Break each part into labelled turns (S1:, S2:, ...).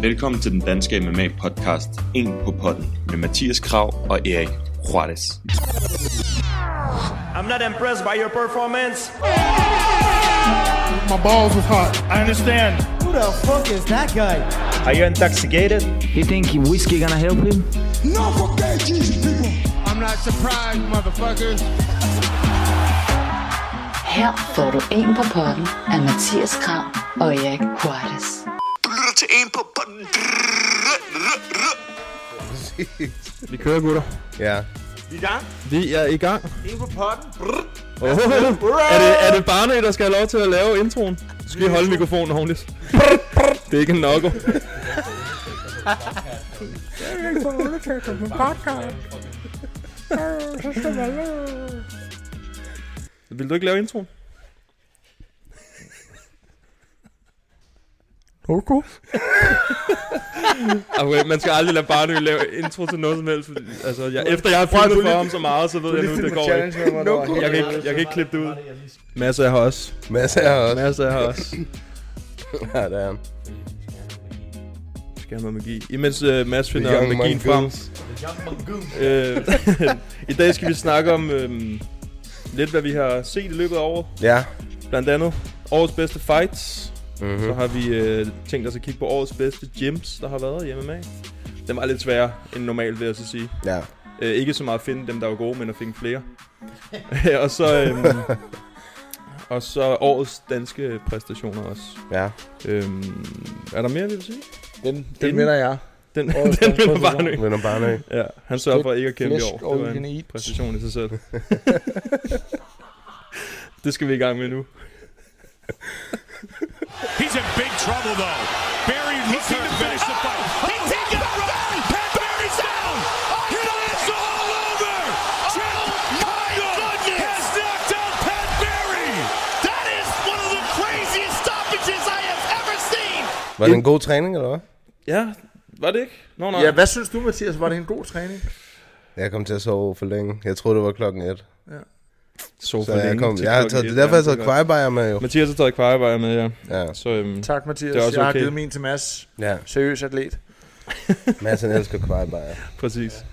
S1: Velkommen til den danske MMA-podcast En på potten med Mathias Krav og Erik Juarez.
S2: I'm not impressed by your performance.
S3: My balls was hot. I understand.
S4: Who the fuck is that guy?
S2: Are you intoxicated?
S5: You think whiskey gonna help him?
S6: No, forget Jesus, people.
S3: I'm not surprised, motherfuckers.
S7: Her får du en på potten af Mathias Krav og Erik Juarez.
S8: Du lytter til en på potten.
S9: Vi kører, gutter.
S10: Ja.
S2: Vi er i gang.
S9: Vi er i gang.
S2: En på potten.
S9: Oh, er, det, er det Barney, der skal have lov til at lave introen? Du skal lige holde mikrofonen ordentligt. Det er ikke en nokko. Vil du ikke lave introen?
S3: Okay.
S9: Okay, man skal aldrig lade Barney lave intro til noget som helst. fordi- Altså, jeg, efter jeg har filmet for ham så meget, så ved jeg nu, det går ikke.
S10: Challenge med mig, der var
S9: Jeg
S10: helt...
S9: kan ikke, jeg kan ikke klippe det ud. Mads er her også.
S10: Mads er her også.
S9: Mads er her også.
S10: Ja, der er han.
S9: Skal have noget magi. Imens uh, Mads
S10: The
S9: finder
S10: young
S9: magien frem.
S10: mongoose.
S9: Øh, I dag skal vi snakke om øhm, lidt, hvad vi har set i løbet af året.
S10: Ja.
S9: Blandt andet årets bedste fights.
S10: Mhm.
S9: Så har vi øh, tænkt os at kigge på årets bedste gyms, der har været i MMA. Dem var lidt sværere end normalt, vil jeg så sige.
S10: Ja.
S9: Øh, ikke så meget at finde dem, der var gode, men at finde flere. og så... Øhm, og så årets danske præstationer også.
S10: Ja.
S9: Øhm, er der mere, vil du sige?
S11: Den,
S9: Inden-
S11: den vinder jeg.
S9: Den, den
S11: Årets danske
S9: vil bare
S11: præstation.
S9: nø.
S10: Men om Barney.
S9: Ja, han sørger for ikke at kæmpe i
S11: Flæsk
S9: år. Det
S11: all
S9: var
S11: you can
S9: en
S11: eat.
S9: præstation i sig selv. det skal vi i gang med nu.
S3: He's in big trouble though. Barry looks to finish the fight. He's taking a run. Barry's down. It's all over. Jill Kyle has knocked out Pat Barry. That is one of the craziest stoppages I have ever seen.
S10: Var det en god træning, eller hvad?
S9: Ja, var det ikke? Nå, nej.
S11: Ja, hvad synes du, Mathias? Var det en god træning?
S10: Jeg kom til at sove for længe. Jeg troede, det var klokken et.
S9: så
S10: Så jeg kom.
S9: til
S10: Jeg har
S9: klokken
S10: taget,
S9: et,
S10: det er derfor,
S9: ja,
S10: jeg har taget
S9: det er godt.
S10: kvarebajer med, jo.
S9: Mathias har taget kvarebajer med, ja.
S10: Ja.
S9: Så øhm,
S11: Tak, Mathias.
S9: Det er også
S11: Jeg har
S9: okay.
S11: givet min til Mads.
S10: Ja.
S11: Seriøs atlet.
S10: Mads, han elsker kvarebajer.
S9: præcis.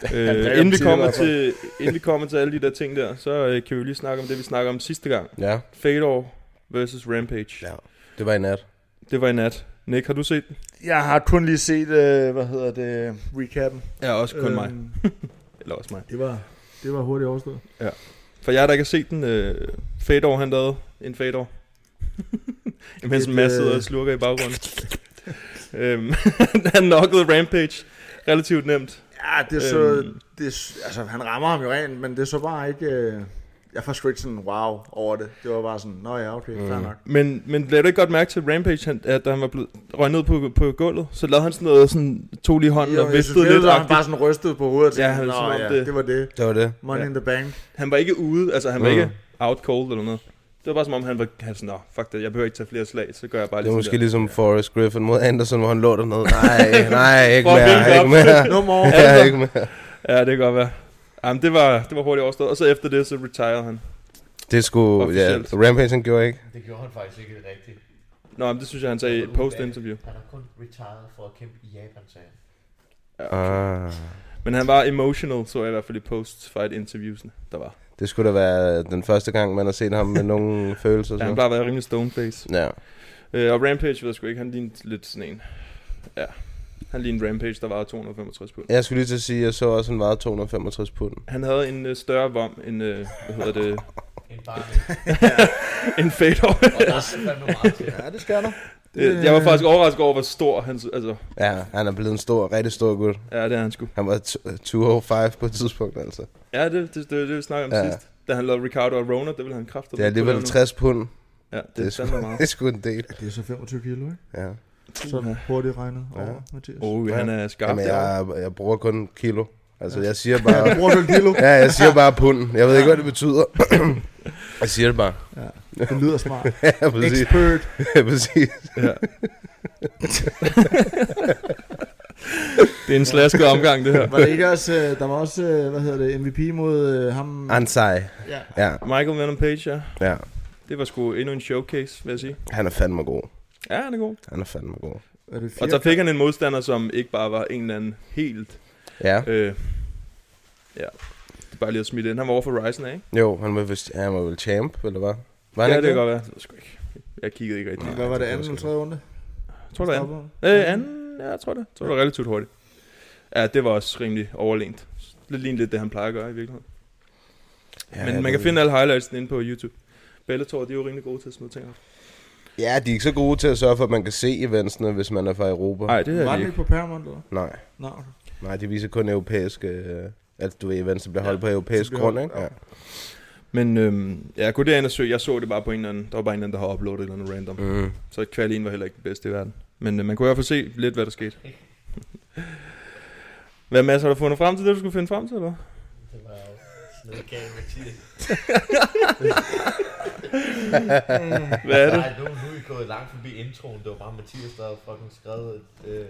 S11: er
S9: Øh,
S11: jo
S9: inden, vi
S11: tid i
S9: kommer
S11: hvert
S9: til, inden vi kommer til alle de der ting der, så øh, kan vi lige snakke om det, vi snakker om sidste gang.
S10: Ja.
S9: Fedor versus Rampage.
S10: Ja. Det var i nat.
S9: Det var i nat. Nick, har du set den?
S11: Jeg har kun lige set, øh, hvad hedder det, recappen.
S9: Ja, også kun øh. mig.
S11: Øhm,
S9: Eller også mig.
S11: Det var, det var hurtigt overstået.
S9: For jer, der ikke har set den, øh, Fedor han lavede en Fedor. Imens en
S11: Et,
S9: masse sidder
S11: øh,
S9: og slurker i baggrunden. øhm, han knockede Rampage relativt nemt.
S11: Ja, det så,
S9: Øhm.
S11: det, s- altså han rammer ham jo rent, men det så bare ikke, øh, jeg var sgu ikke sådan wow over det. Det var bare sådan, nå ja, okay, mm. fair nok.
S9: Men, men lagde du ikke godt mærke til Rampage, han, at da han var blevet røget ned på, på gulvet, så lavede han sådan noget, sådan, tog lige hånden
S11: Jo,
S9: og
S11: jeg synes,
S9: viftede
S11: det
S9: lidt.
S11: var, han
S9: Han,
S11: bare sådan rystede på hovedet og
S9: Ja,
S11: tænkte,
S9: han er
S11: ja,
S9: som
S11: nå
S9: om
S11: ja,
S9: det-
S11: det var det.
S10: Det var det.
S11: Money
S9: Ja.
S11: ja. in the bank.
S9: han var ikke ude, altså han var
S10: Mhm.
S9: ikke out cold eller noget. Det var bare som om, han var han var sådan, nå, fuck det, jeg behøver ikke tage flere slag, så gør jeg bare
S10: Det var
S9: lige
S10: måske
S9: sådan
S10: ligesom Forrest Griffin mod Anderson, hvor han lå dernede. Nej, nej, ikke
S9: For at
S10: mere,
S9: vinde
S10: ikke
S9: op.
S10: mere.
S11: No more.
S10: Ja, ikke mere.
S9: der. Ja, det kan godt være. Jamen, det var, det var hurtigt overstået, og så efter det, så retirede han.
S10: Det skulle, ja,
S9: Officielt.
S10: Rampage han gjorde ikke.
S12: Det gjorde han faktisk ikke rigtigt.
S9: Nå, men det synes jeg, han sagde i et post-interview.
S12: Han er kun retired for at kæmpe i Japan, sagde han.
S10: Ah,
S9: Men han var emotional, så jeg i hvert fald i post-fight interviewsene, der var.
S10: det skulle da være den første gang, man har set ham med nogen følelser.
S9: Ja, han
S10: Så.
S9: bare været rimelig stoneface.
S10: Ja.
S9: Øh, og Rampage ved jeg sgu ikke, han lignede lidt sådan en. Ja, han lignede Rampage, der var 265 pund.
S10: Jeg skulle lige til at sige, at jeg så også, han vejede 265 pund.
S9: Han havde en øh, større vom end, øh, hvad hedder det,
S12: En bare
S9: en Fedor.
S12: Og der er fandme meget til.
S11: Ja, det skal der.
S9: Øh, jeg var faktisk overrasket over, hvor stor han, altså,
S10: Ja, han er blevet en stor, rigtig stor gut.
S9: ja, det er han sgu.
S10: Han var t- 205 på et tidspunkt, altså.
S9: Ja, det, det, det, det vi snakkede
S10: Ja.
S9: om ja. sidst. Da han lavede Ricardo og Rona, det ville han kræfte.
S10: Det er alligevel 60 pund.
S9: Ja,
S10: Det er
S9: det,
S10: sgu,
S9: det er meget.
S10: det er sgu en del.
S11: Det er så 25 kilo, ikke?
S10: Ja.
S11: Sådan hurtigt regnet over, ja. Mathias.
S9: Oh, han er skarp.
S10: Jamen,
S9: derovre.
S10: jeg, jeg bruger kun kilo. Altså, jeg siger bare...
S11: Bruger du en kilo?
S10: Ja, jeg siger bare pund. Jeg ved ikke, hvad det betyder. Jeg siger det bare.
S11: Det lyder smart.
S10: Ja, præcis.
S11: Expert.
S10: Ja, præcis.
S9: Ja. det er en slasket omgang, det her.
S11: Var det ikke også, øh, der var også, øh, hvad hedder det, MVP mod øh, ham?
S10: Ansej.
S11: Ja.
S10: Ja,
S9: Michael Venom Page, ja.
S10: ja.
S9: Det var sgu endnu en showcase, vil jeg sige.
S10: Han er fandme god.
S9: Ja, han er god.
S10: Han er fandme god.
S11: Er det
S9: Og så fik han en modstander, som ikke bare var en eller anden helt...
S10: Ja.
S9: Øh, ja. Det er bare lige at smide ind. Han var over for Ryzen, ikke?
S10: Jo, han var, vist, han var vel champ, eller hvad? Var han
S9: ja,
S10: ikke
S9: det kan godt være. Det ved jeg sgu ikke. Jeg kiggede ikke rigtig.
S11: Hvad var det anden eller tredje runde?
S9: Jeg tror, det var anden. Øh, anden? Ja, jeg tror det. Jeg tror, det var relativt hurtigt. Ja, det var også rimelig overlænt. Lidt lignende det, han plejer at gøre i virkeligheden.
S10: Ja,
S9: Ja, Men
S10: ja,
S9: man
S10: det-
S9: kan finde alle highlights inde på YouTube. Bellator, de er jo rimelig gode til at smide ting op.
S10: Ja, de er ikke så gode til at sørge for, at man kan se eventsene, hvis man er fra Europa.
S9: Nej, det
S11: Var
S9: er de
S11: den
S9: ikke.
S11: ikke på Paramount, eller?
S10: Nej.
S11: Nej. okay.
S10: Nej, de viser kun europæiske... Øh, altså, du ved, events, der bliver holdt på
S11: som
S10: europæisk
S11: bliver
S10: grund,
S11: holdt-
S10: ikke? Ja.
S9: Men øhm, ja, jeg kunne derind og søge. Jeg så det bare på en eller anden. Der var bare en eller anden, der har uploadet et eller andet random.
S10: Mm.
S9: Så kvalien var heller ikke den bedste i verden. Men øh, man kunne i hvert fald se lidt, hvad der skete. hvad Mads, har du fundet frem til det, du skulle finde frem til, eller?
S12: Det var jo sådan noget galt, Mathias.
S9: Hvad er det?
S12: Nej, nu, nu er I gået langt forbi introen. Det var bare Mathias, der havde fucking skrevet et, øh,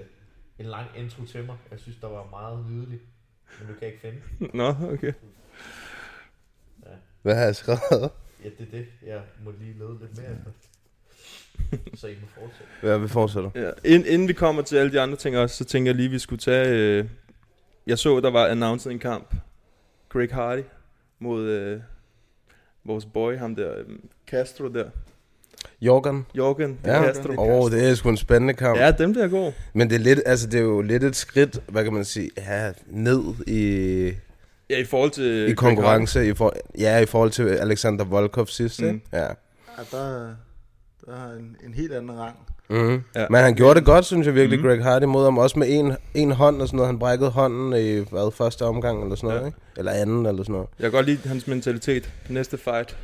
S12: en lang intro til mig. Jeg synes, der var meget nydelig. Men du kan jeg ikke finde den.
S9: Nå, okay.
S10: Hvad har jeg skrevet?
S12: Ja, det er det. Jeg må lige lede lidt mere efter. Så I må fortsætte.
S10: Hvad vi fortsætter?
S9: Ja. Ind, inden vi kommer til alle de andre ting også, så tænker jeg lige, at vi skulle tage... Øh, jeg så, der var announced en kamp. Greg Hardy mod øh, vores boy, ham der, øh, Castro der.
S10: Jorgen.
S9: Jorgen
S10: Ja,
S9: Castro.
S10: åh, oh, det er sgu en spændende kamp.
S9: Ja, dem der er gode.
S10: Men det er, lidt, altså, det er jo lidt et skridt, hvad kan man sige, ja, ned i,
S9: Ja, i forhold til... Greg
S10: i
S9: Hardy.
S10: konkurrence. I for, ja, i forhold til Alexander Volkov sidst, ikke?
S9: Mm.
S10: Ja.
S11: Ja, der, der er en, en helt anden rang.
S10: Mm.
S9: Ja.
S10: Ja. Men han gjorde det godt, synes jeg virkelig, mm. Greg Hardy mod ham. Også med en, en hånd og sådan noget. Han brækkede hånden i hvad, første omgang eller sådan noget,
S9: Ja.
S10: ja. ikke? Eller anden eller sådan noget.
S9: Jeg kan godt lide hans mentalitet. Næste fight,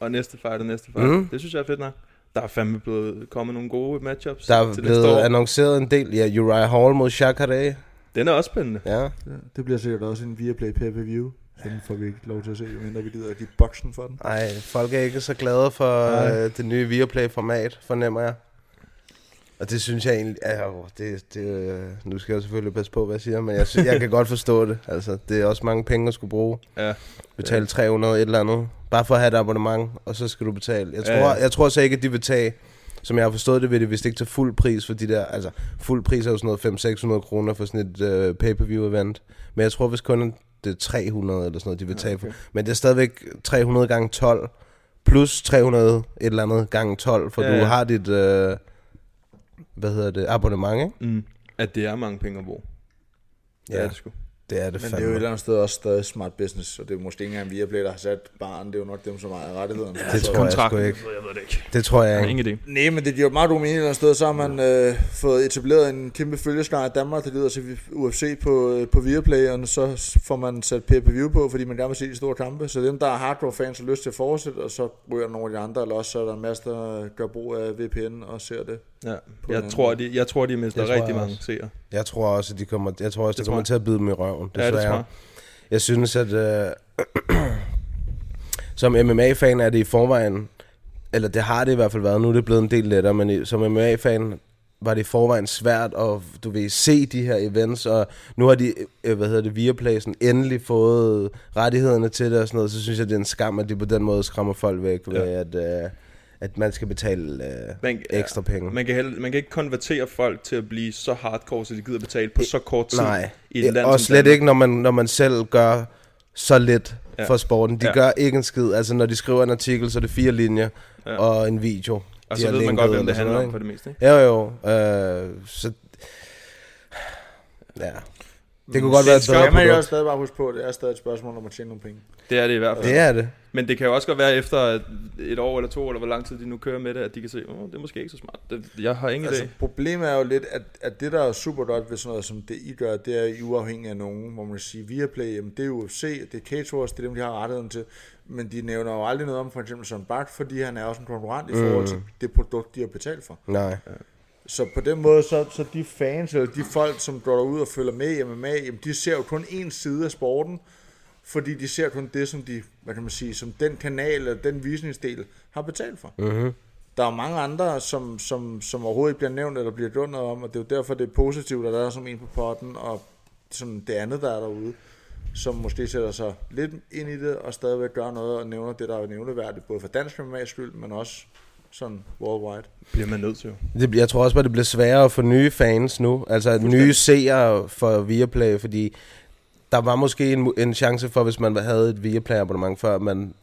S9: og næste fight, og næste fight. Mm.
S10: Mhm.
S9: Det synes jeg er fedt nok. Der er fandme blevet kommet nogle gode matchups
S10: Der er
S9: til næste år.
S10: blevet annonceret en del. Ja, Uriah Hall mod Shakaray.
S9: Den er også spændende.
S10: Ja.
S11: Ja, det bliver sikkert også en Viaplay pay-per-view. Så den får vi ikke lov til at se, jo mindre vi gider at give boksen for den.
S10: Ej, folk er ikke så glade for øh, det nye Viaplay-format, fornemmer jeg. Og det synes jeg egentlig... Ja, åh, det, det, øh, nu skal jeg selvfølgelig passe på, hvad jeg siger, men jeg, synes, jeg kan godt forstå det. Altså, det er også mange penge at skulle bruge.
S9: Ja.
S10: Betale 300 et eller andet. Bare for at have et abonnement, og så skal du betale. Jeg tror,
S9: Ja,
S10: ja,
S9: ja.
S10: ja. jeg tror så ikke, at de vil tage... Som jeg har forstået det, vil de vist ikke tage fuld pris for de der... Altså, fuld pris er jo sådan noget 500-600 kroner for sådan et øh, pay-per-view-event. Men jeg tror hvis kun, det er 300 eller sådan noget, de vil tage. Okay. Men det er stadigvæk 300 gange 12 plus 300 et eller andet gange 12, for
S9: Ja,
S10: ja, ja.
S9: ja.
S10: du har dit, øh, hvad hedder det, abonnement, ikke?
S9: Mm. At det er mange penge at bruge. Ja. Det er det sgu.
S10: Det er det
S11: Men det er
S10: fandme.
S11: jo et eller andet sted også stadig smart business, og det er måske ikke engang Viaplay, der har sat barn. Det er jo nok dem, som ejer rettighederne. Altså,
S10: det tror jeg sgu ikke.
S9: Jeg ved det ikke.
S10: Det tror jeg ikke.
S9: Ingen idé.
S11: Nej, men det giver jo meget god mening et eller andet sted. Så har man øh, fået etableret en kæmpe følgeskare i Danmark, der leder til UFC på, øh, på Viaplay, og så s- får man sat pay-per-view på, fordi man gerne vil se de store kampe. Så dem, der er hardcore fans, har lyst til at fortsætte, og så ryger nogle af de andre, eller også så er der en masse, der gør brug af VPN og ser det.
S9: Ja.
S11: På
S9: Jeg,
S11: den
S9: tror, de, jeg tror, de mister
S10: Det tror
S9: rigtig
S10: jeg
S9: mange
S10: også.
S9: seere.
S10: Jeg tror også, at de kommer, jeg tror også, det,
S9: tror
S10: kommer
S9: jeg.
S10: til at bide dem i røven.
S9: Ja, det tror jeg.
S10: Jeg synes, at øh, som MMA-fan er det i forvejen, eller det har det i hvert fald været, nu er det blevet en del lettere, men i, som MMA-fan var det i forvejen svært at du ved, se de her events, og nu har de, øh, hvad hedder det, Viaplay sådan endelig fået rettighederne til det og sådan noget, så synes jeg, det er en skam, at de på den måde skræmmer folk væk ved, at, øh, at man skal betale øh,
S9: Man, ja,
S10: ekstra penge.
S9: Man kan, held, man kan ikke konvertere folk til at blive så hardcore, så de gider betale på så kort tid
S10: E- Nej,
S9: i et land
S10: og
S9: som
S10: slet
S9: Danmark.
S10: ikke, når man, når man selv gør så lidt
S9: Ja.
S10: ja. for sporten. De
S9: Ja.
S10: ja. gør ikke en skid. Altså, når de skriver en artikel, så er det fire linjer
S9: Ja.
S10: ja. og en video.
S9: Og
S10: de
S9: så
S10: har
S9: ved man
S10: linket
S9: godt, hvem
S10: eller
S9: det
S10: sådan
S9: handler om
S10: noget,
S9: for det meste. Ikke?
S10: ikke? Jo, jo. Øh, så... Ja. Det kunne godt være et
S11: Så kan
S10: bedre
S11: man jo
S10: produkt.
S11: også stadig bare huske på, at det er stadig et spørgsmål om at tjene nogle penge.
S9: Det er det i hvert fald.
S10: Det er det.
S9: Men det kan jo også godt være efter et år eller to, eller hvor lang tid de nu kører med det, at de kan se, åh, oh, det er måske ikke så smart. Det, jeg har ingen altså,
S11: Altså,
S9: idé.
S11: problemet er jo lidt, at, at det, der er super godt ved sådan noget, som det I gør, det er I er uafhængig af nogen, hvor man kan sige, Viaplay, jamen, det er UFC, det er Cators, det er dem, de har rettigheden til, men de nævner jo aldrig noget om for eksempel Søren Bak, fordi han er også en konkurrent i forhold til det produkt, de har betalt for.
S10: Nej.
S11: Så på den måde, så, så de fans, eller de folk, som går derud og følger med i MMA, jamen, de ser jo kun én side af sporten, fordi de ser kun det, som de, hvad kan man sige, som den kanal eller den visningsdel har betalt for. Mm-hmm. Der er jo mange andre, som, som, som overhovedet ikke bliver nævnt eller bliver gjort noget om, og det er jo derfor, det er positivt, at der er som en på potten, og som det andet, der er derude, som måske sætter sig lidt ind i det, og stadigvæk gør noget og nævner det, der er nævneværdigt, både for dansk MMA's skyld, men også sådan worldwide.
S9: Bliver man nødt til.
S10: Det, jeg tror også bare, det bliver sværere at få nye fans nu. Altså nye seere for Viaplay, fordi der var måske en, en chance for, hvis man havde et Viaplay-abonnement før, man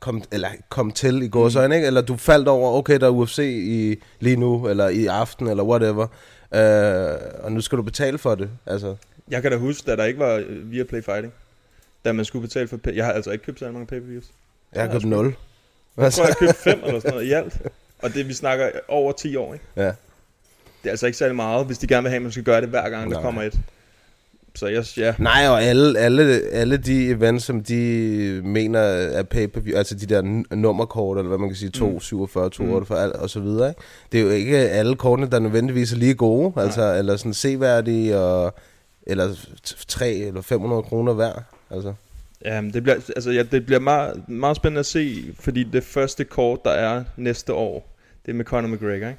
S10: kom, eller kom til i går mm. ikke? eller du faldt over, okay, der er UFC i, lige nu, eller i aften, eller whatever, øh, og nu skal du betale for det. Altså,
S9: Jeg kan da huske, da der ikke var øh, Viaplay Fighting, da man skulle betale for... pay- Jeg har altså ikke købt så mange pay-per-views.
S10: jeg har købt 0.
S9: Jeg tror, jeg købte fem eller sådan noget i alt. Og det, vi snakker over 10 år, ikke?
S10: Ja.
S9: Det er altså ikke særlig meget, hvis de gerne vil have, at man skal gøre det hver gang, Nej.
S10: Nej.
S9: der kommer et. Så jeg, ja.
S10: Nej, og alle, alle, alle de events, som de mener er pay-per-view, altså de der n- nummerkort, eller hvad man kan sige, 2,
S9: Mm.
S10: 47, 48
S9: Mm.
S10: al- og så videre, ikke? det er jo ikke alle kortene, der nødvendigvis er lige gode, Nej. altså, eller sådan seværdige, og, eller 3 eller 500 kroner hver, altså.
S9: Ja, men det bliver, altså, ja, det bliver meget, meget spændende at se, fordi det første kort, der er næste år, det er med Conor McGregor, ikke?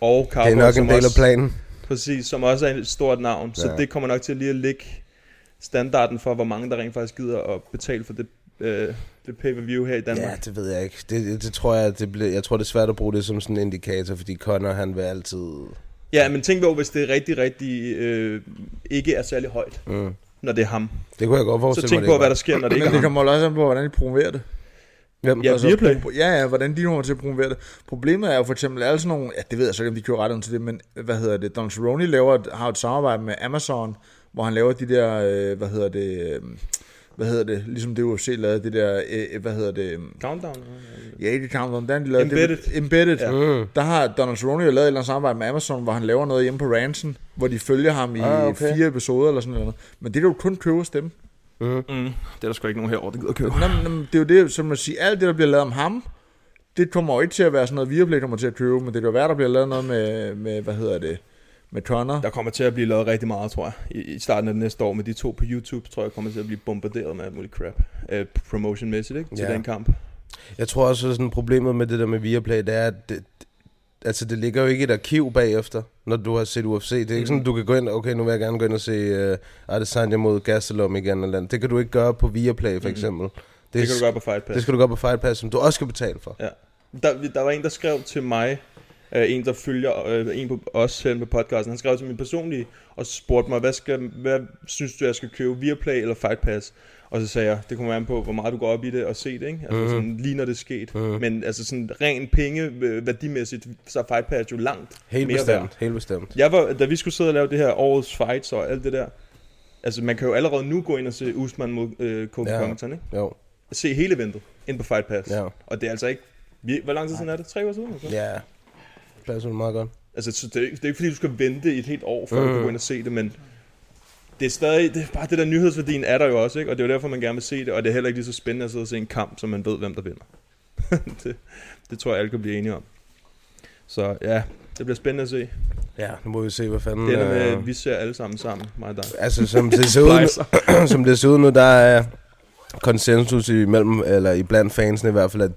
S9: Og Carbo,
S10: Det er nok
S9: som
S10: en del af
S9: også-
S10: planen.
S9: Præcis, som også er et stort navn, så
S10: Ja.
S9: det kommer nok til lige at ligge standarden for, hvor mange der rent faktisk gider at betale for det, øh, det pay-per-view her i Danmark.
S10: Ja, det ved jeg ikke. Det, det, det tror jeg, det bliver, jeg tror, det er svært at bruge det som sådan en indikator, fordi Connor, han vil altid...
S9: Ja, men tænk på, hvis det er rigtig, rigtig øh, ikke er særlig højt,
S10: Mm.
S9: når det er ham.
S10: Det kunne jeg godt
S9: Så
S10: forestille mig,
S9: tænk
S10: det
S9: på,
S10: ikke
S9: hvad
S10: var.
S9: der sker, når det ikke
S11: Men
S9: er
S11: det
S9: ham.
S11: kommer jo også an på, hvordan de promoverer det. Altså,
S10: Hvem?
S9: Ja, Viaplay.
S11: Ja, ja, hvordan de kommer til at promovere det. Problemet er jo for eksempel alle sådan nogle, ja, det ved jeg så ikke, om de kører ret til det, men hvad hedder det, Don Cerrone laver, et- har et samarbejde med Amazon, hvor han laver de der, øh, hvad hedder det, øh, hvad hedder det, ligesom det UFC lavede, det der, øh, hvad hedder det, øh,
S9: Countdown?
S11: Ja, ikke Countdown, Dan, de lavede
S9: Embedded.
S11: Det, embedded.
S9: Ja.
S11: Ja. Der har Donald Cerrone jo lavet et eller andet samarbejde med Amazon, hvor han laver noget hjemme på ranchen, hvor de følger ham i
S10: Ah,
S11: ah,
S10: okay.
S11: okay. fire episoder eller sådan noget. Men det er jo kun købe hos dem.
S9: Mm, det er der sgu ikke nogen herovre, der gider at købe.
S11: Nå, men, nå, men det er jo det, som man siger, alt det, der bliver lavet om ham, det kommer jo ikke til at være sådan noget, Viaplay kommer til at købe, men det kan jo være, der bliver lavet noget med, med hvad hedder det, med Connor.
S9: Der kommer til at blive lavet rigtig meget, tror jeg, i, i starten af det næste år. Med de to på YouTube, tror jeg, kommer til at blive bombarderet med alt muligt crap. Øh, promotion-mæssigt, ikke? Til
S10: Ja.
S9: den kamp.
S10: Jeg tror også, at sådan problemet med det der med Viaplay, det er, at det, altså, det ligger jo ikke i et arkiv bagefter, når du har set UFC. Det er ikke mm. sådan, du kan gå ind, okay, nu vil jeg gerne gå ind og se uh, Adesanya mod Gastelum igen eller andet. Det kan du ikke gøre på Viaplay, for eksempel. Mm.
S9: Det, det kan du gøre på Fight Pass.
S10: Det skal du gøre på Fight Pass, som du også skal betale for.
S9: Ja. Der, der var en, der skrev til mig, øh, en der følger øh, en på os herinde på podcasten, han skrev til min personlige og spurgte mig, hvad, skal, hvad synes du, jeg skal købe, Viaplay eller Fight Pass? Og så sagde jeg, det kommer an på, hvor meget du går op i det og se det, ikke? Altså
S10: Mhm.
S9: mm. sådan, lige når det er sket. Mm.
S10: Mhm.
S9: Men altså sådan ren penge, øh, værdimæssigt, så er Fight Pass jo langt
S10: Helt
S9: mere
S10: bestemt,
S9: værd.
S10: helt bestemt.
S9: Jeg var, da vi skulle sidde og lave det her årets fights og alt det der, altså man kan jo allerede nu gå ind og se Usman mod øh, Kobe
S10: Ja.
S9: ja. Covington, ikke?
S10: Jo.
S9: Se hele eventet ind på Fight Pass.
S10: Ja.
S9: Og det er altså ikke... vi- Hvor lang tid siden er det? Tre uger siden? eller sådan?
S10: Ja, pladsen er meget godt.
S9: Altså, så det, er ikke- det er ikke fordi, du skal vente i et helt år, før mm. du kan
S10: Mm.
S9: gå ind og se det, men det er stadig... Det er bare det der nyhedsværdien er der jo også, ikke? Og det er jo derfor, man gerne vil se det, og det er heller ikke lige så spændende at sidde og se en kamp, så man ved, hvem der vinder. det, det tror jeg, alle kan blive enige om. Så ja, det bliver spændende at se.
S10: Ja, nu må vi se, hvad fanden...
S9: Det ender med,
S10: øh,
S9: at vi ser alle sammen sammen, mig og dig.
S10: Altså, som det ser ud nu, som det ser ud nu der er konsensus imellem, eller iblandt fansene i hvert fald, at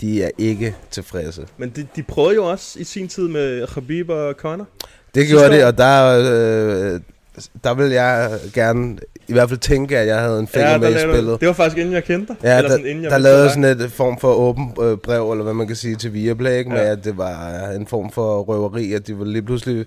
S10: de er ikke tilfredse.
S9: Men de, de prøvede jo også i sin tid med Khabib og Conor.
S10: Det
S9: Sidste
S10: gjorde det,
S9: år.
S10: og der, øh, der vil jeg gerne i hvert fald tænke, at jeg havde en finger
S9: Ja,
S10: ja, med
S9: der
S10: i
S9: lavede du-
S10: spillet.
S9: det var faktisk inden jeg kendte dig.
S10: Ja,
S9: Eller
S10: der,
S9: sådan inden jeg
S10: der
S9: vidste,
S10: lavede
S9: hvad
S10: sådan et form for åben øh, brev, eller hvad man kan sige, til Viaplay, ikke? med
S9: Ja.
S10: at det var en form for røveri, at de ville lige pludselig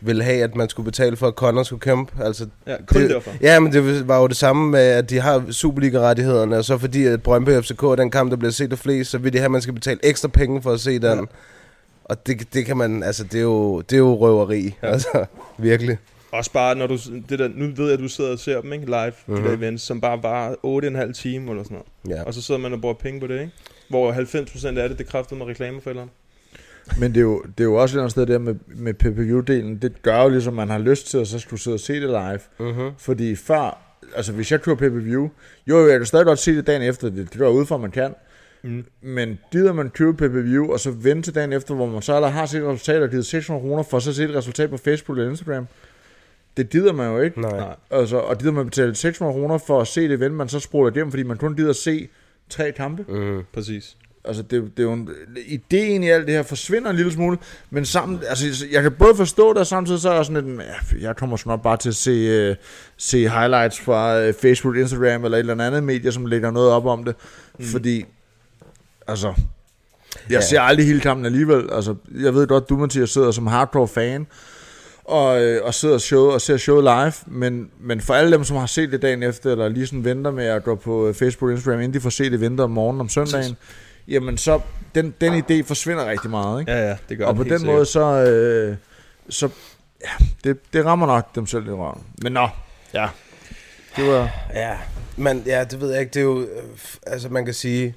S10: ville have, at man skulle betale for, at Connor skulle kæmpe. Altså,
S9: Ja, kun derfor.
S10: Ja, men det var jo det samme med, at de har Superliga-rettighederne, og så fordi at Brøndby FCK er den kamp, der bliver set af flest, så vil de have, at man skal betale ekstra penge for at se den. Ja. Og det, det kan man, altså det er jo, det er jo røveri, ja. altså virkelig.
S9: Også bare, når du, det der, nu ved jeg, at du sidder og ser dem, ikke? Live, mm-hmm.
S10: Mhm.
S9: de der events, som bare var 8,5 timer eller sådan noget.
S10: Ja.
S9: Og så sidder man og bruger penge på det, ikke? Hvor 90% af det, det kræftede med reklamer for et eller andet.
S11: Men det er jo, det er jo også et eller andet sted der med, med PPV-delen, det gør jo ligesom, man har lyst til, at så skulle sidde og se det live.
S10: Mhm.
S11: Fordi før, altså hvis jeg kører PPV, jo, jo, jeg kan stadig godt se det dagen efter, det, det går jeg ud fra, man kan.
S9: Mm.
S11: Men gider man købe PPV, og så vente til dagen efter, hvor man så allerede har set et resultat og givet 600 kroner, for så at se et resultat på Facebook eller Instagram, det gider man jo ikke.
S10: Nej.
S11: Altså, og gider man betale 600 kroner for at se det event, man så spoler igennem, fordi man kun gider at se tre kampe.
S10: Mm.
S9: Præcis.
S11: Altså, det, det er jo en, ideen i alt det her forsvinder en lille smule, men sammen, altså, jeg kan både forstå det, og samtidig så er jeg sådan lidt, "Ja, jeg kommer snart bare til at se, øh, se highlights fra øh, Facebook, Instagram eller et eller andet medie, som lægger noget op om det,
S9: Mm.
S11: mm. fordi, altså, Jeg ja. ser aldrig hele kampen alligevel. Altså, jeg ved godt, du, Mathias, sidder som hardcore fan, og, øh, og sidder show, og ser showet live, men, men for alle dem, som har set det dagen efter, eller lige sådan venter med at gå på øh, Facebook og Instagram, inden de får set det venter om morgenen om søndagen, jamen så, den, den idé forsvinder rigtig meget, ikke?
S9: Ah. Ja, ja, det gør
S11: Og
S9: den
S11: på
S9: helt
S11: den
S9: sikkert.
S11: måde, så, øh, så ja, det, det rammer nok dem selv i røven. Men nå, ja. Det var...
S10: Ja, men ja, det ved jeg ikke, det er jo, øh, f- altså man kan sige,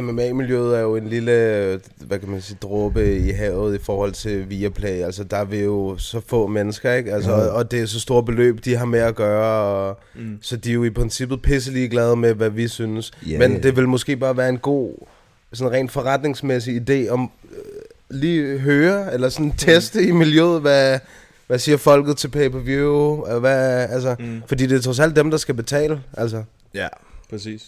S10: MMA-miljøet er jo en lille, øh, hvad kan man sige, dråbe i havet i forhold til Viaplay, altså der er vi jo så få mennesker, ikke? Altså,
S11: Mhm.
S10: og, og det er så store beløb, de har med at gøre, og,
S11: Mm.
S10: mm. så de er jo i princippet pisselig glade med, hvad vi synes,
S11: Ja,
S10: yeah. men
S11: ja.
S10: det vil måske bare være en god, sådan rent forretningsmæssig idé om øh, lige høre, eller sådan
S11: Mm.
S10: teste i miljøet, hvad, hvad siger folket til pay-per-view, og hvad, altså, mm. fordi det er trods alt dem, der skal betale, altså.
S11: Ja,
S9: præcis.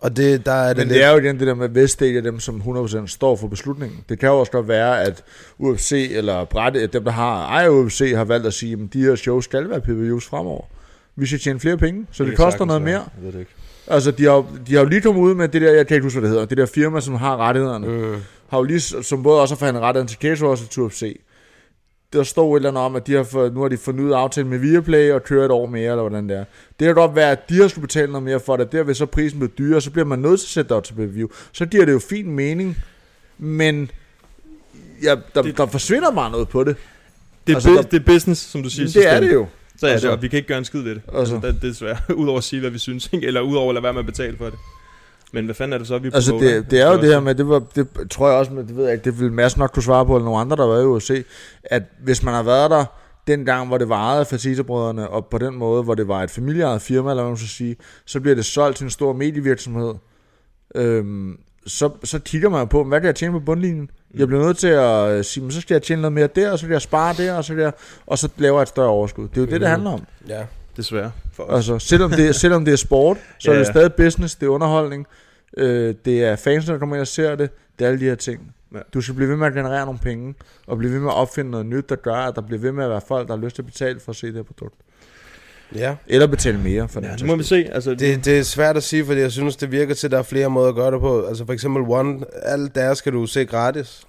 S10: Og det, der er det
S11: Men
S10: lidt...
S11: det er jo igen det der med, at Vestage er dem, som 100% står for beslutningen. Det kan jo også godt være, at UFC eller Brætte, dem der har ejer UFC, har valgt at sige, at de her shows skal være PPU's fremover. Vi skal tjene flere penge, så det,
S9: kan
S11: det koster
S9: sagtens
S11: noget
S9: være.
S11: mere.
S9: Jeg ved det ikke.
S11: Altså, de har, jo- de har jo lige kommet ud med det der, jeg kan ikke huske, hvad det hedder, det der firma, som har rettighederne, øh. har jo lige, som både også har forhandlet rettighederne til Cage Wars og til UFC. Der står et eller andet om, at de har fået, nu har de fundet ud af aftalen med Viaplay og kører et år mere, eller hvordan det er. Det kan godt være, at de har skulle betale noget mere for det, der vil så prisen blive dyrere, så bliver man nødt til at sætte det op til review. Så giver det jo fin mening, men ja, der, det, der forsvinder bare noget på det.
S9: Det er, altså,
S11: der-
S9: det er business, som du siger.
S11: Men
S9: i sidste
S11: det er
S9: ende.
S11: det jo.
S9: Så er altså,
S11: Altså-
S9: det, og vi kan ikke gøre en skid ved det. Altså,
S11: Altså-
S9: altså det, desværre. Udover at sige, hvad vi synes, ikke? eller udover at lade være med at betale for det. Men hvad fanden er det så, vi
S11: Altså
S9: promoter?
S11: det, det er jo det her med, det, var, det tror jeg også, men det ved jeg ikke, det vil Mads nok kunne svare på, eller nogle andre, der var i UFC, at hvis man har været der dengang, hvor det varede Fatita-brødrene, og på den måde, hvor det var et familieejet firma, eller hvad man skal sige, så bliver det solgt til en stor medievirksomhed, øhm, så, så kigger man jo på, hvad kan jeg tjene på bundlinjen? Jeg bliver nødt til at øh, sige, men så skal jeg tjene noget mere der, og så skal jeg spare der, og så, skal jeg, og så laver jeg et større overskud. Det er jo det, det handler om.
S10: Ja.
S9: Desværre. For os.
S11: Altså, selvom det, selvom det er sport, så
S9: Ja,
S11: er det
S9: ja.
S11: stadig business, det er underholdning, øh, det er fans, der kommer ind og ser det, det er alle de her ting.
S9: Ja.
S11: Ja. Du skal blive ved med at generere nogle penge, og blive ved med at opfinde noget nyt, der gør, at der bliver ved med at være folk, der har lyst til at betale for at se det her produkt.
S10: Ja.
S11: Eller betale mere for
S9: Ja,
S11: det.
S9: nu må vi se. Altså,
S10: Det, det er svært at sige, fordi jeg synes, det virker til, at der er flere måder at gøre det på. Altså for eksempel One, alt deres kan du se gratis.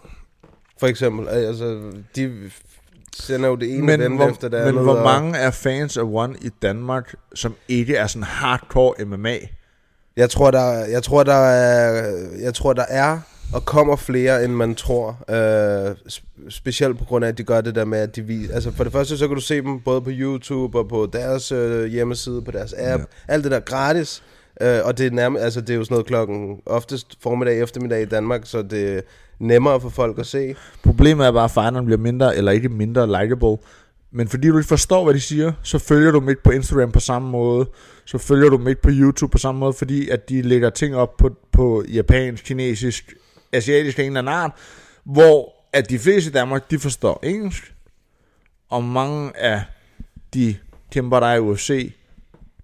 S10: For eksempel, altså de sender jo det ene
S11: Men,
S10: event
S11: hvor,
S10: efter det
S11: men
S10: andet.
S11: hvor
S10: og-
S11: mange er fans af One i Danmark, som ikke er sådan hardcore MMA?
S10: Jeg tror, der, jeg tror, der er, jeg tror, der er og kommer flere, end man tror. Øh, sp- specielt på grund af, at de gør det der med, at de viser... Altså for det første, så kan du se dem både på YouTube og på deres øh, hjemmeside, på deres app. Ja. Alt det der gratis. Øh, og det er, nærmest, altså, det er jo sådan noget klokken oftest formiddag eftermiddag i Danmark, så det er nemmere for folk at se.
S11: Problemet er bare, at fighteren bliver mindre, eller ikke mindre likable. Men fordi du ikke forstår, hvad de siger, så følger du dem ikke på Instagram på samme måde. Så følger du dem ikke på YouTube på samme måde, fordi at de lægger ting op på, på japansk, kinesisk, asiatisk og en eller anden art, hvor at de fleste i Danmark, de forstår engelsk, og mange af de kæmper, der er i UFC,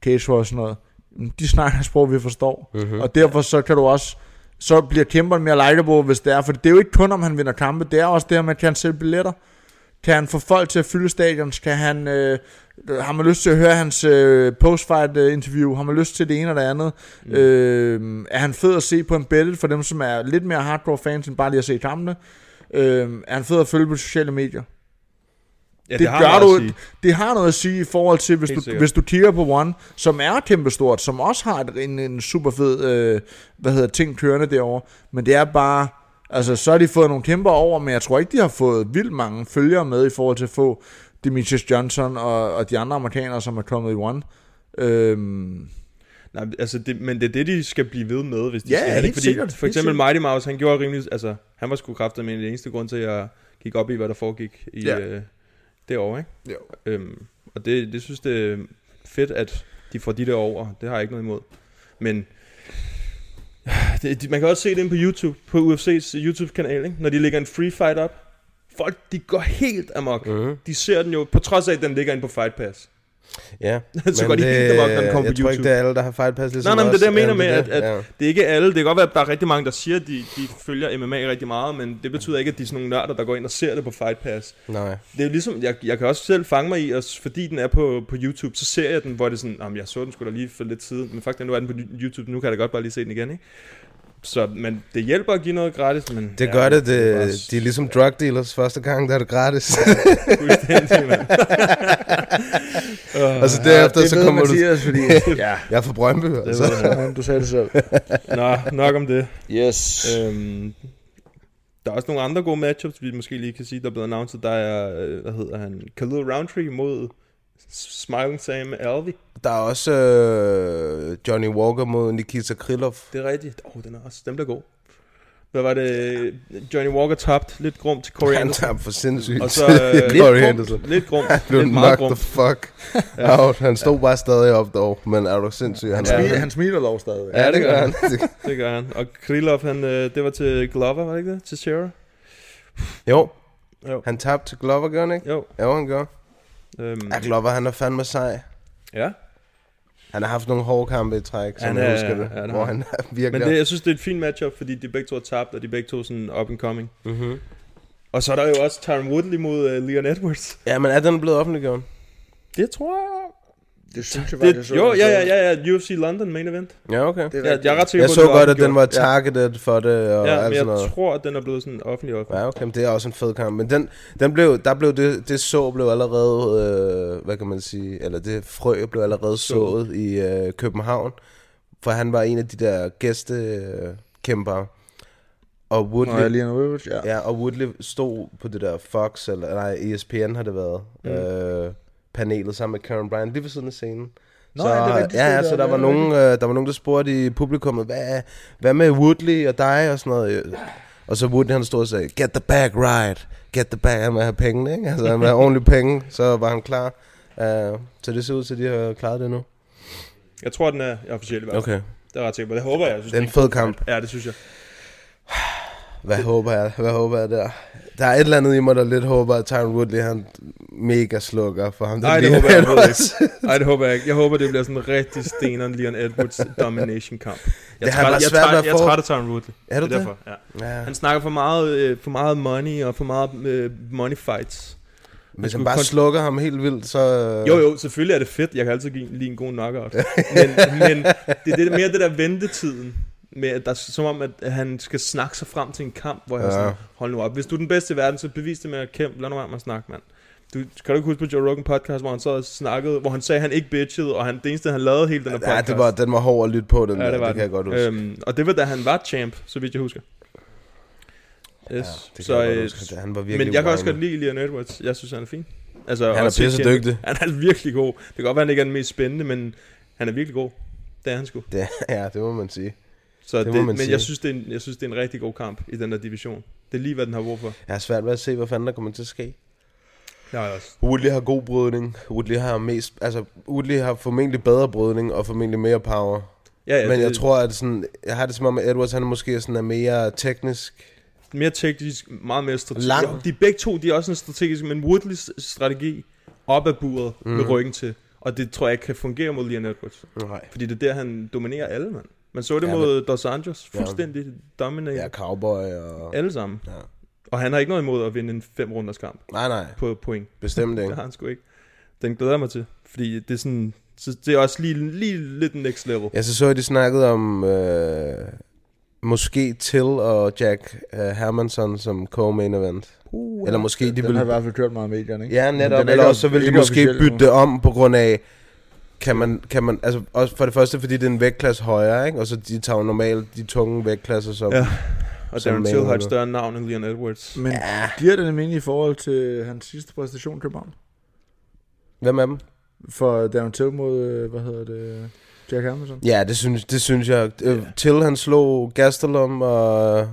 S11: case og sådan noget, jamen, de snakker et sprog, vi forstår.
S10: Mhm.
S11: Uh-huh. Og derfor så kan du også, så bliver kæmperen mere likeable, hvis det er, for det er jo ikke kun, om han vinder kampe, det er også det her med, kan han sælge billetter? Kan han få folk til at fylde stadion? Kan han, øh, har man lyst til at høre hans øh, postfight øh, interview? Har man lyst til det ene eller det andet? Mm. Øh, er han fed at se på en battle for dem, som er lidt mere hardcore fans, end bare lige at se kampene? Øh, er han fed at følge på sociale medier?
S9: Ja,
S11: det, det
S9: har
S11: gør
S9: noget at
S11: du,
S9: sige.
S11: det har noget at sige i forhold til, hvis
S9: Helt
S11: du,
S9: sikkert.
S11: hvis du kigger på One, som er kæmpestort, som også har et- en, en super fed øh, hvad hedder, ting kørende derovre, men det er bare, altså så har de fået nogle kæmper over, men jeg tror ikke, de har fået vildt mange følgere med i forhold til at få Demetrius Johnson og, og de andre amerikanere, som er kommet i One. Øhm,
S9: Nej, altså det, men det er det, de skal blive ved med, hvis de
S11: Ja,
S9: skal have det.
S11: helt
S9: Fordi
S11: sikkert,
S9: for
S11: helt
S9: eksempel
S11: sikkert.
S9: Mighty Mouse, han gjorde rimelig... Altså, han var sgu kraftet med den eneste grund til, at jeg gik op i, hvad der foregik i
S11: Ja.
S9: ja. øh, det år, ikke?
S11: Jo.
S9: Øhm, og det, det synes det er fedt, at de får de der over. Det har jeg ikke noget imod. Men det, de, man kan også se det inde på YouTube, på UFC's YouTube-kanal, ikke? Når de lægger en free fight op. Folk, de går helt amok.
S11: Mhm.
S9: Uh-huh. De ser den jo, på trods af, at den ligger inde på Fight Pass.
S10: Ja,
S9: Så
S10: men
S9: går de
S10: det-
S9: helt amok, når den kommer
S10: Jeg
S9: på
S10: tror ikke,
S9: YouTube.
S10: det er alle, der har fejlpasset
S9: Ligesom
S10: ligesom
S9: nej, nej, men det er
S10: os.
S9: det, jeg
S10: Ja,
S9: mener med,
S10: det er det.
S9: at, at
S10: Ja.
S9: det er ikke alle. Det kan godt være, at der er rigtig mange, der siger, at de, de følger MMA rigtig meget, men det betyder ikke, at de er sådan nogle nørder, der går ind og ser det på Fight Pass.
S10: Nej.
S9: Det er jo ligesom, jeg, jeg kan også selv fange mig i, og s- fordi den er på, på YouTube, så ser jeg den, hvor det er sådan, jamen jeg så den skulle da lige for lidt siden, men faktisk nu er den på YouTube, nu kan jeg da godt bare lige se den igen, ikke? Så men det hjælper at give noget gratis, men...
S10: Det gør det, det, de er ligesom drug dealers første gang, der er det gratis.
S9: Fuldstændig, mand.
S10: Åh. Og så
S11: Ja,
S10: Altså, derefter,
S11: det
S10: så
S11: ved
S10: kommer
S11: Mathias,
S10: du...
S11: fordi-
S10: ja.
S11: Ja.
S10: Jeg er fra Brøndby,
S11: Det
S10: altså.
S11: ved han. Jamen, du sagde det selv.
S9: Nå, nok om det.
S11: Yes.
S9: Øhm, der er også nogle andre gode matchups, vi måske lige kan sige, der er blevet announced. Der er, øh, hvad hedder han, Khalil Roundtree mod Smiling Sam Alvey.
S10: Der er også øh, Johnny Walker mod Nikita Krylov.
S9: Det er rigtigt. Åh, oh, den er også, den bliver god. Hvad var det? Johnny Walker tabt lidt grumt til Corey
S10: Han
S9: Anderson.
S10: tabte for sindssygt
S9: Og så,
S10: til
S9: øh, lidt,
S10: Corey
S9: grumt,
S10: Anderson.
S9: lidt grumt.
S10: Han blev
S9: lidt meget
S10: knocked the
S9: grumt.
S10: fuck out. Han stod bare stadig op dog, men er du sindssyg?
S11: Han,
S10: er-
S11: smiler, han smiler dog stadig.
S9: Ja, det gør han. det gør han. Og Krylov, han, øh, det var til Glover, var det ikke det? Til Sarah?
S10: Jo.
S9: Jo.
S10: Han tabte til Glover, gør han ikke?
S9: Jo.
S10: Jo, han gør.
S9: Øhm.
S10: Ja, Glover, han er fandme sej.
S9: Ja.
S10: Han har haft nogle hårde kampe i træk, som jeg husker det.
S9: det
S10: hvor
S9: har
S10: han er virkelig...
S9: Men det, jeg synes, det er et fint matchup, fordi de begge to er tabt, og de begge to er sådan up and coming.
S10: Mhm.
S9: Og så er der jo også Tyron Woodley mod uh, Leon Edwards.
S10: Ja, men er den blevet offentliggjort?
S9: Det tror jeg...
S11: Det synes jeg
S9: Det, jo, ja, ja, ja, ja, UFC London main event.
S10: Ja, okay.
S9: Det er jeg, jeg er ret sikker
S10: jeg
S9: på,
S10: så
S9: det
S10: godt, at den var
S9: offentliggjort.
S10: targeted for det og
S9: Ja, men
S10: alt
S9: jeg
S10: sådan noget.
S9: tror, at den er blevet sådan offentlig offentlig.
S10: Ja, okay, men det er også en fed kamp. Men den, den blev, der blev det, det så blev allerede, øh, hvad kan man sige, eller det frø blev allerede sået i øh, København, for han var en af de der gæstekæmpere. Og Woodley,
S11: Nå, ja, Leon Edwards, ja.
S10: ja. og Woodley stod på det der Fox, eller nej, E ESPN har det været,
S11: Mm.
S10: øh, panelet sammen med Karen Bryant, lige ved siden af scenen.
S11: Nå,
S10: så,
S11: ja, det er rigtigt,
S10: ja,
S11: det
S10: ja,
S11: der-
S10: så der
S11: det
S10: var,
S11: er
S10: nogen, øh, der var nogen, der spurgte i publikummet, hvad, hvad med Woodley og dig og sådan noget. øh. Og så Woodley han stod og sagde, get the bag right, get the bag, han vil have pengene, ikke? Altså han vil have ordentlige penge, så var han klar. Uh, så det ser ud til, at de har klaret det nu.
S9: Jeg tror, den er officiel i hvert fald.
S10: Okay.
S9: Det er jeg ret sikker på. Det håber jeg. jeg synes,
S10: Det er en
S9: ikke-
S10: fed kamp.
S9: Ja, det synes jeg.
S10: Hvad håber jeg, hvad håber jeg der? Der er et eller andet i mig, der lidt håber, at Tyron Woodley han mega slukker for ham. der
S9: Nej, det
S10: Leon
S9: håber jeg
S10: Edwards.
S9: overhovedet ikke. Nej, det håber jeg ikke. Jeg håber, det bliver sådan en rigtig steneren Leon Edwards domination kamp. Jeg
S10: Det har
S9: træt-
S10: været
S9: jeg
S10: svært
S9: træt-
S10: at
S9: Jeg
S10: få.
S9: trætter Tyron Woodley.
S10: Er du
S9: det? er
S10: det?
S9: Derfor, ja.
S10: Ja.
S9: Han snakker for meget, øh, for meget money og for meget øh, money fights. Han
S10: Hvis han
S9: skulle
S10: bare
S9: kon-
S10: slukker ham helt vildt, så...
S9: jo, jo, selvfølgelig er det fedt. Jeg kan altid give- lide en god knockout. men, men det er det, mere det der ventetiden. Med, at der, er som om, at han skal snakke sig frem til en kamp, hvor jeg ja.
S10: Ja.
S9: sådan, hold nu op. Hvis du er den bedste i verden, så bevis det med at kæmpe. Lad nu være med at snakke, mand. Du, kan du ikke huske på Joe Rogan podcast, hvor han så snakkede, hvor han sagde, at han ikke bitchede, og han, det eneste, han lavede hele den her podcast.
S10: Ja, det var, den var hård at lytte på, den
S9: Ja,
S10: der.
S9: det, var
S10: det kan jeg
S9: den.
S10: godt huske.
S9: Øhm, og det var da han var champ, så vidt jeg husker. Yes. Ja,
S10: kan
S9: så,
S10: jeg godt
S9: øh,
S10: huske. Han var virkelig
S9: men jeg kan også
S10: whiny.
S9: godt lide Leon Edwards. Jeg synes, han er fin. Altså,
S10: Han er
S9: også
S10: pisse
S9: kendt.
S10: dygtig.
S9: Han er virkelig god. Det kan godt være, han ikke er den mest spændende, men han er virkelig god. Det er han sgu.
S10: Det, ja, det må man sige.
S9: Så det,
S10: må
S9: det, men
S10: man sige.
S9: jeg, synes, det er en, jeg synes, det er en rigtig god kamp i den der division. Det er lige, hvad den har brug for.
S10: Jeg har svært ved at se, hvad fanden der kommer til at ske.
S9: Jeg har også.
S10: Woodley har god brydning. Woodley har mest... Altså, Woodley har formentlig bedre brydning og formentlig mere power.
S9: Ja, ja,
S10: Men
S9: det-
S10: jeg tror, at sådan... Jeg har det som om, at Edwards, han måske sådan er mere teknisk.
S9: Mere teknisk, meget mere strategisk.
S10: Lang.
S9: Jo, De begge to, de er også en strategisk, men Woodleys strategi op ad buret mm. med
S10: Mhm.
S9: ryggen til. Og det tror jeg ikke kan fungere mod Leon Edwards.
S10: Nej.
S9: Fordi det er der, han dominerer alle, mand. Man så det
S10: Ja,
S9: ja, mod Dos Anjos.
S10: Ja.
S9: Fuldstændig ja. dominerer. Ja,
S10: cowboy og...
S9: Alle sammen.
S10: Ja.
S9: Og han har ikke noget imod at vinde en fem runders kamp.
S10: Nej, nej.
S9: På point.
S10: Bestemt ikke.
S9: det har han sgu ikke. Den glæder jeg mig til. Fordi det er sådan... Så det er også lige, lige lidt next level.
S10: Jeg så så, at de snakkede om... Øh, måske Till og Jack øh, Hermansson som co-main event.
S11: Uh,
S10: Eller måske de
S11: den
S10: ville...
S11: har i hvert fald kørt meget i medierne, ikke?
S10: Ja,
S11: Men
S10: netop.
S11: den er
S10: Eller
S11: ikke-
S10: også så vil de
S11: ikke
S10: måske
S11: officiel
S10: bytte
S11: nu.
S10: det om på grund af, kan man, kan man, altså også for det første, fordi det er en vægtklasse højere, ikke? Og så de tager jo normalt de tunge vægtklasser som...
S9: Ja. Og
S10: som Mm.
S9: Darren
S10: main
S9: Till har et
S10: event.
S9: større navn end Leon Edwards.
S11: Men ja. giver det nemlig i forhold til hans sidste præstation i København?
S10: Hvem af dem?
S11: For Darren Till mod, øh, hvad hedder det, Jack Hermanson?
S10: Ja, det synes, det synes jeg. Øh, Till han slog Gastelum og...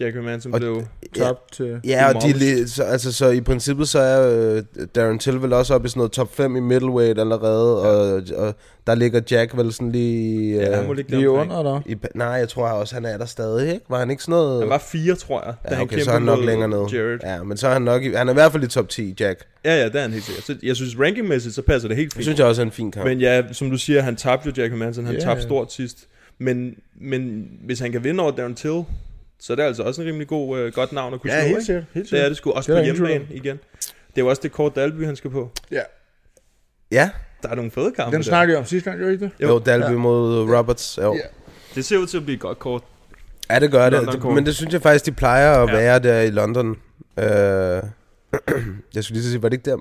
S9: Jack Hermanson
S10: og-
S9: blev...
S11: tabt til-
S10: Ja, og de,
S9: Demolished.
S10: li- så, altså, så i princippet så er øh, Darren Till vel også oppe i sådan noget top 5 i middleweight allerede, og, og der ligger Jack vel sådan lige... Øh,
S9: han må ligge Lige deromkring. under,
S10: eller? I, nej, jeg tror også, han er der stadig, ikke? Var han ikke sådan noget...
S9: Han var fire, tror jeg, da
S10: Ja,
S9: han
S10: okay, så
S9: kæmpede
S10: er han nok
S9: mod
S10: længere nede.
S9: Jared.
S10: Ja, men så er han nok i, han er i hvert fald i top 10, Jack.
S9: Ja, ja, det er han helt sikkert. Så jeg synes, rankingmæssigt, så passer det helt fint.
S10: Det synes jeg også er en fin kamp.
S9: Men ja, som du siger, han tabte jo Jack Hermanson. Han
S10: Ja,
S9: yeah. tabte
S10: ja.
S9: stort sidst. Men, men hvis han kan vinde over Darren Till, så er det altså også en rimelig god, øh, godt navn at kunne
S11: Ja,
S9: slå,
S11: helt
S9: ikke?
S11: sikkert, helt
S9: Det er
S11: sikkert.
S9: det sgu også
S11: Det er
S9: på
S11: der ingen tvivl
S9: hjemmebane igen. Det er jo også det kort Dalby, han skal på.
S11: Ja.
S10: Ja.
S9: Der er nogle fede kampe
S11: Den
S9: der.
S11: snakkede jeg om sidste gang, gjorde I ikke det?
S10: Jo, Dalby mod Roberts. Jo.
S9: Det ser ud til at blive et godt kort.
S10: Ja, det gør det.
S9: London-kort.
S10: Men det synes jeg faktisk, de plejer at ja. være der i London. Øh, jeg skulle lige så sige, var det ikke der?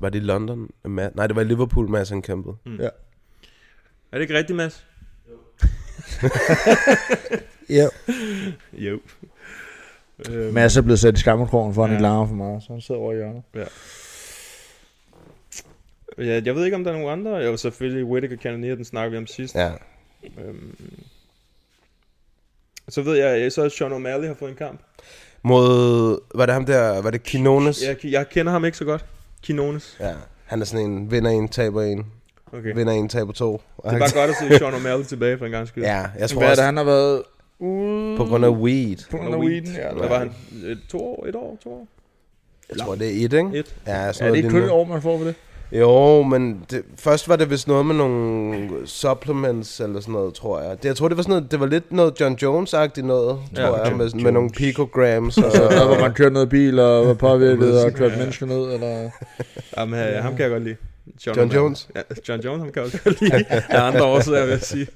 S10: Var det i London? Ma- Nej, det var i Liverpool, Madsen Campbell.
S9: Mm.
S10: Ja.
S9: Er det ikke rigtigt, Mads?
S11: Ja.
S9: jo.
S11: Øhm. Mads er blevet sat i skammekrogen for, at han ikke larmer for meget, så han sidder over i hjørnet.
S9: Ja. Ja, jeg ved ikke, om der er nogen andre. Jo, selvfølgelig Whittaker Cannonier, den snakker vi om sidst.
S10: Ja.
S9: Øhm. Så ved jeg, så Sean O'Malley har fået en kamp.
S10: Mod, var det ham der, var det Kinones?
S9: Jeg, jeg kender ham ikke så godt. Kinones.
S10: Ja. Han er sådan en, vinder en, taber en.
S9: Okay.
S10: Vinder en, taber to.
S9: Det er bare godt at se Sean O'Malley tilbage for en gang skyld.
S10: Ja, jeg tror
S11: Hvad er
S10: også,
S11: det, han har været
S10: på grund af weed.
S11: På grund af weed, ja.
S9: Hvad var han? Øh, To år? Et år? To år?
S10: Jeg tror, det er et, ikke?
S9: Et.
S11: Er
S10: Ja, sådan
S11: det
S10: noget
S11: ikke kun
S10: lignende.
S11: et år, man får for det?
S10: Jo, men det, først var det vist noget med nogle supplements eller sådan noget, tror jeg. Det, jeg tror, det var sådan noget, det var lidt noget John Jones-agtigt noget, tror
S9: Ja,
S10: jeg,
S9: John
S10: med, sådan- med nogle picograms. Og,
S11: Så der, hvor man kører noget bil og var påvirket og kørte mennesker ned, eller...
S9: Jamen, øh, ham kan jeg godt lide.
S10: John
S9: O'Malley.
S10: Jones?
S9: Ja, John Jones, ham kan jeg også godt lide. Der er andre årsager, vil jeg sige.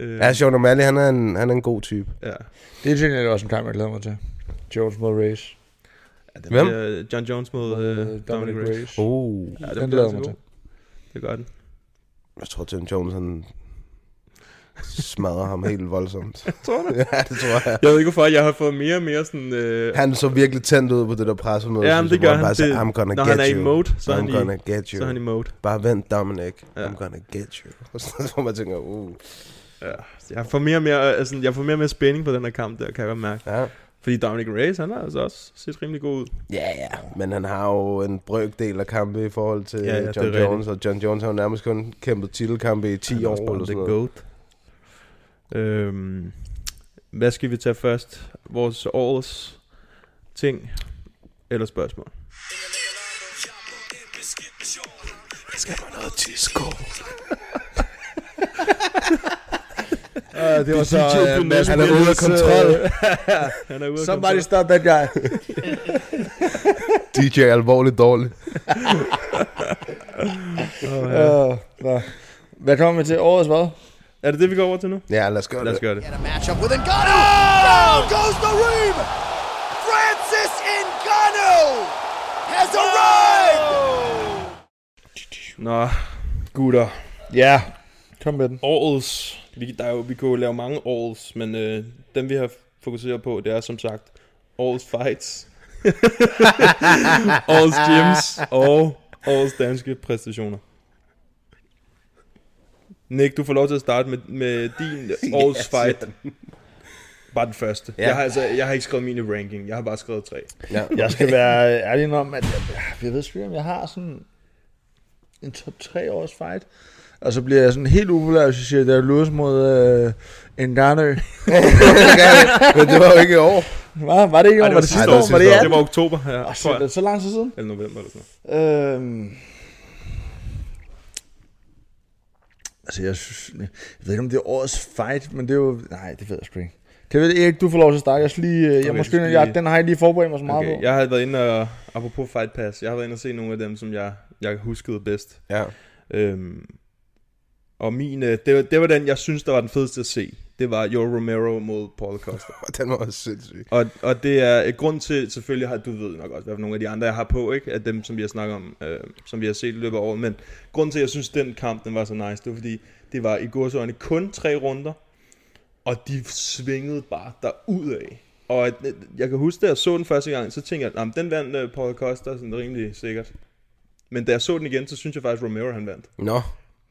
S9: Øh,
S10: ja, Sean O'Malley, han er en, han er en god type.
S9: ja.
S11: Det er egentlig også en kamp, jeg glæder mig til. Jones mod Race.
S9: Ja, det
S10: Hvem?
S9: bliver John Jones mod øh, Dominic Reyes.
S11: Race.
S10: Oh,
S9: Ja,
S11: Den
S9: bliver
S11: glæder
S9: altså
S11: jeg mig
S9: god. Det gør den.
S10: jeg tror, John Jones, han smadrer ham helt voldsomt.
S9: Tror du?
S10: ja, det tror jeg.
S9: Jeg ved ikke, hvorfor jeg har fået mere og mere sådan... Øh,
S10: Han så virkelig tændt ud på det der pressemøde.
S9: Ja, men
S10: synes
S9: det
S10: jeg, hvor
S9: gør han.
S10: Bare, sagde,
S9: Det-
S10: I'm gonna
S9: når
S10: get
S9: han er i
S10: you.
S9: mode, så er
S10: I'm
S9: han i-
S10: gonna get you.
S9: så er han i mode.
S10: Bare vent, Dominic.
S9: Ja.
S10: I'm gonna get you. Og så får man tænker, uh.
S9: Ja. Jeg får mere og mere, altså, jeg får mere og mere spænding på den her kamp der, kan jeg godt mærke.
S10: Ja.
S9: Fordi Dominic Reyes, han har altså også set rimelig god ud.
S10: Ja, ja, men han har jo en brøkdel af kampe i forhold til
S9: Ja, ja,
S10: ja,
S9: det er
S10: John
S9: rigtigt.
S10: Jones, og John Jones har jo nærmest kun kæmpet titelkampe i 10
S9: Han er også
S10: år
S9: bare
S10: eller sådan
S9: the
S10: noget.
S9: goat. Øhm, hvad skal vi tage først? Vores årets ting eller spørgsmål?
S11: Ja, det var så...
S9: DJ
S11: øh,
S9: Brunel.
S11: Mads
S10: Han er ude af
S11: Niels, øh,
S10: kontrol.
S9: Han er ude af
S11: Somebody
S9: kontor.
S11: stop that guy.
S10: DJ er alvorligt dårlig.
S11: Øh, nå. Hvad kommer vi til? Årets hvad?
S9: Er det det, vi går over til nu?
S10: Ja, lad os gøre
S9: Lad os
S10: det.
S9: gøre det.
S4: And a matchup with Ngannou. Down goes the ream. Francis Ngannou has arrived.
S9: Nå, gutter.
S11: Ja. Kom med den.
S9: Årets. Vi, der er jo, vi kunne jo lave mange årets, men øh, dem vi har fokuseret på, det er som sagt årets fights, årets gyms og årets danske præstationer. Nick, du får lov til at starte med, med din årets yes, fight. Bare den første. Ja.
S10: Ja.
S9: Jeg, har, altså, jeg har ikke skrevet min i ranking, jeg har bare skrevet tre.
S10: Ja.
S11: Jeg skal være ærlig om, at jeg, jeg ved sgu ikke, om jeg har sådan en top 3 års fight. Og så bliver jeg sådan helt upopulær, hvis jeg siger, at det er Lewis mod øh, Ngannou.
S10: Men det var jo ikke i år.
S11: Var, var det ikke? Ej, det var det sidste
S10: Ej,
S11: år. Var det i
S9: det
S11: 18?
S9: var oktober, ja,
S11: Åh,
S9: tror
S11: shit,
S9: jeg.
S11: det er så lang tid siden.
S9: Eller november eller sådan noget.
S11: Øhm. Altså, jeg, synes, jeg ved ikke, om det er årets fight, men det er jo... Nej, det ved jeg sgu ikke. Kan vi Erik, du får lov til at starte. Jeg, skal lige, øh, jeg
S9: Okay,
S11: må
S9: du skal
S11: skynde, jeg,
S9: lige-
S11: den har jeg lige forberedt mig så meget
S9: Okay,
S11: på.
S9: jeg har været inde og, apropos Fight Pass, jeg har været inde og se nogle af dem, som jeg, jeg huskede bedst.
S10: Ja.
S9: Øhm, og min, øh, det, var- det var den, jeg synes, der var den fedeste at se. Det var Joe Romero mod Paul Costa.
S10: Den var også sindssyg.
S9: og, og det er et grund til, selvfølgelig har du ved nok også, hvad for nogle af de andre, jeg har på, ikke? Af dem, som vi har snakket om, øh, som vi har set i løbet af året. Men grund til, at jeg synes, den kamp, den var så nice, det var fordi, det var i godsøjne kun tre runder, og de svingede bare derudad. Og øh, jeg kan huske, da jeg så den første gang, så tænkte jeg, at den vandt øh, Paul Costa sådan rimelig sikkert. Men da jeg så den igen, så synes jeg faktisk, Romero han vandt.
S10: Nå.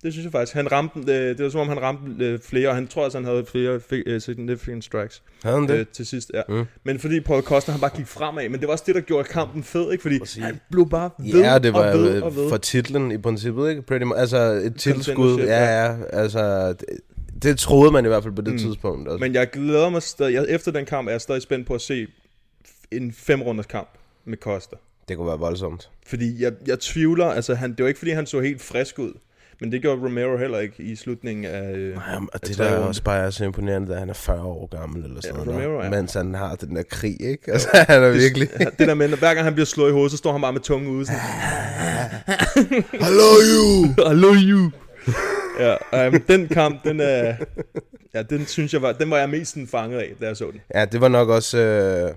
S9: Det synes jeg faktisk. Han ramte, øh, det var som om, han ramte øh, flere, og han tror også, han havde flere fi- øh, significant strikes
S10: Havde han det?
S9: øh, til sidst. Ja. Mm. Men fordi Paul Costa, han bare gik fremad, men det var også det, der gjorde kampen fed, ikke? Fordi Præcis. han blev bare ved
S10: Ja, det var
S9: og ved
S10: jo
S9: og ved.
S10: for titlen i princippet, ikke? Pretty much. Altså, et tilskud.
S9: Contendership,
S10: Ja,
S9: ja. Mm.
S10: ja. Altså, det, det troede man i hvert fald på det tidspunkt. Altså.
S9: Men jeg glæder mig stadig. Jeg, efter den kamp er jeg stadig spændt på at se f- en fem runders kamp med Costa.
S10: Det kunne være voldsomt.
S9: Fordi jeg, jeg tvivler, altså han, det var ikke fordi, han så helt frisk ud. Men det gjorde Romero heller ikke i slutningen af... øh,
S10: Jamen, og
S9: af
S10: det der
S9: tredje
S10: er
S9: runde.
S10: også bare er så imponerende, at han er 40 år gammel eller sådan
S9: Ja,
S10: noget.
S9: Romero er.
S10: Mens han har den der krig, ikke? Altså, han er virkelig...
S9: Det der med, når hver gang han bliver slået i hovedet, så står han bare med tungen ude. Sådan,
S10: Hello you!
S9: I love you. Ja, ej, men den kamp, den er... Ja, den synes jeg var... Den var jeg mest sådan fanget af, da jeg så den.
S10: Ja, det var nok også... Øh,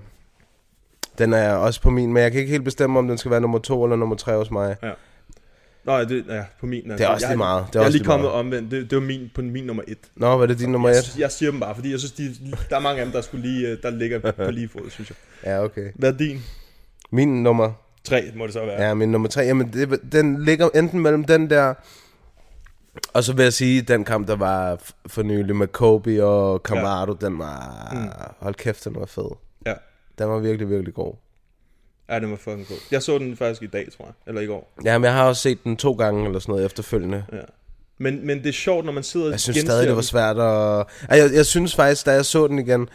S10: den er også på min, men jeg kan ikke helt bestemme, om den skal være nummer to eller nummer tre hos mig.
S9: Ja. Nej, det ja, på min. altså,
S10: Det er også
S9: jeg,
S10: lige meget. Det er
S9: jeg er
S10: også
S9: lige
S10: lige meget.
S9: kommet omvendt. Det, det var min, på min nummer et.
S10: Nå, var det din nummer
S9: jeg,
S10: et?
S9: Jeg siger dem bare, fordi jeg synes, de, der er mange af dem, der, skulle lige, øh, der ligger på lige fod, synes jeg.
S10: Ja, okay.
S9: Hvad er din?
S10: Min nummer...
S9: Tre må det så være.
S10: Ja, min nummer tre. Jamen, det, den ligger enten mellem den der... Og så vil jeg sige, den kamp, der var f- for nylig med Kobe og Camardo, ja. den var...
S9: Mm.
S10: Mm. Hold kæft, den var fed.
S9: Ja.
S10: Den var virkelig, virkelig god.
S9: Ja, den var fucking god. Jeg så den faktisk i dag, tror jeg. Eller i går.
S10: Jamen, jeg har også set den to gange eller sådan noget efterfølgende.
S9: Ja. Men, men det er sjovt, når man sidder og
S10: Jeg synes
S9: genser
S10: stadig, det var
S9: den.
S10: svært at... Ej, Jeg, jeg synes faktisk, da jeg så den igen,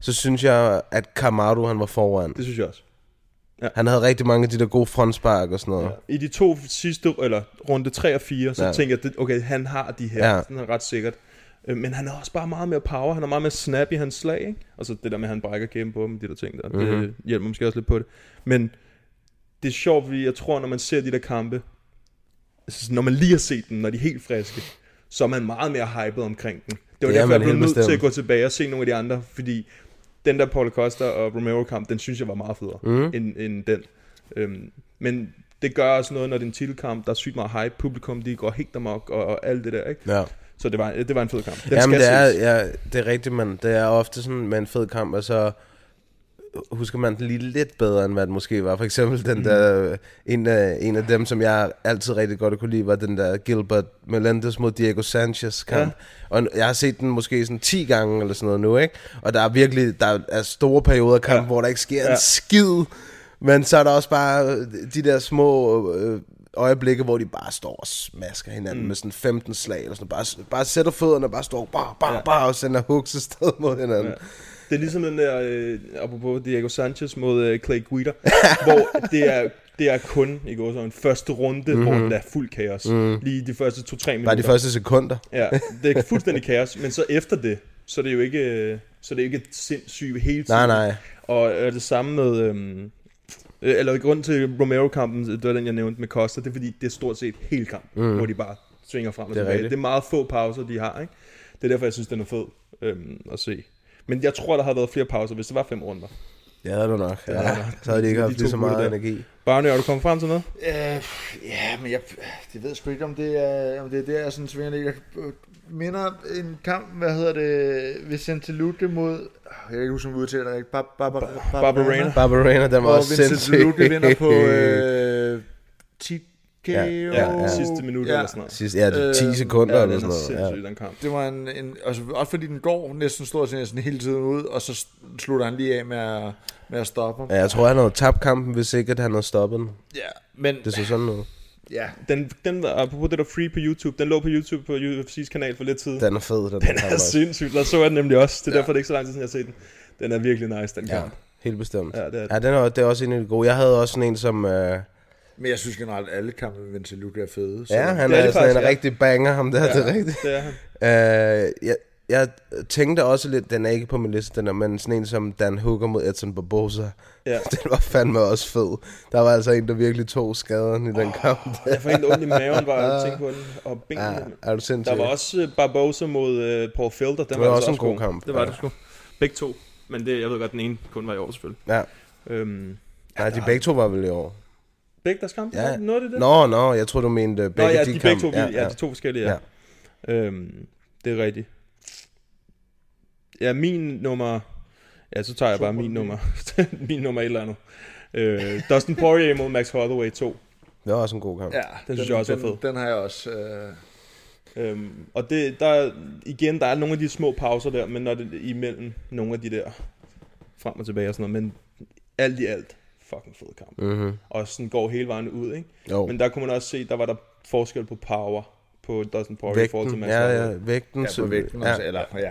S10: så synes jeg, at Camardo, han var foran.
S9: Det synes jeg også. Ja.
S10: Han havde rigtig mange af de der gode frontspark og sådan noget.
S9: I de to sidste, eller runde 3 og 4, så ja.
S10: Ja.
S9: tænker jeg, det- okay, han har de her. Ja.
S10: Ja.
S9: Sådan er ret sikkert. Øh, Men han har også bare meget mere power. Han er meget mere snap i hans slag. Ikke? Og så det der med, at han brækker kæmpe på dem, de der ting der. Mm-hmm. Det
S10: Mhm.
S9: hjælper måske også lidt på det. Men det er sjovt, fordi jeg tror, når man ser de der kampe, altså, sådan, når man lige har set dem, når de er helt friske, så er man meget mere hyped omkring den. Det var
S10: Det er
S9: derfor,
S10: man
S9: jeg blev
S10: helt
S9: nødt til at
S10: bestemt.
S9: gå tilbage og se nogle af de andre, fordi den der Paul Costa og Romero kamp, den synes jeg var meget federe mm.
S10: Mhm.
S9: end, end den. Øhm, men det gør også noget, når det er en titelkamp, der er sygt meget hype, publikum, de går helt amok og, og alt det der, ikke?
S10: Ja.
S9: Så det var, det var en fed kamp. Den
S10: Jamen,
S9: skal
S10: det er,
S9: ses.
S10: ja, det er rigtigt, man. Det er ofte sådan med en fed kamp, og så husker man den lige lidt bedre, end hvad det måske var. For eksempel den
S9: Mm.
S10: der, en af, en af dem, som jeg altid rigtig godt kunne lide, var den der Gilbert Melendez mod Diego Sanchez kamp. Ja. Og jeg har set den måske sådan 10 gange eller sådan noget nu, ikke? Og der er virkelig, der er store perioder af kampen, ja. hvor der ikke sker
S9: Ja.
S10: ja. en skid. Men så er der også bare øh, de der små øh, øjeblikke, hvor de bare står og smasker hinanden
S9: Mm.
S10: mm. med sådan 15 slag, eller sådan, bare, bare sætter fødderne og bare står bare, bare, ja. bare og sender hooks afsted mod hinanden. Ja.
S9: Det er ligesom den der, øh, apropos Diego Sanchez mod øh, Clay Guida, hvor det er, det er kun i går, så en første runde, mm-hmm.
S10: Mhm.
S9: hvor der er fuld kaos. Mm.
S10: Mm.
S9: Lige de første to-tre minutter.
S10: Bare de første sekunder.
S9: Ja, det er fuldstændig kaos, men så efter det, så er det jo ikke, øh, så er det ikke sindssygt hele tiden.
S10: Nej, nej.
S9: Og øh, det samme med, øhm, øh, eller grund til Romero-kampen, det var den, jeg nævnte med Costa, det er fordi, det er stort set hele kampen, mm.
S10: Mm.
S9: hvor de bare svinger frem og
S10: Det er
S9: tilbage. Det
S10: rigtigt.
S9: er meget få pauser, de har, ikke? Det er derfor, jeg synes, den er fed øhm, at se. Men jeg tror, der havde været flere pauser, hvis det var fem runder.
S10: Det havde du nok.
S9: Det havde du
S10: Ja,
S9: nok.
S10: så havde de ikke
S9: Med
S10: haft
S9: de
S10: lige
S9: to
S10: så meget
S9: gutter der.
S10: energi.
S9: Barney, er du kommet frem til noget?
S11: Øh, ja, men jeg, det ved jeg sgu ikke, om det er, om det er der, jeg sådan svinger lidt. Jeg øh, minder en kamp, hvad hedder det, Vicente Luque mod, jeg kan ikke huske, om vi udtaler det rigtigt, Bar- Bar- Bar- Bar-
S10: Barbarena. Barbarena, den var
S11: Hvor
S10: også
S11: Vincent
S10: sindssyg.
S11: Luque vinder på øh, 10 KO.
S10: Ja, ja, ja.
S9: Sidste minut eller sådan noget.
S10: Sidste- ja, det er 10 sekunder
S9: Øh, ja,
S10: eller
S9: den er
S10: sådan noget, ja.
S9: sindssyg, den kamp.
S11: Det var en, en altså, også fordi den går næsten stort set næsten hele tiden ud, og så s- slutter han lige af med at, med at stoppe ham.
S10: Ja, jeg tror, han havde tabt kampen, hvis ikke at han havde stoppet den.
S11: Ja, men...
S10: Det så sådan noget.
S11: Ja.
S9: Den, den var, apropos det der free på YouTube, den lå på YouTube på UFC's kanal for lidt tid.
S10: Den er fed, den
S9: Den
S10: kamp
S9: er
S10: også.
S9: sindssyg. Der så jeg den nemlig også. Det er ja. derfor, det er ikke så lang tid siden, jeg har set den. Den er virkelig nice, den ja. kamp.
S10: Helt bestemt.
S9: Ja, det er,
S10: Ja, den er, det er også en af de gode. Jeg havde også sådan en, som... Øh,
S11: Men jeg synes generelt, at alle kampe med Vincent Luque er fede.
S10: Ja, han
S11: det er
S10: er, er
S11: det
S10: sådan
S11: faktisk,
S10: en
S11: ja.
S10: ja. rigtig banger, ham der,
S11: Ja,
S10: ja, det er rigtigt.
S11: det er
S10: han. Øh, jeg, jeg tænkte også lidt, den er ikke på min liste, den er, men sådan en som Dan Hooker mod Edson Barbosa,
S9: Ja.
S10: ja. den var fandme også fed. Der var altså en, der virkelig tog skaderne i den oh, kamp.
S9: Jeg får helt ondt i maven bare af at tænke på den. Og benene.
S10: Ja, er du sindssyg?
S9: Der var også øh, Barbosa mod øh, Paul Felder. Den
S10: Det
S9: var,
S10: var
S9: altså
S10: også en god kamp.
S9: Det var
S10: Ja.
S9: det sgu. Begge to. Men det, jeg ved godt, den ene kun var i år selvfølgelig.
S10: Ja.
S9: Øhm,
S10: Nej, de begge to var vel i år.
S9: begge deres kamp?
S10: Ja.
S9: Nåede de det?
S10: Nå, nå, jeg tror du mente øh,
S9: Nå,
S10: begge
S9: ja,
S10: de,
S9: de
S10: kamp.
S9: begge to, ja, ja, de to forskellige, ja. ja. Øhm, det er rigtigt. Ja, min nummer... Ja, så tager jeg bare min nummer. min nummer et eller andet. Øh, Dustin Poirier mod Max Holloway 2.
S10: Det var også en god kamp.
S11: Ja,
S9: den, synes jeg også var
S11: den,
S9: fed.
S11: Den har jeg også... Øh...
S9: Øhm, og det, der, er- igen, der er nogle af de små pauser der, men når det er imellem nogle af de der frem og tilbage og sådan noget, men alt i alt, fucking fed kamp.
S10: Mhm.
S9: Og sådan går hele vejen ud, ikke?
S10: Jo.
S9: Men der kunne man også se, der var der forskel på power på Dustin Poirier i forhold
S10: Vægten,
S9: til Max
S10: ja, ja,
S9: Holloway.
S10: vægten. så-
S11: ja.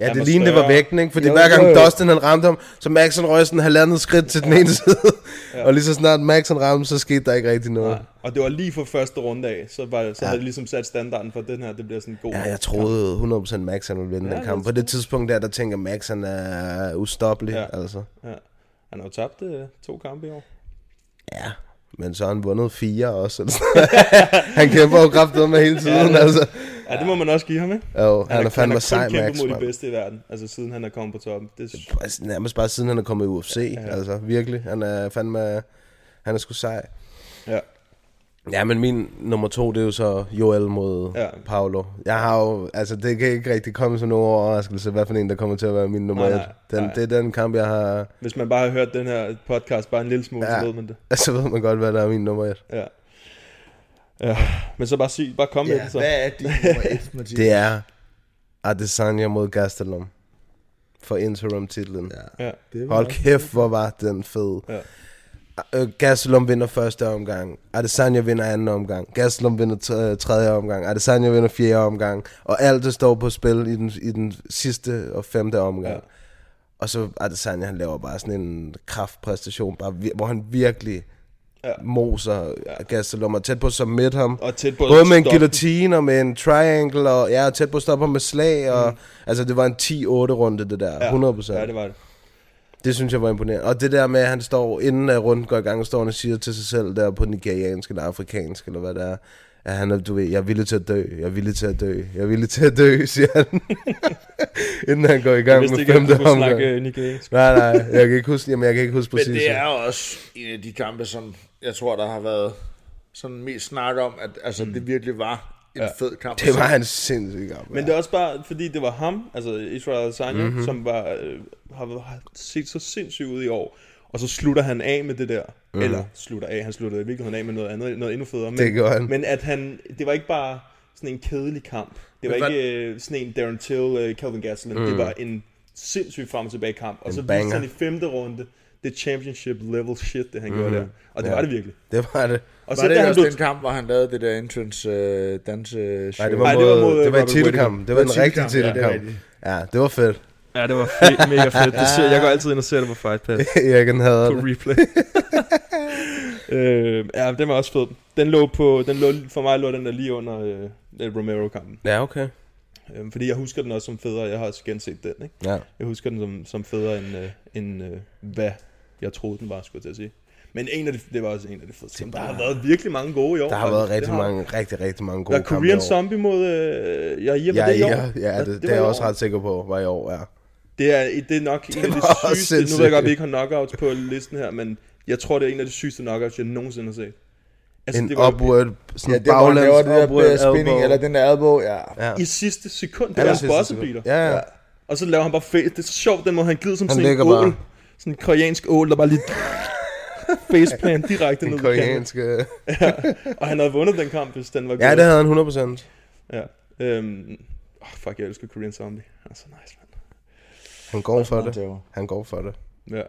S10: Ja,
S9: Han var
S10: det lignede, det var
S9: større.
S10: vægten, ikke? Fordi
S9: Jo,
S10: jo, hver gang
S9: jo, jo.
S10: jo. Dustin han ramte ham, så Max han røg sådan halvandet skridt til den ene side.
S9: Ja.
S10: Ja. og lige så snart Max han ramte, så skete der ikke rigtig noget.
S9: Nej. Og det var lige for første runde af, så, var, så ja.
S10: Ja.
S9: havde det ligesom sat standarden for, at den her, det bliver sådan en god
S10: Ja, jeg troede 100% Max han ville vinde
S9: Ja,
S10: ja, den kamp. På det tidspunkt der, der tænker Max han er ustoppelig, ja. altså.
S9: Ja. Han har jo tabt øh, to kampe i år.
S10: Ja. Men så har han vundet fire også. eller sådan noget. han kæmper jo kraftedet med hele tiden, ja, altså.
S9: Ja, det må man også give ham, ikke?
S10: Jo, han er fandme sej,
S9: Han har
S10: Max,
S9: kun kæmpet mod
S10: mand.
S9: de bedste i verden, altså siden han er kommet på toppen. Det er
S10: Altså, nærmest bare siden han er kommet i UFC, ja, ja. altså virkelig. Han er fandme, han er sgu sej.
S9: Ja.
S10: Ja, men min nummer to, det er jo så Joel mod ja.
S9: Ja.
S10: Paolo. Jeg har jo, altså det kan ikke rigtig komme som nogen overraskelse, hvad for en, der kommer til at være min nummer
S9: Nej,
S10: et.
S9: nej,
S10: Den,
S9: nej.
S10: Det er den kamp, jeg har,
S9: Hvis man bare har hørt den her podcast bare en lille smule, ja. så ved man det.
S10: så ved man godt, hvad der er min nummer et.
S9: Ja. ja. Men så bare sig, bare kom med det så.
S10: Det er Adesanya mod Gastelum for interim-titlen.
S9: Ja. Det var
S10: Hold
S9: også
S10: kæft, hvor var den fed.
S9: Ja.
S10: Øh, Gastelum vinder første omgang. Adesanya vinder anden omgang. Gastelum vinder tre- tredje omgang. Adesanya vinder fjerde omgang. Og alt det står på spil i den, i den sidste og femte omgang. Ja. Og så Adesanya, han laver bare sådan en kraftpræstation, bare vir- hvor han virkelig ja. moser ja. Gastelum og tæt på at submit ham.
S9: Og tæt på at
S10: Både med en
S9: stoppe.
S10: guillotine og med en triangle, og ja, og tæt på at stoppe ham med slag. Og, mm. Altså, det var en 10-8 runde, det der.
S9: Ja.
S10: 100%.
S9: Ja, det var det.
S10: Det synes jeg var imponerende. Og det der med, at han står, inden at runden går i gang, står han og siger til sig selv, der på nigeriansk eller afrikansk, eller hvad det er, at han er, du ved, jeg er villig til at dø, jeg er villig til at dø, jeg er villig til at dø, siger han. inden han går i
S9: Jeg
S10: gang
S9: vidste
S10: med
S9: ikke, at du
S10: femte
S9: kunne
S10: omgang.
S9: snakke øh, nigeriansk.
S10: Nej, nej, jeg kan ikke huske, jamen, jeg kan ikke huske
S11: Men
S10: præcis.
S11: det er også en af de kampe, som jeg tror, der har været sådan mest snak om, at altså, mm. det virkelig var en ja.
S9: Ja.
S11: fed kamp.
S10: det var en sindssyg kamp.
S9: Men det er også bare, fordi det var ham, altså Israel Adesanya,
S10: Mhm.
S9: mm-hmm. som var, øh, har, har set så sindssygt ud i år. Og så slutter han af med det der.
S10: Mhm.
S9: Mm. Eller slutter af, han sluttede i virkeligheden af med noget andet, noget endnu federe. Men,
S10: Det gjorde han.
S9: Men at han, det var ikke bare sådan en kedelig kamp. Det var
S10: Men hvad-
S9: ikke øh, sådan en Darren Till, øh, Calvin Gastelum.
S10: Mm.
S9: Mm. Det var en sindssygt frem og tilbage kamp. Og
S10: En
S9: så viste
S10: banger.
S9: han i femte runde, det championship level shit, det han
S10: Mhm.
S9: mm. gjorde der. Og
S10: Ja.
S9: det ja. var det virkelig.
S10: Det var det.
S11: Og
S9: Og
S11: var
S9: så
S11: det
S9: da han
S11: også
S9: blev-
S11: den kamp, hvor han lavede det der entrance øh, danse
S10: Nej, det var, mod, det var, mod, det
S9: øh,
S10: var en titelkamp. Det var en rigtig titelkamp. Ja, det var fedt.
S9: Ja, det var fe- mega fedt. Det ser, jeg går altid ind og ser det på Fight Pass.
S10: Jørgen hader
S9: På
S10: det.
S9: replay. øh, ja, den var også fed. Den lå på, den lå, for mig lå den der lige under øh, øh, Romero-kampen.
S10: Ja, okay.
S9: Øh, fordi jeg husker den også som federe. Jeg har også genset den, ikke?
S10: Ja.
S9: Jeg husker den som, som federe end, øh, end øh, hvad jeg troede, den var, skulle jeg til at sige. Men en af de, det var også en af de fedeste. kampe. Der har været virkelig mange gode i år.
S10: Der har været
S9: faktisk. Det
S10: rigtig mange, rigtig, rigtig mange
S9: Der
S10: gode
S9: er
S10: kampe
S9: Korean
S10: i år.
S9: Zombie mod øh, ja, ja,
S10: Ja,
S9: det i år.
S10: ja, ja, det, det, det er
S9: var i
S10: jeg
S9: år.
S10: også ret sikker på, var i år, ja.
S9: Det er, det er nok det en af de
S10: var også
S9: sygeste... Nu ved
S10: sindssygt.
S9: jeg godt, at vi ikke har knockouts på listen her, men jeg tror, det er en af de sygeste knockouts, jeg nogensinde har set. Altså,
S10: En
S9: det var-
S10: upward, sådan
S11: Ja, det var,
S10: baglæns
S11: det var det
S10: upward
S11: der spinning,
S10: elbow.
S11: eller den der elbow, ja.
S10: Ja.
S9: I sidste sekund, det
S10: Aller
S9: var en
S10: sidste
S9: bossebeater.
S10: sekund. Ja, ja.
S9: Og så laver han bare face. Det er så sjovt, den måde, han glider som
S10: Han
S9: sådan en
S10: ligger
S9: ål.
S10: bare.
S9: Sådan en koreansk ål, der bare lige faceplant direkte
S10: Den
S9: ned i
S10: koreanske...
S9: ja. Og han havde vundet den kamp, hvis den var
S10: Ja,
S9: god.
S10: det havde han 100%.
S9: Ja. Øhm, oh, fuck, jeg elsker Korean Zombie. Han er så nice, mand.
S10: Han går for
S11: meget
S10: det. Han går for det.
S9: Ja.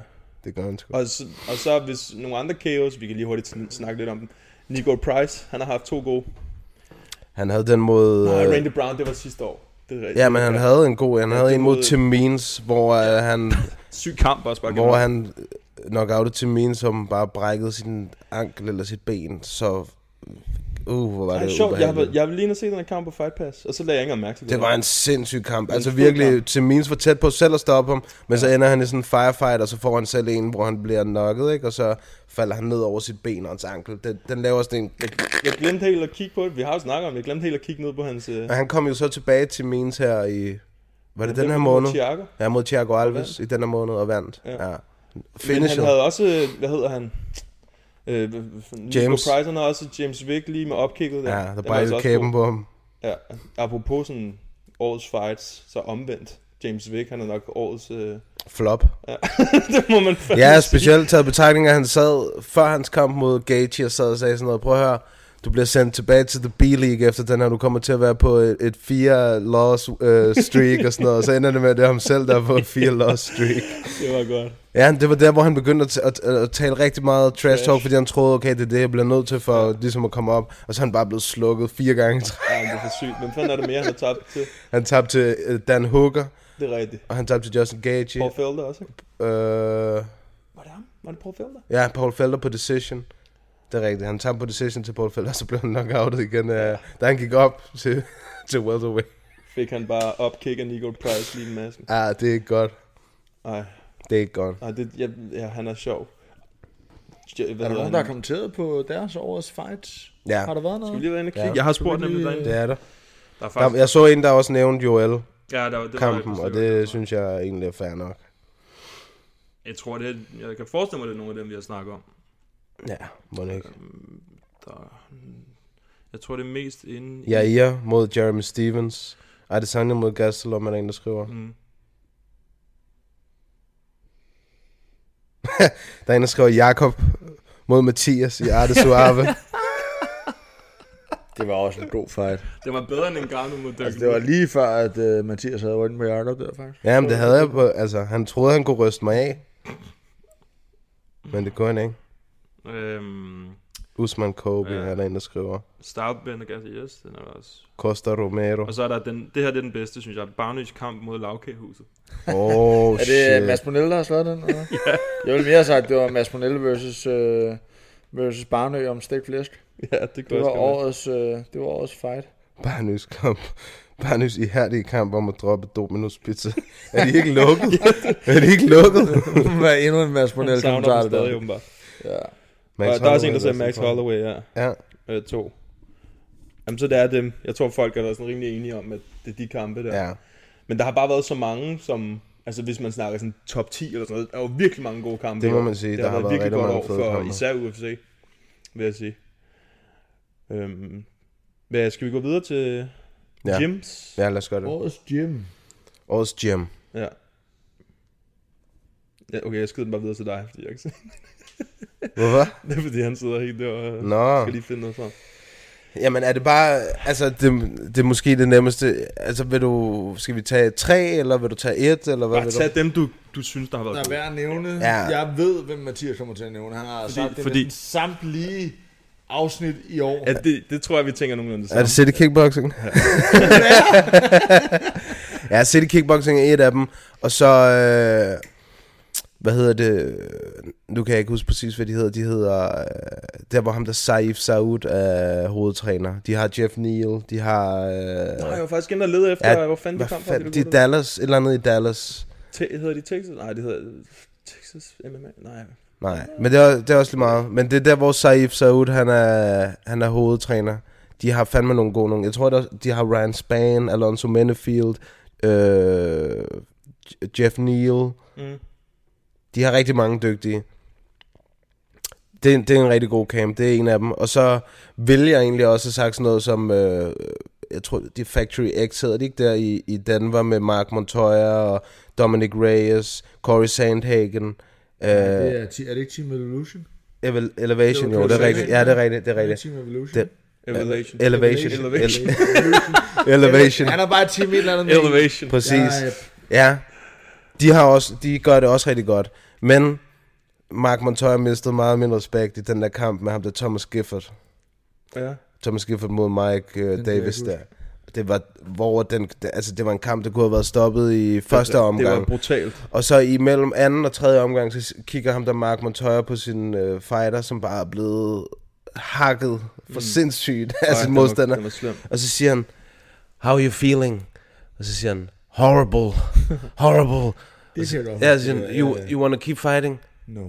S10: Det gør han sgu.
S9: Og så, og så hvis nogle andre KO's, vi kan lige hurtigt sn- snakke lidt om dem. Nico Price, han har haft to gode.
S10: Han havde den mod...
S9: Nej,
S10: øh,
S9: Randy Brown, det var sidste år. Det er rigtigt.
S10: Ja, men han havde en god... Han
S9: Ja,
S10: havde
S9: det
S10: en mod
S9: mod-
S10: Tim Means, hvor øh, han...
S9: Syg kamp også bare.
S10: Hvor
S9: generelt.
S10: han nok outede Tim Means, som bare brækkede sin ankel eller sit ben, så... Uh, hvor var
S9: Ej,
S10: det
S9: sjovt. Jeg har,
S10: ubehageligt.
S9: været- jeg vil lige ind og se den her kamp på Fight Pass, og så lagde jeg ikke engang mærke til det.
S10: Det var en sindssyg kamp.
S9: En
S10: Altså
S9: fed
S10: virkelig,
S9: kamp.
S10: til Means var tæt på selv at stoppe ham, men så ender han i sådan en firefight, og så får han selv en, hvor han bliver knocket, ikke? Og så falder han ned over sit ben og hans ankel. Den, den laver sådan en...
S9: Jeg glemte helt at kigge på det. Vi har jo snakket om det. Jeg glemte helt at kigge ned på hans... Øh...
S10: Og han kom jo så tilbage til Means her i... Var det den
S9: Ja, det
S10: her
S9: var mod
S10: måned?
S9: Thiago.
S10: Ja, mod Thiago Alves i den her måned og vandt. Ja. ja.
S9: Men han
S10: Finisher.
S9: havde også... øh, Hvad hedder han? Øh, hvad- hvad fanden- Nico
S10: James.
S9: Price, han havde også James Wick lige med opkigget der.
S10: Ja, der
S9: Den var
S10: brækkede
S9: altså også
S10: kæben
S9: god.
S10: på ham.
S9: Ja, apropos sådan årets fights, så omvendt. James Wick, han er nok årets... Øh...
S10: Flop.
S9: Ja. det må man fandme
S10: Ja,
S9: sige.
S10: specielt taget i betragtning, at han sad før hans kamp mod Gaethje og sad og sagde sådan noget, prøv at høre, du bliver sendt tilbage til The B-League efter den her, du kommer til at være på et, et fire loss øh, streak og sådan noget, og så ender det med, at det er ham selv, der er på et fire loss streak.
S9: Det var godt.
S10: Ja, det var der, hvor han begyndte at, at, at, at tale rigtig meget trash talk, fordi han troede, okay, det er det, jeg bliver nødt til for ja. ligesom at komme op, og så er han bare blevet slukket fire gange. i træk.
S9: Ja, det er for sygt. Hvem fanden er det mere, han har tabt til?
S10: Han tabte til øh, Dan Hooker,
S9: Det er rigtigt.
S10: og han tabte til Justin Gaethje.
S9: Paul Felder også, ikke?
S10: Øh,
S9: Var det ham? Var det Paul Felder?
S10: Ja, Paul Felder på Decision. Det er rigtigt. Han tabte på Decision til Paul Felder, og så blev han knockoutet igen, ja. da han gik op til, til welterweight.
S9: Fik han bare opkick af Nico Price lige i masken.
S10: Ah, det er ikke godt.
S9: Ej,
S10: Det er ikke godt.
S9: ej det, jeg, ja, han er sjov. Ja,
S11: Er
S9: Hvad
S11: der
S9: hedder
S11: nogen, der har
S9: han?
S11: kommenteret på deres årets fights?
S10: Ja.
S11: Har der været noget?
S9: Skal vi lige være inde og kigge?
S10: Ja.
S9: Jeg har spurgt nemlig derinde.
S10: Det er der.
S9: Der
S10: Der,
S9: er faktisk...
S10: jeg så en, der også nævnte Joel
S9: Ja, der var- det var
S10: kampen,
S9: faktisk-
S10: og det synes jeg egentlig er fair nok.
S9: Jeg tror, det er, jeg kan forestille mig, det er nogle af dem, vi har snakket om.
S10: Ja, må det ikke.
S9: Der, jeg tror, det er mest inde i...
S10: Jair mod Jeremy Stevens. Adesanya mod Gastelum er der en, der skriver.
S9: Mm.
S10: Der er en, der skriver Jakob mod Mathias i Arte Suave.
S11: Det var også en god fight.
S9: Det var bedre end en Garnu mod Dirk.
S11: Altså, det var lige før, at uh, Mathias havde rynket på Jacob der, faktisk.
S10: Jamen, det havde jeg på, altså, han troede, han kunne ryste mig af. Men det kunne han ikke.
S9: Øhm,
S10: Usman Kobe
S9: Ja.
S10: ja. er der en, der skriver.
S9: Stavbender Garcias, den er der også.
S10: Costa Romero.
S9: Og så er der den, det her det er den bedste, synes jeg. Barnage kamp mod lavkagehuset.
S10: Åh, oh,
S11: er det
S10: shit.
S11: øh, Mads Monell, der har slået den? Eller? ja. Jeg ville mere have sagt, at det var Mads Monell versus, øh, versus Barnø om stegt flæsk.
S9: Ja, det
S11: Det var, årets, øh, det var årets fight.
S10: Barnøs kamp. Barnøs ihærdige kamp om at droppe Domino's Pizza. Er de ikke lukket? er de ikke lukket?
S11: Hvad er endnu en Mads Monell
S9: Han savner
S11: kommentar
S9: dem
S11: det
S9: stadig,
S11: der?
S9: åbenbart.
S11: Ja.
S10: Max
S9: og der er også en, der
S10: Holloway versus
S9: sagde Max
S10: Holloway.
S9: Holloway, ja.
S10: Ja.
S9: Øh, to. Jamen, så det er dem. Jeg tror, folk er da sådan rimelig enige om, at det er de kampe der.
S10: Ja.
S9: Men der har bare været så mange, som... Altså, hvis man snakker sådan top 10 eller sådan noget, der er jo virkelig mange gode kampe.
S10: Det må
S9: i år.
S10: man sige.
S9: Det
S10: Der
S9: har,
S10: har
S9: været
S10: været
S9: virkelig
S10: rigtig
S9: godt
S10: mange
S9: år
S10: fede
S9: for
S10: kampe.
S9: især UFC, vil jeg sige. Øhm, hvad, skal vi gå videre til
S10: Ja.
S9: gyms?
S10: Ja, lad os gøre det.
S11: Årets gym.
S10: Årets gym.
S9: Ja. ja. okay, jeg skyder den bare videre til dig, fordi jeg ikke
S10: Hvorfor?
S9: Det er fordi, han sidder helt der og
S10: Nå.
S9: skal lige finde noget frem.
S10: Jamen er det bare, altså det, det er måske det nemmeste, altså vil du, skal vi tage tre, eller vil du tage et, eller hvad
S9: Bare
S10: vil
S9: tag
S10: du?
S9: dem, du, du synes, der har været
S11: Der er
S9: gode.
S11: værd at nævne.
S10: Ja.
S11: Jeg ved, hvem Mathias kommer til at nævne. Han har fordi, sagt det
S9: fordi-
S11: fordi... samtlige afsnit i år.
S9: Ja, det, det tror jeg, vi tænker nogenlunde det
S10: Er
S9: samme.
S10: det City Kickboxing? ja, City Kickboxing er et af dem, og så, øh, hvad hedder det, nu kan jeg ikke huske præcis, hvad de hedder, de hedder, øh, der hvor ham der Saif Saud er hovedtræner, de har Jeff Neal, de har, øh,
S9: Nej, jeg var faktisk inde og lede efter, ja, hvor fanden de kom fra.
S10: fanden, de er Dallas, et eller andet i Dallas.
S9: Te- hedder de Texas? Nej, det hedder Texas MMA. Nej.
S10: Nej, men det er, det er også lige meget. Men det er der, hvor Saif Saud, han er, han er hovedtræner. De har fandme nogle gode nogle. Jeg tror, der, de har Ryan Spann, Alonso Menefield, øh, Jeff Neal.
S9: Mm.
S10: De har rigtig mange dygtige. Det, er en- det er en rigtig god camp, det er en af dem. Og så vil jeg egentlig også have sagt sådan noget som, øh, jeg tror, de Factory X hedder de ikke der i, i Denver med Mark Montoya og Dominic Reyes, Corey Sandhagen. Øh,
S11: det er, ti- er det ikke Team Evolution?
S10: Evel- Elevation,
S11: Det
S10: jo,
S11: var
S10: det er
S11: Chris
S10: rigtigt. Ja,
S11: Evans,
S10: det er rigtigt, det er rigtigt.
S11: Team Evolution.
S10: Det-
S9: Elevation.
S10: Elevation.
S9: Elevation.
S10: Ele- Elevation.
S11: Han er bare et team et eller andet. med.
S9: Elevation.
S10: Præcis.
S11: Jeg-
S10: Ja. De, har også, de gør det også rigtig godt. Men Mark Montoya mistede meget min respekt i den der kamp med ham, der Thomas Gifford.
S9: Ja.
S10: Thomas Gifford mod Mike uh,
S11: kan jeg
S10: Davis
S11: ikke
S10: der. Det var, hvor den, det- altså det var en kamp, der kunne have været stoppet i første
S9: Det
S10: omgang.
S9: var brutalt.
S10: Og så imellem anden og tredje omgang, så kigger ham der Mark Montoya på sin øh, fighter, som bare er blevet hakket for mm. sindssygt af
S9: Ej,
S10: sin
S9: den var-
S10: modstander.
S9: den var slem.
S10: og så siger han, how are you feeling? Og så siger han, horrible, horrible.
S11: Det siger du.
S10: Ja, så siger han, you, you want to keep fighting?
S11: No.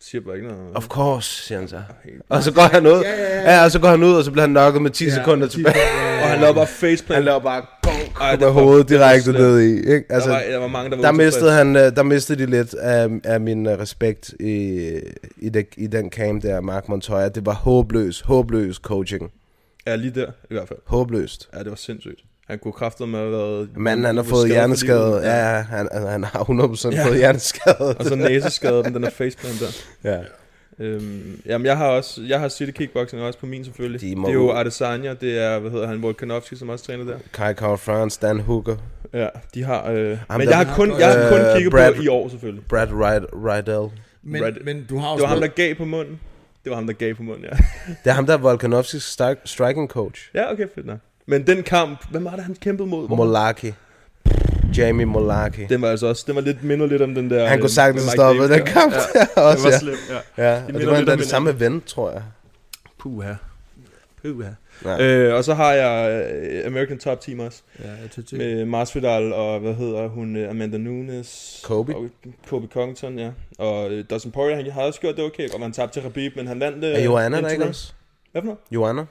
S9: Siger bare ikke noget.
S10: Of course, siger han så. Og så går han ud, ja, ja, ja. og så går han ud, og så bliver han nokket med 10 ja, sekunder tilbage.
S9: Og han lavede bare faceplant.
S10: Han laver bare Ej,
S9: Ej, det
S10: med
S9: var-
S10: hovedet
S9: det var
S10: direkte
S9: slemt.
S10: ned i. Ikke? Altså,
S9: Der var, der var mange, der var
S10: Der
S9: utilfredse.
S10: mistede, han, øh, der mistede de lidt af, af min øh, respekt i, i, de, i den camp der, Mark Montoya. Det var håbløs, håbløs coaching.
S9: Ja, lige der i hvert fald.
S10: Håbløst.
S9: Ja, det var sindssygt. Han kunne kraftet med at have været...
S10: Manden, han har
S9: skadet
S10: fået
S9: for
S10: hjerneskade.
S9: livet.
S10: Ja, ja, han, altså, han har 100%
S9: Ja.
S10: fået hjerneskade.
S9: Og så næseskade, men den er faceplant der.
S10: ja.
S9: Øhm, jamen, jeg har også, jeg har City Kickboxing også på min selvfølgelig.
S10: De må
S9: det er jo
S10: ud.
S9: Adesanya, det er, hvad hedder han, Volkanovski, som også træner der.
S10: Kai Carl France, Dan Hooker,
S9: Ja, de har, øh, men
S10: der-
S9: jeg har kun, jeg har
S10: Øh,
S9: kun kigget på
S10: Brad-
S9: i år selvfølgelig.
S10: Brad Ryd- Rydell.
S11: Men,
S9: Red-
S11: men du har jo
S9: Det var ham,
S11: stadig-
S9: der gav på munden. Det var ham, der gav på munden, ja.
S10: Det er ham, der er Volkanovskis stri- striking coach.
S9: Ja, okay, fedt nok. Men den kamp, hvem var det, han kæmpede mod? Hvor-
S10: Molaki. Jamie Molaki.
S9: Den var altså også, den var lidt, minder lidt om den der...
S10: Han
S9: øh,
S10: kunne sagtens
S9: med Mike
S10: stoppe
S9: Davis
S10: den
S9: der.
S10: kamp
S9: Ja,
S10: der
S9: det
S10: også,
S9: var
S10: ja.
S9: slemt, ja.
S10: Ja, og det
S9: minder
S10: var
S9: lidt
S10: endda
S9: om
S10: det
S9: hinanden.
S10: samme event, tror jeg.
S9: Puha. Puha.
S10: Ja.
S9: Øh, og så har jeg øh, American Top Team også.
S11: Ja, jeg tager til.
S9: Med Masvidal og, hvad hedder hun, øh, Amanda Nunes.
S10: Kobe.
S9: Og Kobe Congton, ja. Og øh, Dustin Poirier, han havde også gjort det okay, og man tabte til Khabib, men han vandt... Øh,
S10: Er Joanna der
S9: interim.
S10: ikke også?
S9: Hvad for noget?
S10: Joanna?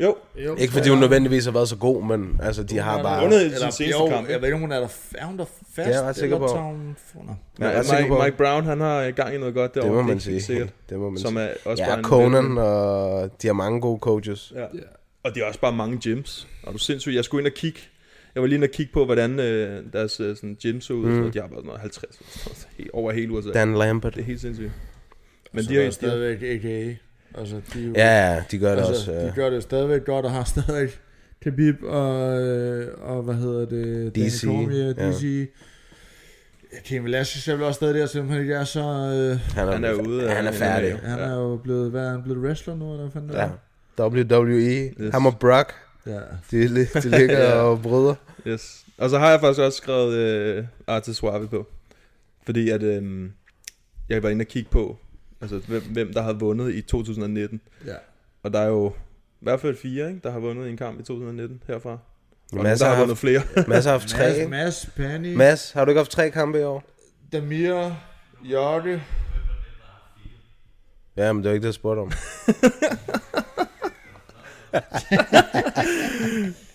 S9: Jo.
S10: jo. Ikke fordi hun nødvendigvis har været så god, men altså, de har bare...
S11: Eller- jo, Jeg ved ikke, om hun er der, er hun der fast.
S10: Det er jeg ret sikker
S11: eller
S10: på.
S11: tager hun- Nå.
S10: Jeg
S9: Nej,
S10: er ret sikker
S9: Mike,
S10: på-
S9: Mike Brown, han har øh, gang i noget godt
S10: Det
S9: derovre.
S10: må
S9: er
S10: man
S9: ikke helt
S10: sige.
S9: sikkert.
S10: Det må man
S9: Som
S10: sige.
S9: er også bare
S10: ja,
S9: en
S10: Conan, og de har mange gode coaches.
S9: Ja. Og det er også bare mange gyms. Og du sindssygt, jeg skulle ind og kigge. Jeg var lige inde og kigge på, hvordan øh, deres øh, sådan, gym så ud.
S10: Mm.
S9: Mm. Og de har bare sådan noget 50 altså, he- over hele USA.
S10: Dan Lambert.
S9: Det er helt sindssygt. Men
S11: Altså,
S9: de
S11: der
S9: har jo
S11: er stadigvæk AKA. Altså, de, er jo-
S10: Ja, ja, de gør det også,
S11: Altså, De
S10: ja.
S11: gør det stadigvæk godt og har stadigvæk Khabib og, øh, og hvad hedder det? Danny
S10: DC,
S11: Cormier,
S10: ja.
S11: DC. Kim Velasquez er vel også stadig der, selvom han ikke er så... Øh,
S10: Han er- Han er ude af- han er færdig.
S11: Han er jo blevet, hvad, er han blevet wrestler nu, eller hvad fanden er
S10: Ja.
S11: det?
S10: WWE,
S9: Yes.
S10: yes. ham og Brock,
S11: Ja.
S10: de, li- de ligger
S9: Ja.
S10: og bryder.
S9: Yes. Og så har jeg faktisk også skrevet øh, Artis Suave på. Fordi at øh, jeg var inde og kigge på, altså, hvem, hvem der har vundet i 2019.
S11: Ja.
S9: Og der er jo i hvert fald fire, ikke, der har vundet en kamp i 2019 herfra. Og nogen,
S10: Mads
S9: der
S10: har
S9: har
S10: haft-
S9: vundet flere.
S10: Mads har haft tre, ikke?
S11: Mads, Pani.
S10: Mads, har du ikke haft tre kampe i år?
S11: Damir, Jørge.
S10: Ja, men det var ikke det, jeg spurgte om.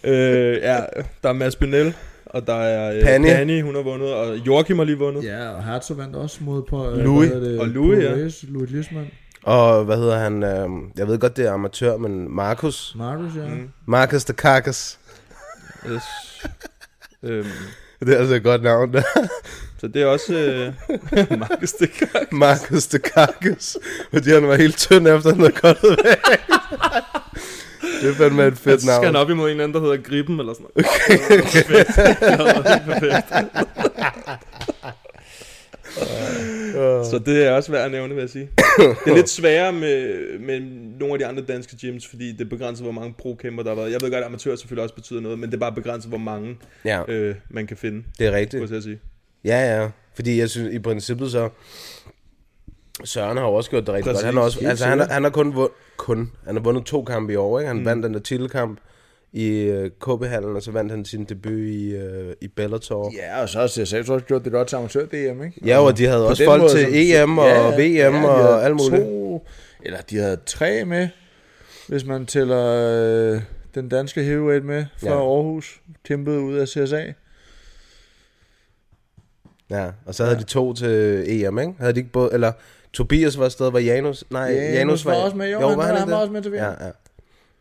S9: øh, ja, der er Mads Benel, og der er øh,
S10: Pani.
S9: Pani. Pani, hun har vundet, og Joachim har lige vundet.
S11: Ja, og Herzog vandt også mod på...
S9: Louis.
S11: hvad hedder
S9: Og Louis, ja.
S11: Perez, Louis Lisman.
S10: Og hvad hedder han? Øh, jeg ved godt, det er amatør, men Markus.
S11: Markus, ja. Mm.
S10: Markus the Carcass.
S9: Yes. øhm,
S10: Det er altså et godt navn, der.
S9: så det er også øh, Markus de Kark.
S10: Markus the Carcass. Fordi han var helt tynd efter, han havde godt væk. Det er fandme et fedt
S9: Så skal
S10: navn.
S9: han op imod en eller anden, der hedder Griben eller sådan noget. Okay. Det var fedt. Det var helt perfekt. Øh. Så det er også værd at nævne, vil jeg sige. Det er lidt sværere med, med nogle af de andre danske gyms, fordi det begrænser, hvor mange pro-kæmper der har været. Jeg ved godt, at amatører selvfølgelig også betyder noget, men det er bare begrænset, hvor mange
S10: Ja.
S9: øh, man kan finde.
S10: Det er rigtigt.
S9: skulle jeg til at sige.
S10: Ja, ja. Fordi jeg synes, i princippet så... Søren har jo også gjort det rigtig
S9: Præcis.
S10: godt. Han har, også,
S9: Helt
S10: altså, han, har-
S9: sikkert.
S10: han har kun, vund, kun han har vundet to kampe i år. Ikke? Han
S9: Mm.
S10: mm. vandt den der titelkamp i øh, KB-hallen, og så vandt han sin debut i, øh, i Bellator. Yeah.
S11: Ja, og så har CSX også gjort det godt til amatør-DM, ikke?
S10: Ja, og de havde også
S11: den
S10: folk til EM og VM
S11: de
S10: og
S11: havde
S10: alt muligt.
S11: To, eller de havde tre med, hvis man tæller øh, den danske heavyweight med fra
S10: Ja.
S11: ja. Aarhus, kæmpede ud af CSA.
S10: Ja, og så havde de to til EM, ikke? Havde de ikke både, eller Tobias var afsted, var Janus? Nej,
S11: Janus
S10: Janus, Janus var,
S11: var også med. Jo, han var- han
S10: ikke
S11: var
S10: det?
S11: også med til VM.
S10: Ja, ja.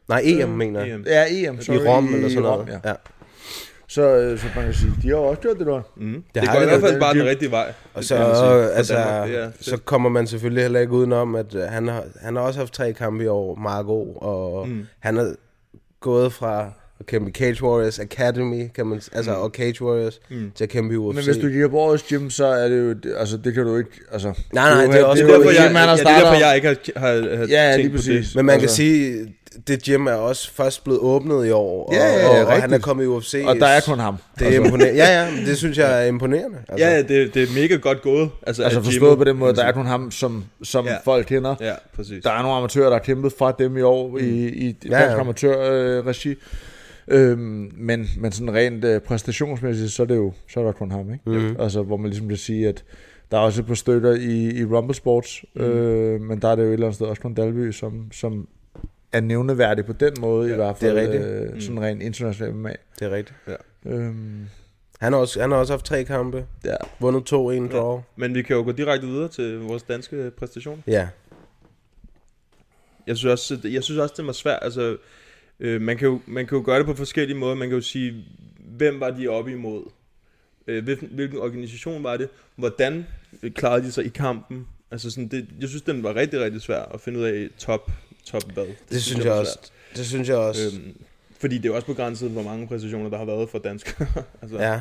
S10: Nej, EM mener jeg.
S9: EM.
S11: Ja, EM, sorry,
S10: I Rom eller sådan
S11: i Rom,
S10: noget.
S11: ja.
S10: ja.
S11: Så, øh, så man kan sige, de har også gjort det godt.
S9: Mm. Det,
S10: Det
S9: det
S10: har
S9: går i
S10: det
S9: hvert fald
S10: været.
S9: bare den
S10: De-
S9: rigtige vej.
S10: Og
S9: det
S10: så,
S9: kan man sige, for
S10: altså,
S9: Danmark. Det er
S10: så kommer man selvfølgelig heller ikke udenom, at øh, han har, han har også haft tre kampe i år, Marco, og
S9: Mm.
S10: mm. han er gået fra at kæmpe i Cage Warriors Academy, kan man, altså, og Cage Warriors,
S9: Mm.
S10: mm. til at kæmpe i UFC.
S11: Men hvis du kigger på årets gym, så er det jo, altså det kan du ikke, altså...
S10: nej, det er
S11: jo-
S10: også
S11: jo
S9: Det er derfor,
S11: et
S9: jeg,
S11: gym, han har
S9: ja, det er
S11: startet
S9: derfor,
S11: om.
S9: jeg ikke har, har, har
S11: Ja, lige
S9: tænkt på
S11: præcis.
S9: det.
S10: Men man altså. kan
S11: Altså-
S10: sige, det gym er også først blevet åbnet i år,
S11: Ja, ja, ja,
S10: og, og, og han
S11: rigtigt.
S10: er kommet i UFC.
S11: Og der er kun ham. altså.
S10: Det er imponerende. Ja, ja, men det synes jeg er imponerende. Altså.
S9: Ja, ja, det, det er mega godt gået. Altså,
S11: Altså
S9: at Jimmy-
S11: forstået på den måde, der er kun ham, som, som
S9: Ja.
S11: ja. folk kender.
S9: Ja, præcis.
S11: Der er nogle amatører, der har kæmpet fra dem i år i, i dansk
S10: Ja,
S11: Mm. ja,
S10: ja.
S11: ja. amatørregi. Øhm, men, men sådan rent øh, præstationsmæssigt, så er det jo så er der kun ham, ikke?
S10: Mhm.
S11: Altså, hvor man ligesom kan sige, at der er også et par stykker i, i Rumble Sports, øh, men der er det jo et eller andet sted også kun Dalby, som, som er nævneværdig på den måde, ja, i hvert
S10: det er
S11: fald
S10: rigtigt.
S11: øh, sådan rent internationalt MMA.
S10: Det er rigtigt.
S11: Øhm,
S10: Han har også, han har også haft tre kampe,
S11: ja.
S10: vundet to, en draw.
S9: Men vi kan jo gå direkte videre til vores danske præstation.
S10: Ja.
S9: Jeg synes også, jeg synes også det var svært. Altså, øh, man, kan jo, man kan jo gøre det på forskellige måder. Man kan jo sige, hvem var de oppe imod? Øh, hvilken, hvilken organisation var det? Hvordan øh, klarede de sig i kampen? Altså sådan, det, jeg synes, den var rigtig, rigtig svær at finde ud af top, top hvad. Det,
S10: Det synes jeg
S9: var
S10: også. Det synes jeg også.
S9: svært. Øhm, fordi det er jo også begrænset, hvor mange præstationer der har været for danskere. altså,
S10: Ja.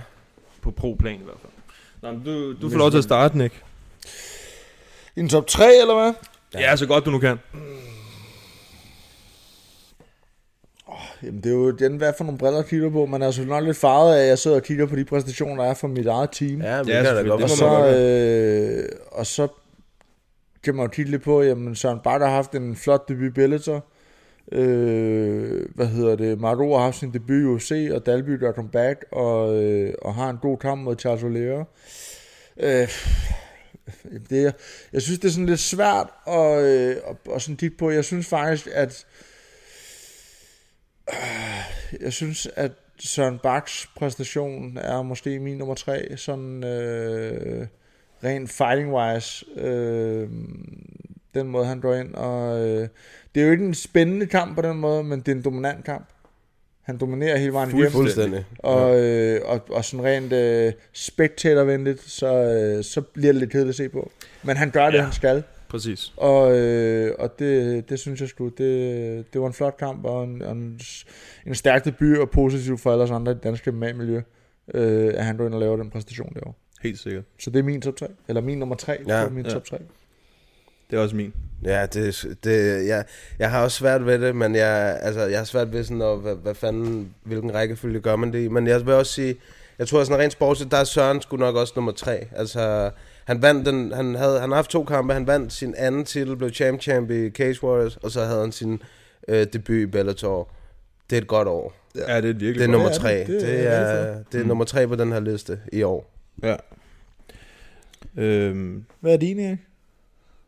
S9: På pro-plan i hvert fald. Nå, men du, du får lov til at starte, Nick.
S11: I en top 3, eller hvad?
S9: Ja, ja så godt du nu kan.
S11: Jamen, det er jo den, hvad for nogle briller kigger du på. Man er selvfølgelig nok lidt farvet af, at jeg sidder og kigger på de præstationer, der er fra mit eget team.
S10: Ja, men
S9: Ja,
S10: det kan jeg da
S9: selvfølgelig.
S10: godt
S9: Det
S11: og,
S9: må
S10: forstå.
S9: man
S11: så,
S9: godt
S11: øh, og så kan man jo kigge lidt på, jamen Søren Bakker har haft en flot debut i Bellator. Øh, hvad hedder det? Marco har haft sin debut i UFC, og Dalby gør comeback, og, øh, og har en god kamp mod Charles Oliveira. Øh, Jamen, det er, jeg synes, det er sådan lidt svært at, øh, at, at sådan kigge på. Jeg synes faktisk, at Jeg synes, at Søren Baks præstation er måske min nummer tre, sådan øh, rent fighting-wise. Øh, den måde, han går ind. Og, øh, det er jo ikke en spændende kamp på den måde, men det er en dominant kamp. Han dominerer hele vejen igennem.
S10: Fuldstændig.
S11: Og, øh, og, og sådan rent øh, spektatorvenligt, så, øh, så bliver det lidt kedeligt at se på. Men han gør det, ja. han skal.
S9: Præcis.
S11: Og, øh, og det, det synes jeg sgu, det, det var en flot kamp, og en, og en, s- en stærk debut, og positiv for alle os andre i det danske MMA-miljø, øh, at han går ind og laver den præstation derovre.
S9: Helt sikkert.
S11: Så det er min top 3, eller min nummer 3 ja,
S10: Ja,
S11: på min
S9: ja.
S11: ja. top 3.
S9: Det er også min.
S10: Ja, det, det, jeg, jeg har også svært ved det, men jeg, altså, jeg har svært ved sådan, at, hvad, hvad fanden, hvilken rækkefølge gør man det i. Men jeg vil også sige, jeg tror sådan rent sportsligt, der er Søren sgu nok også nummer tre. Altså, han vandt den, han havde, han har haft to kampe, han vandt sin anden titel, blev champ champ i Cage Warriors, og så havde han sin øh, debut i Bellator. Det er et godt år.
S9: Ja, det er virkelig
S10: Det er
S9: godt.
S10: nummer
S11: Ja,
S10: tre.
S11: det- det
S10: Det
S11: er
S10: er,
S11: det for.
S10: det er nummer tre på den her liste i år.
S9: Ja. Øhm,
S11: Hvad er din, Erik?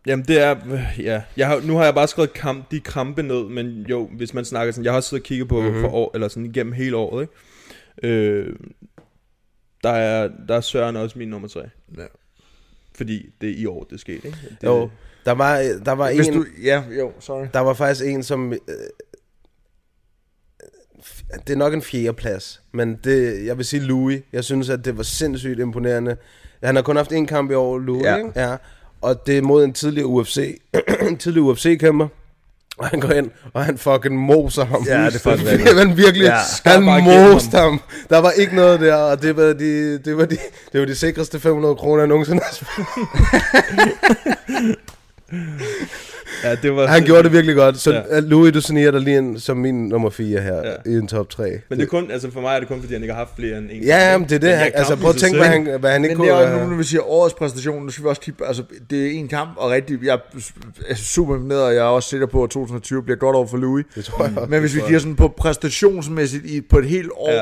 S9: Jamen det er, ja, jeg har, nu har jeg bare skrevet kamp, de krampe ned, men jo, hvis man snakker sådan, jeg har også siddet og kigget på mm-hmm. for år, eller sådan igennem hele året, ikke? Øh, der, er, der er Søren også min nummer tre.
S11: Ja.
S9: Fordi det er i år, det skete, ikke? Det,
S10: Jo, der var, der var
S11: Hvis
S10: en...
S11: du, ja, jo, sorry.
S10: Der var faktisk en, som... Øh, f- det er nok en fjerdeplads, men det, jeg vil sige Louis. Jeg synes, at det var sindssygt imponerende. Han har kun haft en kamp i år, Louis,
S11: Ja.
S10: ja. Ikke? ja. Og det er mod en tidligere UFC, en tidligere UFC-kæmper. Og han går ind, og han fucking moser ham.
S11: Ja, det er faktisk rigtigt.
S10: Han virkelig,
S11: Ja.
S10: ja.
S9: Skar
S10: han
S9: bare igennem
S10: moste ham. Der var ikke noget der, og det var de, det var de, det var de sikreste 500 kroner, jeg nogensinde har spillet.
S9: ja, det var,
S10: Han gjorde det virkelig godt. Så
S9: Ja.
S10: ja. Louis, du sneer dig lige ind som min nummer 4 her
S9: Ja.
S10: ja. i en top 3.
S9: Men det er kun, altså for mig er det kun, fordi han ikke har haft flere end en.
S10: Ja, men det er det.
S9: Men
S10: Han,
S9: kampen
S10: altså,
S9: i
S10: prøv at
S9: sig
S10: tænke,
S9: selv-
S10: hvad han, hvad han ikke
S11: Men det er
S10: kunne...
S11: også nu,
S10: Øh,
S11: når vi siger årets præstation, nu skal vi også kigge, altså det er en kamp, og rigtig, jeg er super imponeret, og jeg er også sikker på, at 2020 bliver godt over for Louis.
S10: det tror jeg også.
S11: Men hvis vi kigger sådan på præstationsmæssigt i, på et helt år, ja.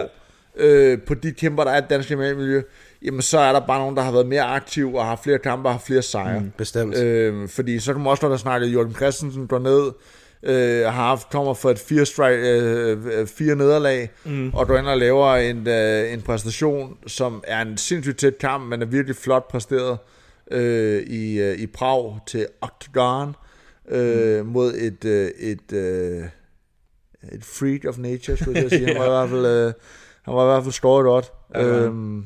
S9: Ja.
S11: øh, på de kæmper, der er i det danske miljø, jamen så er der bare nogen, der har været mere aktiv og har flere kampe og har flere sejre. Mm.
S10: Bestemt.
S11: Øh, fordi så kan man også, når der snakker, Jørgen Christensen går ned, øh, har haft, kommer for et fire, strike, øh, øh, fire nederlag, mm. og går ind og laver en, øh, en præstation, som er en sindssygt tæt kamp, men er virkelig flot præsteret øh, i, øh, i Prag til Octagon øh, mm. mod et, øh, et øh, et freak of nature, skulle jeg til at sige. Han var i hvert fald, øh, han var i hvert fald skåret godt.
S9: Ja.
S11: Øhm,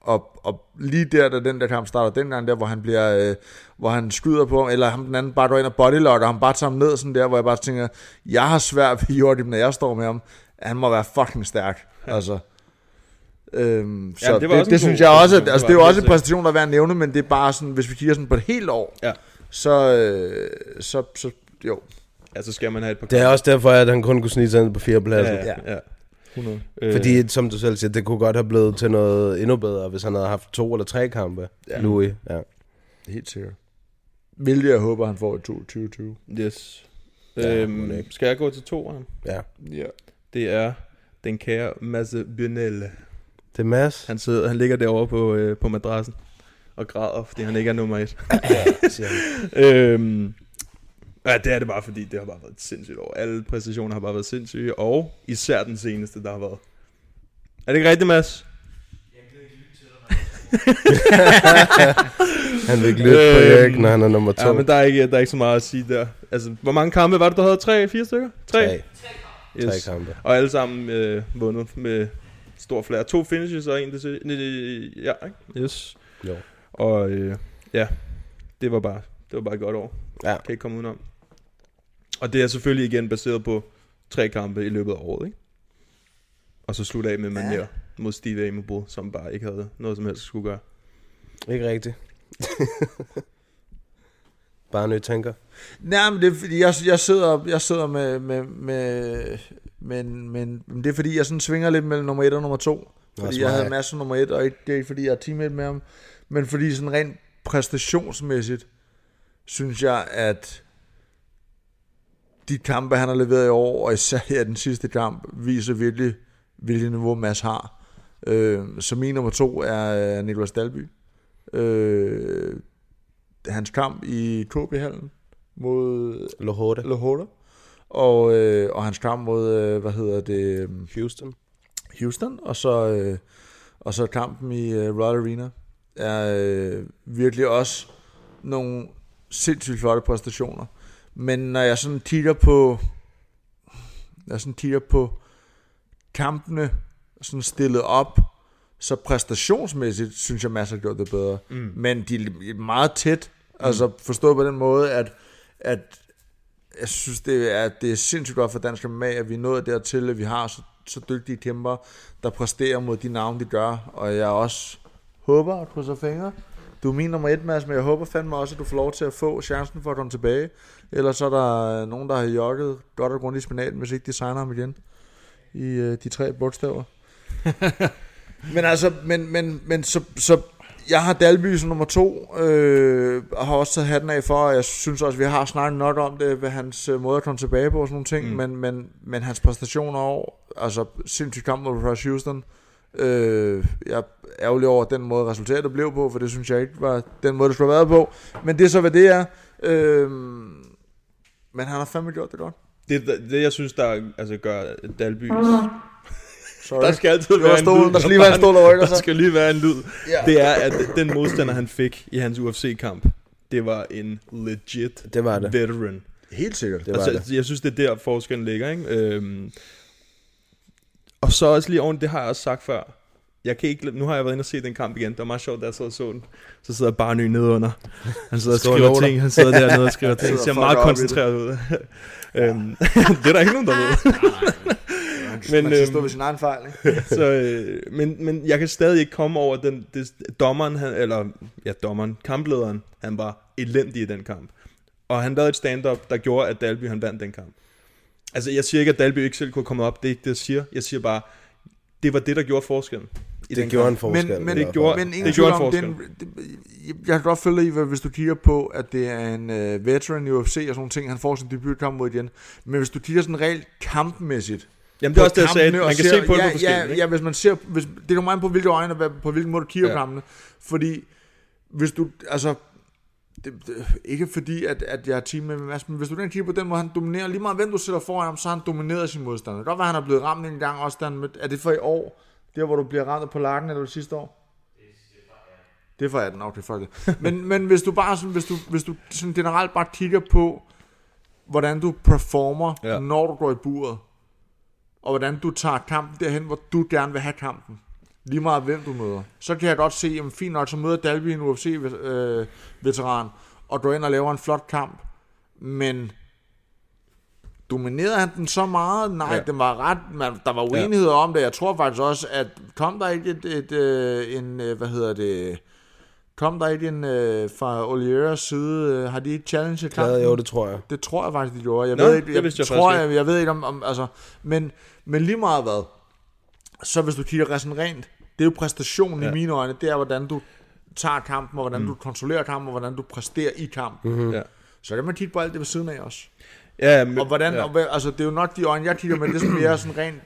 S11: og, og lige der, da den der kamp starter, den gang der, hvor han bliver, øh, hvor han skyder på, ham, eller ham den anden bare går ind og bodylocker, og han bare tager ham ned sådan der, hvor jeg bare tænker, jeg har svært ved Jordim, når jeg står med ham. Han må være fucking stærk, altså. Øhm, så
S9: Jamen,
S11: det,
S9: det var
S11: det,
S9: også
S11: det
S9: en god
S11: synes jeg også,
S9: præstation,
S11: at, altså
S9: det
S11: det er
S9: var
S11: jo også
S9: det,
S11: en
S9: helt sikkert.
S11: præstation, der er værd at nævne, men det er bare sådan, hvis vi kigger sådan på et helt år,
S9: Ja,
S11: så, øh, så, så jo,
S9: ja, så Altså, skal man have et par
S10: Det er også derfor, at han kun kunne snige sig ind på 4. pladsen.
S9: ja, Øh. ja, ja. 100.
S10: Fordi, som du selv siger, det kunne godt have blevet til noget endnu bedre, hvis han havde haft to eller tre kampe, ja. Louis. Ja.
S11: Helt sikkert. Hvilket jeg håber, han får i 2020.
S9: Øhm, Yes.
S10: Ja,
S9: Øhm,
S10: må det ikke.
S9: skal jeg gå til toeren?
S10: ja.
S11: Ja.
S9: Det er den kære Masse Bionelle.
S10: Det er Mads.
S9: Han, sidder, han ligger derovre på, øh, på madrassen og græder, fordi han ikke er nummer et. øhm, ja, det er det bare, fordi det har bare været et sindssygt år. Alle præstationer har bare været sindssyge, og især den seneste, der har været. Er det ikke rigtigt, Mads?
S10: Han vil ikke lytte på
S9: Øhm,
S10: Erik, når han er nummer to.
S9: Ja, men der er, ikke, der er ikke så meget at sige der. Altså, hvor mange kampe var det, du havde? Tre, fire stykker? Tre?
S10: Tre. Tre kampe.
S9: Og alle sammen øh, vundet med stor flere. To finishes og en til... Ja, ikke? Yes.
S10: Jo.
S9: Og øh, ja, det var bare det var bare et godt år.
S10: Ja.
S9: Kan ikke komme udenom. Og det er selvfølgelig igen baseret på tre kampe i løbet af året, ikke? Og så slutte af med Manier ja. mod Steve Amable, som bare ikke havde noget som helst at skulle gøre.
S10: Ikke rigtigt. Bare nødt tænker.
S11: Nej, men det er fordi, jeg, jeg sidder, jeg sidder med, med, med men, men, men det er fordi, jeg sådan svinger lidt mellem nummer 1 og nummer 2. Fordi
S10: smart.
S11: jeg havde masser nummer 1, og ikke, det er ikke fordi, jeg er teammate med ham. Men fordi sådan rent præstationsmæssigt, synes jeg, at de kampe, han har leveret i år, og især her den sidste kamp, viser virkelig, hvilket niveau Mads har. Øh, så min nummer to er øh, Nicolas Dalby. Øh, hans kamp i KB-hallen mod
S10: Lohorte.
S11: Lahore, og, øh, og hans kamp mod, øh, hvad hedder det? øh,
S10: Houston.
S11: Houston, og så, øh, og så kampen i øh, Royal Arena er øh, virkelig også nogle sindssygt flotte præstationer. Men når jeg sådan kigger på, når jeg sådan kigger på kampene sådan stillet op, så præstationsmæssigt synes jeg, Mads har gjort det bedre.
S9: Mm.
S11: Mm. Men de er meget tæt, altså forstået på den måde, at, at jeg synes, det er, det er sindssygt godt for dansk MMA, at vi er nået dertil, at vi har så, så dygtige kæmper, der præsterer mod de navne, de gør. Og jeg også håber og krydser fingre. Du er min nummer et, Mads, men jeg håber fandme også, at du får lov til at få chancen for at komme tilbage. Ellers er der øh, nogen, der har jokket godt og grundigt i spinaten, hvis ikke de signer ham igen i øh, de tre bogstaver. men altså, men, men, men så, så jeg har Dalby som nummer to, øh, og har også taget hatten af for, og jeg synes også, vi har snakket nok om det, ved hans øh, måde at komme tilbage på og sådan nogle ting,
S9: Mm.
S11: mm. men, men, men hans præstationer over, altså sindssygt kamp mod Rush Houston, øh, jeg er ærgerlig over den måde, resultatet blev på, for det synes jeg ikke var den måde, det skulle have været på, men det er så, hvad det er. Øh, men han har fandme gjort det godt.
S9: Det, der- det jeg synes, der altså, gør Dalby...
S11: Sorry.
S9: Der skal altid
S11: Det var
S9: være en
S11: stolen.
S9: lyd.
S11: Der skal lige være en stol og rykker
S9: Der
S11: sig.
S9: skal lige være en lyd.
S11: Ja.
S9: Det er, at den modstander, han fik i hans UFC-kamp, det var en legit
S10: det var det.
S9: veteran.
S11: Helt sikkert.
S10: Det var
S9: altså,
S10: det.
S9: Jeg synes, det er der forskellen ligger. Ikke? Øhm, og så også lige oven, det har jeg også sagt før. Jeg kan ikke, nu har jeg været inde og se den kamp igen. Det var meget sjovt, da jeg sad og så den. Så sidder bare ny nede under. Han sidder og
S10: Store
S9: skriver
S10: noter.
S9: ting. Han sidder dernede og skriver ting.
S10: Sidder
S9: Ser
S10: og
S9: meget
S10: fucker op i det.
S9: koncentreret ud. øhm, det er der ikke nogen, der ved.
S11: Men, man skal
S9: øhm,
S11: stå ved sin egen fejl, ikke?
S9: så, øh, men, men jeg kan stadig ikke komme over den, det, dommeren, han, eller ja, dommeren, kamplederen, han var elendig i den kamp. Og han lavede et stand-up, der gjorde, at Dalby han vandt den kamp. Altså, jeg siger ikke, at Dalby ikke selv kunne komme op. Det er ikke det, jeg siger. Jeg siger bare, det var det, der gjorde forskellen. i
S10: Det
S9: den
S10: gjorde
S9: kamp.
S10: en forskel,
S9: Men,
S10: i
S9: men,
S10: hvert
S9: det
S10: fald.
S9: gjorde,
S11: Men ingen
S9: det
S11: tvivl
S9: gjorde en
S11: om, det er
S9: forskel.
S11: en, det, jeg kan godt følge dig i, hvad- hvis du kigger på, at det er en øh, veteran i UFC og sådan nogle ting, han får sin debutkamp mod igen. Men hvis du kigger sådan rent kampmæssigt,
S9: Jamen, det er
S11: på
S9: også det, jeg sagde.
S11: kampene og
S9: Man kan
S11: ser-
S9: se på det
S11: ja,
S9: på forskelligt,
S11: Ja,
S9: ikke?
S11: ja, hvis man ser, hvis, det kommer an på, hvilke øjne og hvad- på hvilken måde du kigger
S9: Ja.
S11: ja. kampene. Fordi hvis du, altså, det, det, ikke fordi, at, at jeg er team med Mads, men hvis du den kigger på den måde, han dominerer lige meget, hvem du sætter foran ham, så har han domineret sin modstander. Det kan godt være, han er blevet ramt en gang også, da han mødte, er det for i år, der hvor du bliver ramt på lakken, eller det sidste år? Det er fra 18, okay, fuck det. Men, men hvis du bare sådan, hvis du, hvis du sådan generelt bare kigger på, hvordan du performer,
S9: Ja.
S11: ja. når du går i buret, og hvordan du tager kampen derhen, hvor du gerne vil have kampen, lige meget hvem du møder, så kan jeg godt se, jamen fint nok, så møder Dalby en UFC-veteran, øh, og går ind og laver en flot kamp, men dominerede han den så meget? Nej,
S9: Ja.
S11: ja. den var ret, man, der var uenighed ja. om det. Jeg tror faktisk også, at kom der ikke et, et, øh, en, øh, hvad hedder det, kom der ikke en øh, fra Olieras side, øh, har de ikke challenge kampen?
S10: Jo, det tror jeg.
S11: Det tror jeg faktisk, de gjorde. Jeg
S10: Nå,
S11: ved ikke,
S10: det
S11: jeg,
S10: vidste jeg
S11: tror,
S10: faktisk
S11: jeg, jeg ved ikke om, om altså, men, men lige meget hvad, så hvis du kigger sådan rent, det er jo præstationen ja.
S9: Ja.
S11: i mine øjne, det er, hvordan du tager kampen, og hvordan mm. du kontrollerer kampen, og hvordan du præsterer i kampen.
S9: Mhm. Ja.
S11: Så kan man kigge på alt det ved siden af også.
S9: Ja, men-
S11: og hvordan,
S9: ja.
S11: og, hvad- altså, det er jo nok de øjne, jeg kigger med, det er sådan mere sådan rent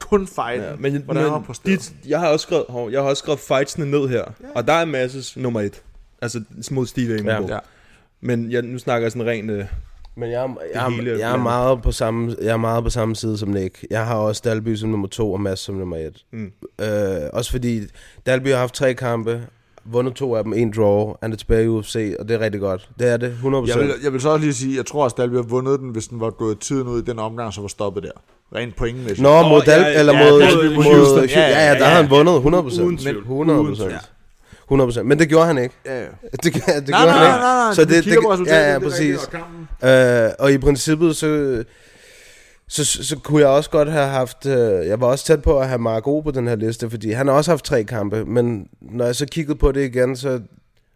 S11: kun fejl. Ja,
S9: men,
S11: hvordan har
S9: men
S11: man præsteret?
S9: dit, jeg har også skrevet, hov, jeg har også skrevet fightsene ned her, ja. og der er masses nummer et, altså mod Steve Amell.
S10: Ja. Ja.
S9: Men jeg, nu snakker jeg sådan rent... Øh,
S10: Men jeg, er-
S9: det
S10: jeg,
S9: hele,
S10: er, jeg, er
S9: men-
S10: meget på samme, jeg er meget på samme side som Nick. Jeg har også Dalby som nummer to og Mads som nummer et.
S9: Mm.
S10: Øh, også fordi Dalby har haft tre kampe, vundet to af dem, en draw, han er tilbage i UFC, og det er rigtig godt. Det er det, 100%.
S11: Jeg vil, jeg vil så også lige sige, jeg tror også, Dalby har vundet den, hvis den var gået tiden ud i den omgang, så var stoppet der. Rent pointmæssigt.
S10: Nå, mod Dal, eller mod, mod Houston. Ja, ja, der havde han vundet 100%.
S11: Uden tvivl.
S10: 100%. 100%. Men det gjorde han ikke.
S11: Ja, ja.
S10: Det, gør- det
S11: Nej, nej,
S10: gjorde han
S11: nej,
S10: ikke.
S11: nej, nej.
S10: Så
S11: Vi
S10: det,
S11: Ah, kigger på
S10: det,
S11: resultatet,
S10: ja, ja,
S11: det er
S10: præcis.
S11: rigtigt,
S10: Øh, og i princippet, så, så, så, så kunne jeg også godt have haft... Øh, jeg var også tæt på at have Marco på den her liste, fordi han har også haft tre kampe, men når jeg så kiggede på det igen, så...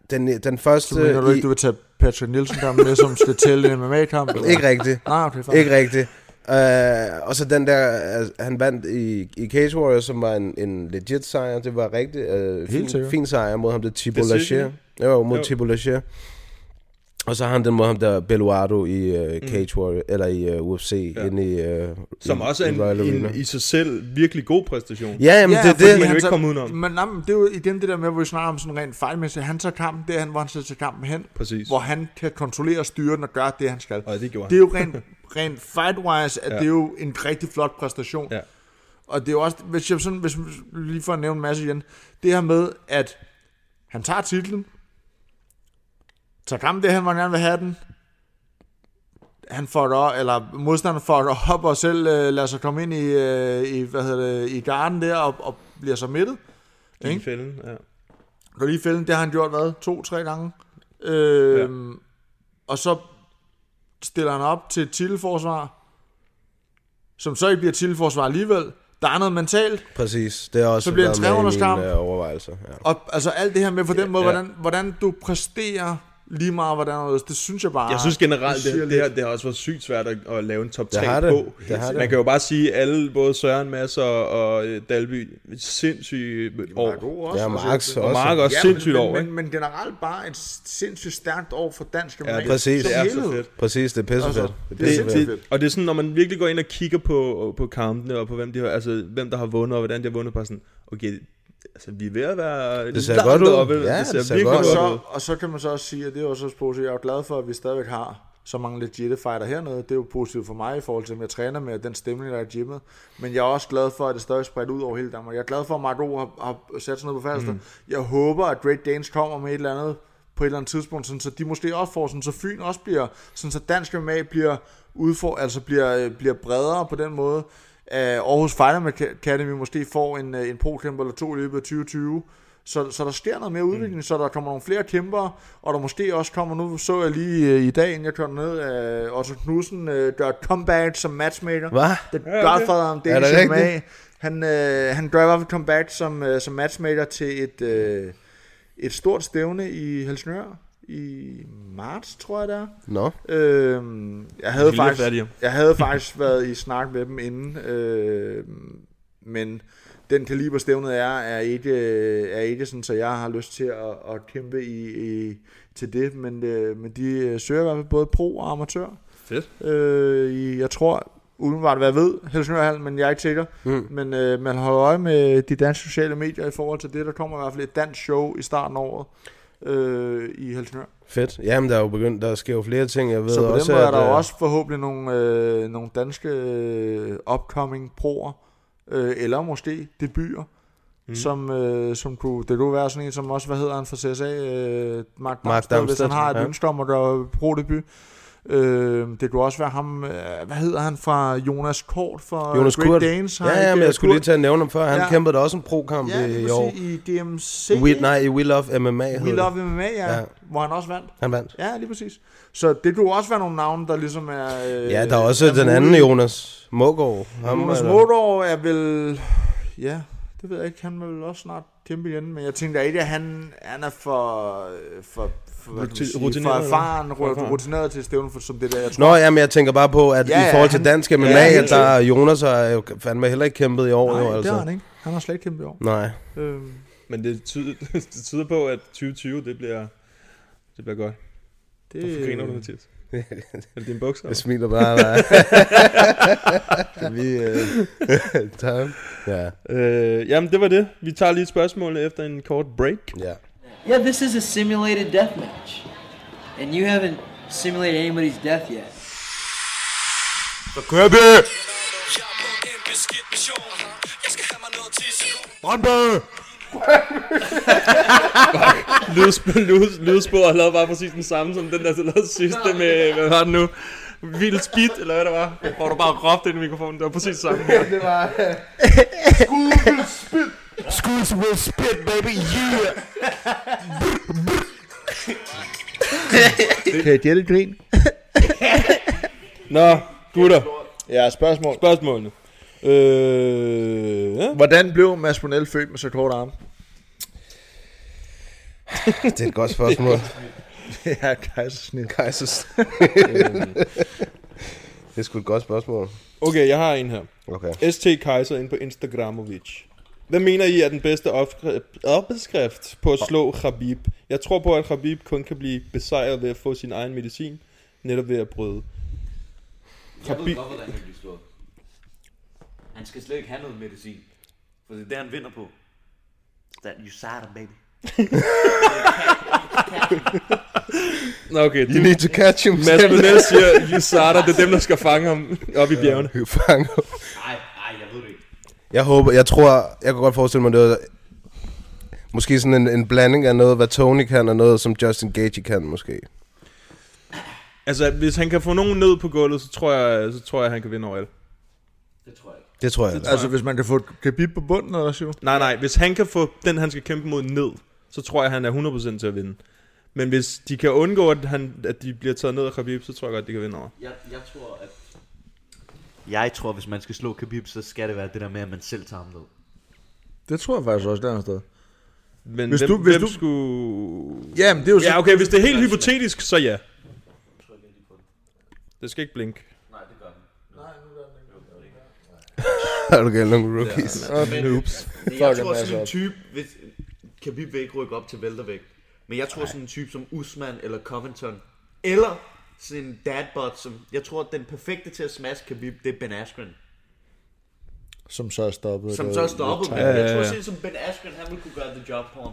S10: Den, den første...
S11: Så mener du
S10: i-
S11: ikke, du vil tage Patrick Nielsen-kampen med, som skal tælle en MMA-kamp? eller?
S10: ikke rigtigt.
S11: Nej, okay, fair.
S10: Ikke rigtigt. Uh, og så den der, altså, han vandt i, i Cage Warriors, som var en, en legit sejr. Det var rigtig uh, fin,
S11: sikkert.
S10: fin sejr mod ham, det er Thibaut
S11: Decision.
S10: Lachier. Jo, mod
S11: Jo.
S10: Thibaut Lachier. Og så har han den måde, ham der Beluardo i uh, Cage Warrior, eller i uh, UFC, ja. inde i uh,
S9: Som
S10: i,
S9: også er
S10: i Royal
S9: en,
S10: Arena.
S9: en, i sig selv virkelig god præstation.
S10: Ja, jamen, det er
S11: fordi
S10: det.
S11: han
S9: Man kan jo ikke
S11: tager-
S9: komme udenom.
S11: Men, nej, men det er jo igen det der med, hvor vi snakker om sådan rent fejlmæssigt. Han tager kampen der, han, hvor han sætter kampen hen.
S9: Præcis.
S11: Hvor han kan kontrollere og styre den og gøre det, han skal.
S9: Og det gjorde
S11: Det er jo
S9: han.
S11: rent, rent fight-wise, at
S9: Ja.
S11: ja. det er jo en rigtig flot præstation.
S9: Ja.
S11: Og det er jo også, hvis jeg sådan, hvis, lige for at nævne en masse igen, det her med, at han tager titlen, tager kampen derhen, hvor han gerne vil have den, han får det op, eller modstanderen får det op og selv øh, lader sig komme ind i, øh, i, hvad hedder det, i garden der og, og bliver så midtet.
S9: I
S11: Ikke?
S9: fælden, ja.
S11: Går lige i fælden, det har han gjort, hvad, to-tre gange. Øh, ja. Og så stiller han op til et titelforsvar, som så ikke bliver titelforsvar alligevel. Der er noget mentalt,
S10: Præcis, det er også
S11: Så bliver han
S10: været med
S11: 300
S10: i mine,
S11: skam.
S10: øh, overvejelser. Ja.
S11: og altså alt det her med på den måde,
S10: ja.
S11: hvordan, hvordan du præsterer lige meget, hvordan og anderledes, det synes jeg bare...
S9: Jeg synes generelt,
S11: siger
S9: det, det,
S11: lidt.
S9: her, det har også været sygt svært at, at lave en top
S10: Det
S9: 3
S10: har det.
S9: på.
S10: Det har det.
S9: Man kan jo bare sige, at alle, både Søren Mads og, og øh, Dalby, sindssyge år.
S11: god
S10: Ja, Marx
S9: Og
S10: også.
S9: Mark også
S11: men-
S9: sindssygt
S11: men,
S9: år,
S11: men, men, generelt bare et sindssygt stærkt år for dansk MMA.
S9: Ja, det-
S10: Præcis.
S11: Som
S9: det er så
S11: helhed.
S9: fedt.
S10: Præcis, det er pissefedt.
S11: Altså,
S10: det er
S11: det er
S10: pissefedt.
S9: Det,
S11: sindssygt
S9: det, og det er sådan, når man virkelig går ind og kigger på, på kampene, og på hvem, de har, altså, hvem der har vundet, og hvordan de har vundet, bare sådan, okay, altså, vi er ved at være
S10: Det ser
S9: langt
S10: godt ud.
S9: oppe.
S10: Ja,
S9: det ser,
S10: det ser
S9: virkelig
S10: godt
S11: Og
S10: ud.
S9: godt ud.
S11: så, og så kan man så også sige, at det er også også positivt. Jeg er jo glad for, at vi stadigvæk har så mange legitte fighter hernede. Det er jo positivt for mig i forhold til, at jeg træner med og den stemning, der er i gymmet. Men jeg er også glad for, at det stadig er spredt ud over hele Danmark. Jeg er glad for, at Marco har, har sat sig ned på faldster. Mm. Jeg håber, at Great Danes kommer med et eller andet på et eller andet tidspunkt, sådan, så de måske også får, sådan, så Fyn også bliver, sådan, så dansk MMA bliver, udfor, altså bliver, øh, bliver bredere på den måde. Uh, Aarhus Fighter Academy måske får en, øh, en pro-kæmper eller to i løbet af 2020, så, så der sker noget mere udvikling, mm. så der kommer nogle flere kæmpere, og der måske også kommer, nu så jeg lige øh, i dag, inden jeg kørte ned, at Otto Knudsen øh, gør et comeback som matchmaker.
S10: Hvad?
S11: Det gør for om det
S10: Er det
S11: er med.
S10: rigtigt?
S11: Han, øh, han gør i hvert fald comeback som, øh, som matchmaker til et, øh, et stort stævne i Helsingør i marts, tror jeg det er.
S10: Nå,
S11: Øhm, jeg, havde
S9: Vilde
S11: faktisk,
S9: fattige.
S11: jeg havde faktisk været i snak med dem inden, øh, men den kaliber stævnet er, er ikke, øh, er ikke sådan, så jeg har lyst til at, at kæmpe i, i, til det, men, øh, men de øh, søger i hvert fald både pro og amatør.
S9: Fedt.
S11: Øh, i, jeg tror, udenbart hvad jeg ved, Helsingør Hall, men jeg er ikke sikker, mm. men øh, man holder øje med de danske sociale medier i forhold til det, der kommer i hvert fald et dansk show i starten af året øh, i Helsingør.
S10: fedt. Jamen, der er jo begyndt, der sker jo flere ting, jeg ved
S11: Så på
S10: også,
S11: den måde er
S10: at,
S11: der jo
S10: øh,
S11: også forhåbentlig nogle, øh, nogle danske øh, upcoming proer, øh, eller måske debuter, mm. som, øh, som kunne, det kunne være sådan en som også, hvad hedder han fra CSA, øh, Mark, Mark Damsted, hvis
S10: Damsted,
S11: han har et
S10: ja.
S11: ønske om at gøre pro-debut. Øh, det kunne også være ham, øh, hvad hedder han fra Jonas Kort fra
S10: Jonas
S11: Great
S10: Kurt.
S11: Danes? har
S10: Ja, ja,
S11: ikke,
S10: men
S11: øh,
S10: jeg skulle lige
S11: Kurt?
S10: til at nævne ham før. Han
S11: Ja.
S10: kæmpede da også en pro-kamp
S11: Ja,
S10: i,
S11: lige
S10: i år.
S11: præcis, i DMC.
S10: We, nej, i We Love MMA hed
S11: We
S10: det.
S11: Love MMA, ja,
S10: Ja.
S11: ja. hvor han også vandt.
S10: Han vandt.
S11: Ja, lige præcis. Så det kunne også være nogle navne, der ligesom er... Øh,
S10: Ja, der er også den
S11: mulige.
S10: anden Jonas Mågaard. Ham øh,
S11: Jonas
S10: er der-
S11: Mågaard er vel... Ja, det ved jeg ikke. Han vil vel også snart kæmpe igen. Men jeg tænker ikke, at han, han er for... øh, for for, hvad kan man
S9: Ruti-
S11: sige,
S9: rutineret,
S11: for erfaren,
S9: eller? For erfaren.
S11: ru- rutineret til stævnen, for, som det der, jeg tror.
S10: Nå, ja, men jeg tænker bare på, at
S11: Ja,
S10: i
S11: ja,
S10: forhold til
S11: han-
S10: dansk MMA,
S11: ja, helt
S10: at der er Jonas har jo fandme heller ikke kæmpet i år.
S11: Nej,
S10: jo, altså.
S11: det har han ikke. Han har slet ikke kæmpet i år.
S10: Nej.
S11: Øhm,
S9: Men det tyder, det tyder på, at 2020, det bliver, det bliver godt. Hvorfor griner du, Mathias? Er det dine bukser?
S10: Jeg smiler bare, nej. Kan vi øh, tage ham? Ja.
S9: Øh, jamen, det var det. Vi tager lige spørgsmålene efter en kort break.
S10: ja.
S13: Yeah, this is a simulated death match, and you haven't simulated anybody's death yet.
S2: Så kører vi! Brøndby!
S9: Lydspor, lyd, lydspor lavede bare præcis den samme som den der så lavede sidste med, hvad var det nu? Vild speed, eller hvad det var? Hvor du bare råbte ind i mikrofonen. Det var præcis samme.
S11: Det var...
S2: Schools will spit, baby, yeah!
S11: Kan jeg gætte grin?
S9: Nå, gutter.
S11: Ja, spørgsmål.
S9: Spørgsmålene. Øh, ja.
S11: Hvordan blev Mads Brunel født med så kort arme?
S10: Det er et godt spørgsmål.
S11: ja, kejsersnit.
S10: Kejsers. det er sgu et godt spørgsmål.
S9: Okay, jeg har en her.
S10: Okay.
S9: ST Kaiser inde på Instagramovic. Hvad mener I er den bedste opskrift, opskrift på at slå Khabib? Jeg tror på, at Khabib kun kan blive besejret ved at få sin egen medicin, netop ved at bryde.
S14: Jeg ved godt, hvordan han bliver slået. Han skal slet ikke have noget medicin. For det er det, han vinder på. It's That you him, baby.
S9: Nå, okay.
S10: You need to catch him.
S9: Mads Brunel siger, you starter, det er dem, der skal fange ham op i bjergene.
S10: Ja, fange ham.
S14: Nej, nej, jeg ved det ikke.
S10: Jeg håber, jeg tror, jeg kunne godt forestille mig noget, måske sådan en, en blanding af noget, hvad Tony kan, og noget, som Justin Gage kan, måske.
S9: Altså, hvis han kan få nogen ned på gulvet, så tror jeg, så tror jeg han kan vinde over alle.
S10: Det tror jeg.
S9: Det tror
S11: Altså,
S9: jeg.
S11: hvis man kan få Khabib på bunden, eller hvad
S9: Nej, nej, hvis han kan få den, han skal kæmpe mod, ned, så tror jeg, han er 100% til at vinde. Men hvis de kan undgå, at, han, at de bliver taget ned af Khabib, så tror jeg godt, de kan vinde over.
S14: Jeg, jeg tror, at... Jeg tror, hvis man skal slå Khabib, så skal det være det der med, at man selv tager ham ned.
S11: Det tror jeg faktisk også, der er sted.
S9: Men
S11: hvis
S9: hvem-
S11: du, hvis
S9: hvem
S11: du...
S9: skulle...
S11: Jamen, det er jo
S9: Ja,
S11: så-
S9: okay, hvis det er helt hypotetisk, så ja. Det skal ikke blinke.
S10: Er du galt nogle rookies?
S14: Ja, men-
S10: Noobs.
S14: Men jeg tror sådan en type, hvis Khabib vil ikke rykke op til væltervægt, men jeg tror sådan en type som Usman eller Covington, eller sådan en dadbot, som jeg tror, at den perfekte til at smash Khabib, det er Ben Askren.
S11: Som så er stoppet.
S14: Som
S11: Det-
S14: så er stoppet,
S11: det-
S14: men jeg tror sådan en som Ben Askren, han ville kunne gøre the job for ham.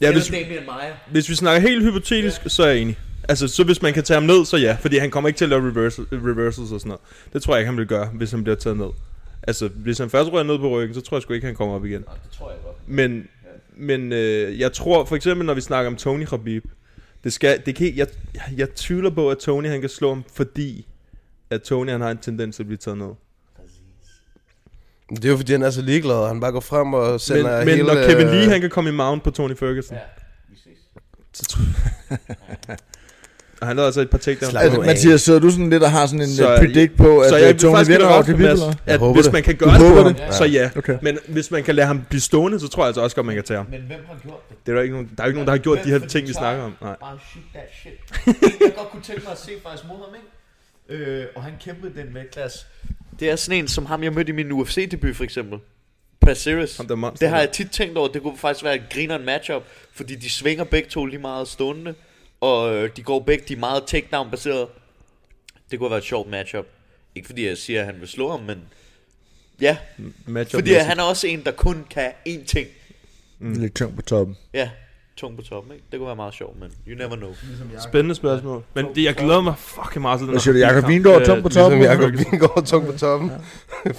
S9: Ja,
S14: Ja,
S9: hvis-
S14: hvis... Eller Damian Maia.
S9: Hvis vi snakker helt hypotetisk, ja. så er jeg enig. Altså, så hvis man kan tage ham ned, så ja. Fordi han kommer ikke til at lave reversal, reversals og sådan noget. Det tror jeg ikke, han vil gøre, hvis han bliver taget ned. Altså, hvis han først rører ned på ryggen, så tror jeg sgu ikke, han kommer op igen. Nej,
S14: det tror jeg godt.
S9: Men, men øh, jeg tror, for eksempel når vi snakker om Tony Khabib, det skal, det kan, jeg, jeg, jeg tvivler på, at Tony han kan slå ham, fordi at Tony han har en tendens til at blive taget ned.
S10: Det er jo fordi, han er så ligeglad. Han bare går frem og
S9: Men,
S10: sender
S9: men
S10: hele...
S9: når Kevin Lee
S10: øh,
S9: han kan komme i mount på Tony Ferguson. Ja, så tror Og han lavede altså et par takedowns.
S11: Altså, Mathias, sidder du sådan lidt og har sådan en så, predict på, at øh,
S9: så
S11: så
S9: jeg vil
S11: Tony
S9: faktisk
S11: vinder
S9: give dig
S11: over
S9: ret,
S11: Khabib?
S9: Mads,
S11: eller?
S9: At hvis man kan gøre
S11: du
S9: det,
S11: håber
S9: på ham, så ja.
S11: Okay.
S9: Men hvis man kan lade ham blive stående, så tror jeg altså også godt, man kan tage ham.
S14: Men hvem har gjort det?
S9: Det er der ikke nogen, der er jo ikke nogen, der har gjort de her
S14: Hvem? Fordi
S9: ting, vi
S14: så-
S9: snakker om. Nej.
S14: Bare shoot that shit. Det, jeg godt kunne tænke mig at se faktisk mod ham, ikke? Øh, og han kæmpede den vægtklasse. Det er sådan en som ham, jeg mødte i min UFC-debut for eksempel. Pasiris. Det har jeg tit tænkt over. Det kunne faktisk være et grineren matchup, fordi de svinger begge to lige meget stående, og øh, de går begge de er meget takedown-baseret. Det kunne være et sjovt matchup. Ikke fordi jeg siger, at han vil slå ham, men ja.
S9: Matchup
S14: fordi han er også en, der kun kan én ting.
S11: Mm. Lidt tungt på toppen.
S14: Ja, tung på toppen, ikke? Det kunne være meget sjovt, men you never know.
S9: Spændende spørgsmål. Men det, jeg glæder mig fucking meget til den
S11: Hvad
S9: her
S11: siger du, Jakob
S9: kamp.
S11: Vingegaard,
S9: Øh,
S11: tom på
S9: ligesom
S11: toppen?
S9: Jakob
S10: Jakob Vingård tung på toppen.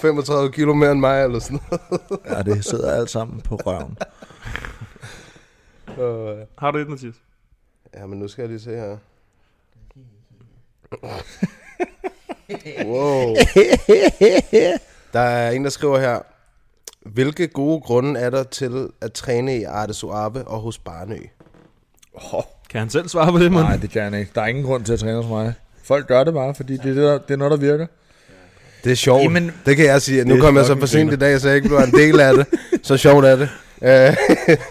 S10: 35 kilo mere end mig, eller sådan noget.
S11: Ja, det sidder alt sammen på røven.
S9: Har du et, Mathias?
S10: Ja, men nu skal jeg lige se her. Wow. Der er en, der skriver her. Hvilke gode grunde er der til at træne i Arte Suave og hos Barnø?
S11: Oh.
S9: Kan han selv svare på det, mand?
S11: Nej, det kan han ikke. Der er ingen grund til at træne hos mig. Folk gør det bare, fordi det er, det, der, det er noget, der virker.
S10: Det er sjovt.
S11: Jamen,
S10: Jamen, det kan jeg sige.
S11: det
S10: Nu
S11: er
S10: kom jeg så
S11: fucking
S10: for sent i
S11: grineren.
S10: dag, så jeg ikke blev en del af det. Så sjovt er det. Øh,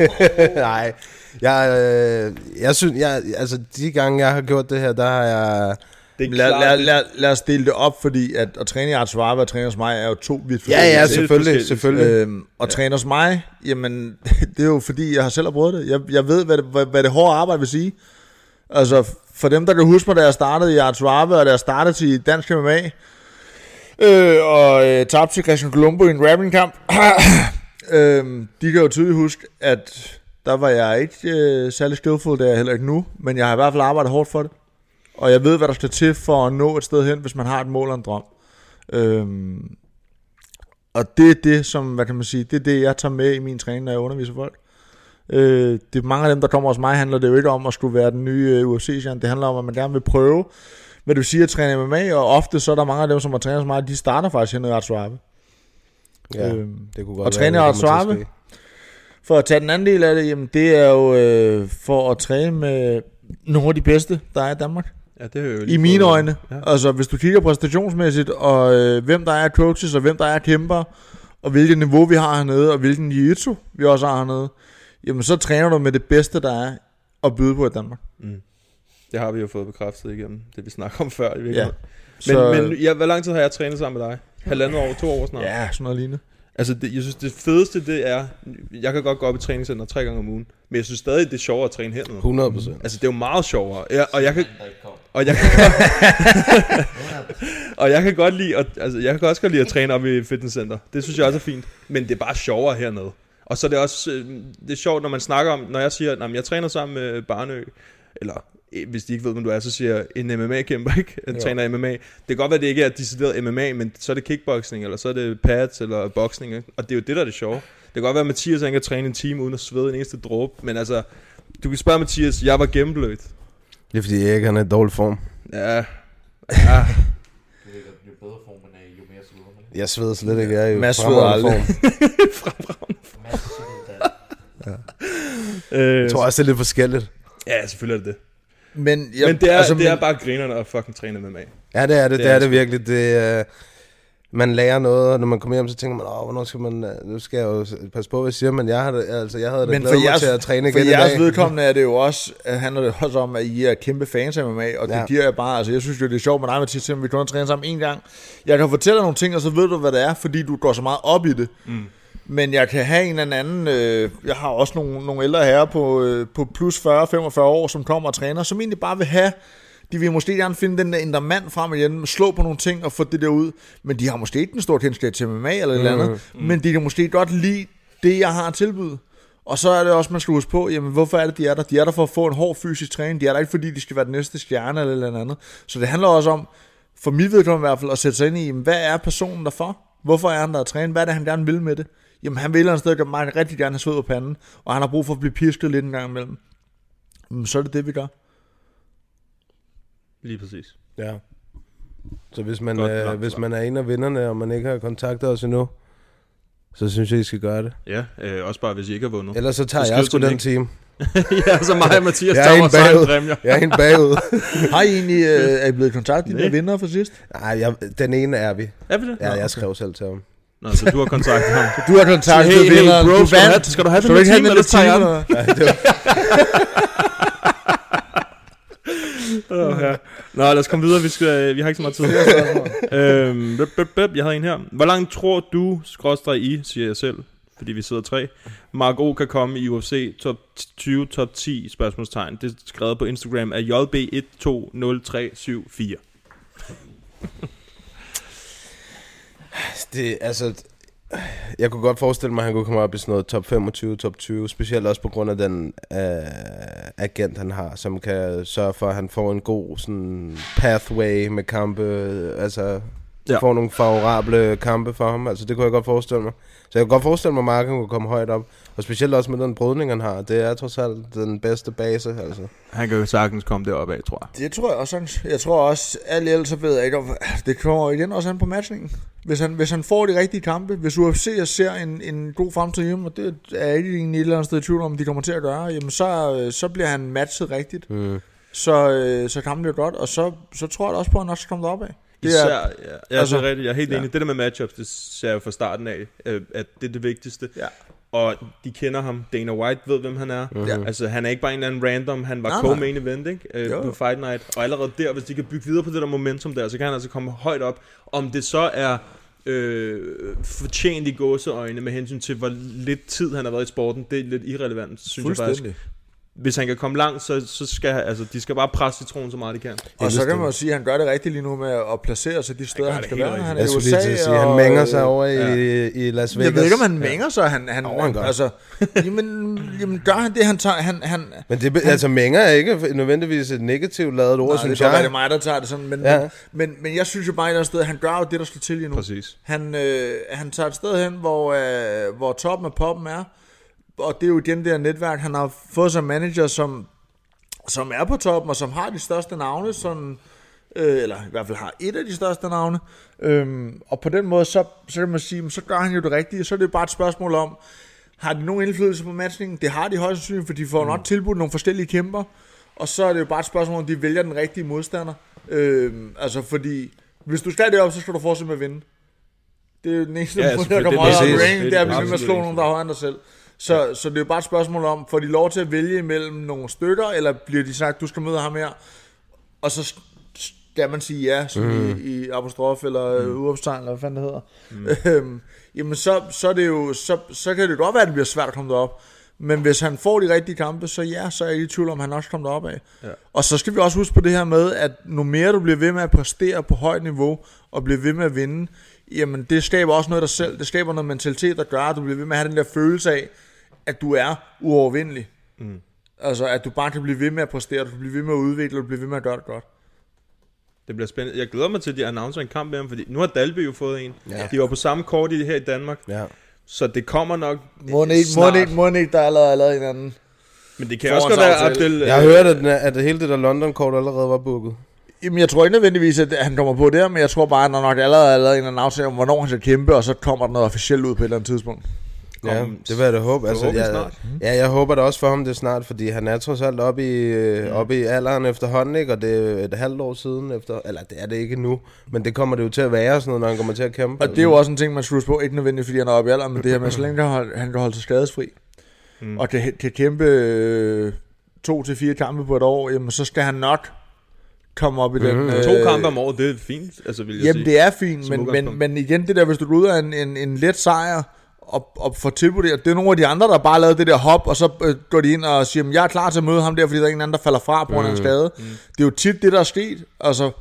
S10: Nej. Jeg, øh, jeg synes, jeg, altså de gange, jeg har gjort det her, der har jeg...
S11: Det lad, lad, lad, lad os dele det op, fordi at, at træne i Art Suave og træne hos mig er jo to vidt
S10: Ja,
S11: forskellige
S10: ja,
S11: ting.
S10: selvfølgelig, selvfølgelig.
S11: Øhm, og ja. træne hos mig, jamen, det er jo fordi, jeg har selv har prøvet det. Jeg, jeg ved, hvad det, hvad, hvad det hårde arbejde vil sige. Altså, for dem, der kan huske mig, da jeg startede i Art Suave, og da jeg startede til Dansk MMA, øh, og øh, tabte til Christian Colombo i en rappingkamp, øh, de kan jo tydeligt huske, at der var jeg ikke øh, særlig skillful, det er jeg heller ikke nu, men jeg har i hvert fald arbejdet hårdt for det. Og jeg ved, hvad der skal til for at nå et sted hen, hvis man har et mål og en drøm. Øhm, og det er det, som, hvad kan man sige, det er det, jeg tager med i min træning, når jeg underviser folk. Øh, det er mange af dem, der kommer hos mig, handler det jo ikke om at skulle være den nye øh, ufc -stjerne. Det handler om, at man gerne vil prøve, hvad det vil sige at træne MMA, og ofte så er der mange af dem, som har trænet hos mig, de starter faktisk hernede i Artsvarpe.
S10: Ja, det kunne godt være,
S11: Og træne i
S10: det kommer til at
S11: Artsvarpe.
S10: ske.
S11: Øh, For at tage den anden del af det, jamen det er jo øh, for at træne med nogle af de bedste, der er i Danmark.
S9: Ja, det har jeg jo lige
S11: I mine
S9: fået-
S11: øjne. Ja. Altså, hvis du kigger præstationsmæssigt, og øh, hvem der er coaches, og hvem der er kæmper, og hvilket niveau vi har hernede, og hvilken jiu-jitsu vi også har hernede, jamen så træner du med det bedste, der er at byde på i Danmark.
S9: Mm. Det har vi jo fået bekræftet igennem det, vi snakker om før i virkeligheden.
S11: Ja.
S9: Men,
S11: Så-
S9: men ja, hvor lang tid har jeg trænet sammen med dig? Halvandet år, to år snart?
S11: Ja, sådan noget lignende.
S9: Altså, det, jeg synes, det fedeste, det er... Jeg kan godt gå op i træningscenter tre gange om ugen, men jeg synes stadig, det er sjovere at træne hernede.
S10: 100 procent.
S9: Altså, det er jo meget sjovere. Jeg, og jeg kan... Og jeg, og jeg kan godt lide... At, altså, jeg kan også godt lide at træne op i fitnesscenter. Det synes jeg også er fint. Men det er bare sjovere hernede. Og så er det også... øh, Det er sjovt, når man snakker om... Når jeg siger, at jeg træner sammen med Barnø, eller øh, hvis de ikke ved, hvem du er, så siger jeg, en MMA-kæmper, ikke? Jeg
S11: Jo.
S9: træner MMA. Det kan godt være, det ikke er decideret MMA, men så er det kickboxing, eller så er det pads, eller boksning, ikke? Og det er jo det, der er det sjove. Det kan godt være, at Mathias han kan træne en time uden at svede en eneste dråbe, men altså, du kan spørge Mathias, jeg var gennemblødt.
S10: Det er fordi, jeg ikke har en dårlig form.
S9: Ja, ja.
S10: Jeg sveder slet ikke, jeg er jo
S9: Mads sveder
S10: fremragende
S9: aldrig.
S10: form.
S9: Øh,
S10: Jeg tror også, det er lidt forskelligt.
S9: ja, selvfølgelig er det det.
S11: Men,
S9: jeg, men det er, altså,
S10: altså,
S9: det er
S10: men-
S9: bare grinerne at fucking træne MMA.
S10: Ja, det er det. Det,
S9: Det er
S10: er
S9: sgu.
S10: det virkelig. Det, øh, man lærer noget, og når man kommer hjem, så tænker man, åh, hvornår skal man... øh, Nu skal jeg jo s- passe på, hvad jeg siger, men jeg, har, det- altså, jeg havde da
S11: Men
S10: glædet
S11: for
S10: mig
S11: jeres,
S10: til at træne igen
S11: for
S10: i dag.
S11: jeres vedkommende er det jo også, øh, handler det også om, at I er kæmpe fans af MMA, og det
S10: Ja.
S11: giver jeg bare, altså jeg synes jo, det er sjovt med dig, Mathias, selvom vi kun har trænet sammen en gang. Jeg kan fortælle dig nogle ting, og så ved du, hvad det er, fordi du går så meget op i det.
S9: Mm.
S11: Men jeg kan have en eller anden, øh, jeg har også nogle, nogle ældre herrer på, øh, på plus 40-45 år, som kommer og træner, som egentlig bare vil have, de vil måske gerne finde den der indre mand frem igen, slå på nogle ting og få det der ud, men de har måske ikke den store kendskab til MMA eller et eller
S10: Mm.
S11: andet, men de kan måske godt lide det, jeg har at tilbyde. Og så er det også, man skal huske på, jamen hvorfor er det, de er der? De er der for at få en hård fysisk træning. De er der ikke, fordi de skal være den næste stjerne eller et eller andet. Så det handler også om, for mit vedkommende i hvert fald, at sætte sig ind i, jamen, hvad er personen der for? Hvorfor er han der at træne? Hvad er det, han gerne vil med det? Jamen han vil et eller andet sted gøre mig rigtig gerne have sved på panden, og han har brug for at blive pisket lidt en gang imellem. Jamen, så er det det, vi gør.
S9: Lige præcis.
S10: Ja. Så hvis man,
S9: Godt
S10: Godt, øh,
S9: nok,
S10: hvis man er en af vinderne, og man ikke har kontaktet os endnu, så synes jeg, I skal gøre det.
S9: Ja, øh, også bare hvis I ikke har vundet.
S10: Ellers så tager jeg
S9: skriv
S10: sgu
S9: til
S10: den
S9: Nick.
S10: time.
S9: ja, så mig og Mathias
S10: Jeg er
S9: tager
S10: en
S9: vores egen
S10: bagud.
S9: præmier.
S10: Jeg er en bagud.
S11: har I egentlig, øh, er I blevet kontaktet, de
S10: Nej.
S11: der vinder fra sidst?
S10: Nej, jeg, den ene er vi.
S9: Er vi det?
S10: Ja,
S9: Nå, okay.
S10: jeg skrev selv til ham.
S9: Nå, så du har kontaktet ham.
S11: Du har kontaktet
S9: hey, hey,
S11: vinderen.
S9: bro,
S11: Du
S9: skal, du
S11: vandt.
S9: have, skal du have
S11: Skal
S9: den
S11: du
S9: her
S11: ikke have
S9: time,
S11: den
S9: eller tager jeg
S11: der
S9: den?
S11: time, eller
S9: Åh, ja. Mm. Nå, lad os komme videre. Vi, skal, øh, vi har ikke så meget tid. øhm, bøb, bøb, bøb, jeg havde en her. Hvor langt tror du, skråstrej i, siger jeg selv, fordi vi sidder tre, Mark O kan komme i UFC top 20, top 10, spørgsmålstegn. Det er skrevet på Instagram af JB120374.
S10: Det, altså, jeg kunne godt forestille mig, at han kunne komme op i sådan noget top 25, top 20, specielt også på grund af den øh, agent, han har, som kan sørge for, at han får en god sådan, pathway med kampe, øh, altså
S9: Ja.
S10: ja. får nogle favorable kampe for ham, altså det kunne jeg godt forestille mig. Så jeg kunne godt forestille mig, at Marken kunne komme højt op, og specielt også med den brydning, han har, det er trods alt den bedste base, altså.
S9: Han kan jo sagtens komme deroppe af, tror jeg.
S11: Det tror jeg også. han- Jeg tror også, alt i alt, så ved jeg ikke, om det kommer igen også an på matchningen. Hvis han, hvis han får de rigtige kampe, hvis UFC ser en, en god fremtid hjemme, og det er jeg ikke egentlig et eller andet sted i tvivl om, de kommer til at gøre, jamen så, øh, så bliver han matchet rigtigt.
S10: Mm.
S11: Så, øh, så kampen bliver godt, og så, så tror jeg da også på, at han også kommer derop af.
S9: Især, ja, ja, altså, rigtigt, jeg er helt ja. enig. Det der med matchups, det ser jeg jo fra starten af, øh, at det er det vigtigste.
S11: Ja.
S9: Og de kender ham. Dana White ved, hvem han er.
S11: Ja.
S9: Altså, han er ikke bare en eller anden random. Han var
S11: Nej, nej.
S9: co-main event ikke? Øh,
S11: Jo.
S9: på Fight Night. Og allerede der, hvis de kan bygge videre på det der momentum der, så kan han altså komme højt op. Om det så er øh, fortjent i gåseøjne med hensyn til, hvor lidt tid han har været i sporten, det er lidt irrelevant, synes jeg faktisk.
S11: Fuldstændig.
S9: Hvis han kan komme langt, så, så skal han- altså, de skal bare presse citronen så meget de kan.
S11: Og så kan man jo sige, at han gør det rigtigt lige nu med at placere sig de steder, han, han
S9: det
S11: skal
S9: helt
S11: være.
S9: rigtigt.
S11: Han er
S10: Jeg
S11: i
S10: skulle
S11: USA,
S10: lige til at sige, han
S11: og,
S10: mænger
S11: øh,
S10: sig over i, i Las Vegas.
S11: Jeg ved ikke, om han
S10: Ja.
S11: mænger sig. Han, han,
S10: Åh, han gør.
S11: altså, jamen, jamen, gør han det, han tager? Han, han, Nej,
S10: Men det, be- altså, mænger er ikke nødvendigvis et negativt lavet ord,
S11: det kan
S10: synes
S11: godt være,
S10: jeg.
S11: det er mig, der tager det sådan, men,
S10: Ja.
S11: ja. men, men, men jeg synes jo bare et eller andet sted, han gør jo det, der skal til lige nu.
S9: Præcis.
S11: Han, øh, han tager et sted hen, hvor, øh, hvor toppen af poppen er, og det er jo igen det her netværk, han har fået som manager, som, som er på toppen, og som har de største navne, sådan, øh, eller i hvert fald har et af de største navne. Øhm, og på den måde, så, så kan man sige, jamen, så gør han jo det rigtige, så er det jo bare et spørgsmål om, har de nogen indflydelse på matchningen? Det har de højst sandsynligt, for de får mm. nok tilbudt nogle forskellige kæmper, og så er det jo bare et spørgsmål, om de vælger den rigtige modstander. Øhm, altså fordi, hvis du skal derop, så skal du fortsætte med at vinde. Det er jo den eneste
S9: Ja,
S11: ja, måde, der
S9: selvfølgelig,
S11: kommer
S9: det er
S11: højere
S9: præcis.
S11: op i ranking,
S9: Det er
S11: det er,
S9: det
S11: hvis vi kan
S9: absolut
S11: slå
S9: eneste.
S11: nogen, der er højere end dig selv. Så, ja. så det er jo bare et spørgsmål om, får de lov til at vælge mellem nogle stykker, eller bliver de sagt, du skal møde ham her, og så s- s- skal man sige ja, som mm. i, i apostrof eller mm. udopstegn, eller hvad fanden det hedder, mm. jamen så, så, er det jo, så, så kan det godt være, at det bliver svært at komme derop. Men hvis han får de rigtige kampe, så ja, så er jeg ikke i tvivl om, at han også kommer derop af. Ja. Og så skal vi også huske på det her med, at nu mere du bliver ved med at præstere på højt niveau, og bliver ved med at vinde, jamen det skaber også noget af dig selv. Det skaber noget mentalitet, der gør, at du bliver ved med at have den der følelse af, at du er uovervindelig. Mm. Altså, at du bare kan blive ved med at præstere, du kan blive ved med at udvikle, du bliver ved med at gøre det godt.
S9: Det bliver spændende. Jeg glæder mig til, at de annoncerer en kamp med ham, fordi nu har Dalby jo fået en. Ja. De var på samme kort i det her i Danmark.
S10: Ja.
S9: Så det kommer nok
S11: Mon ikke, mon ikke, mon ikke, der allerede er lavet en anden.
S9: Men det kan også godt være, Abdel...
S10: Jeg har hørt, at, den er-
S11: øh,
S10: at det hele det der London-kort allerede var booket.
S11: Jamen, jeg tror ikke nødvendigvis, at han kommer på der, men jeg tror bare, at der nok allerede er lavet en eller anden aftale om, hvornår han skal kæmpe, og så kommer der noget officielt ud på et eller andet tidspunkt.
S10: Ja, det vil jeg da håbe. Altså,
S11: Forhåbentlig
S10: jeg,
S11: snart. Mhm.
S10: ja, jeg håber da også for ham det er snart, fordi han er trods alt oppe i, øh, oppe i alderen efterhånden, ikke? og det er et halvt år siden efter, eller det er det ikke nu, men det kommer det jo til at være, sådan noget, når han kommer til at kæmpe.
S11: Og det er jo også en ting, man skal huske på, ikke nødvendigvis, fordi han er oppe i alderen, men det her med, så længe han kan holde- han kan holde sig skadesfri, mm. og kan, kan kæmpe øh, to til fire kampe på et år, jamen så skal han nok komme op i den... øh,
S9: Mm. To kampe om året, det er fint, altså vil jeg
S11: Jamen
S9: sige.
S11: det er fint,
S9: Som
S11: men, men,
S9: udgangspunkt.
S11: men igen det der, hvis du går ud af en, en, en let sejr og, og får tilbudt det, det er nogle af de andre, der bare lavede det der hop, og så øh, går de ind og siger, "Jamen, jeg er klar til at møde ham der, fordi der er ingen anden, der falder fra på grund af en
S9: Mm.
S11: skade.
S9: Mm.
S11: Det er jo tit det, der er sket. Altså,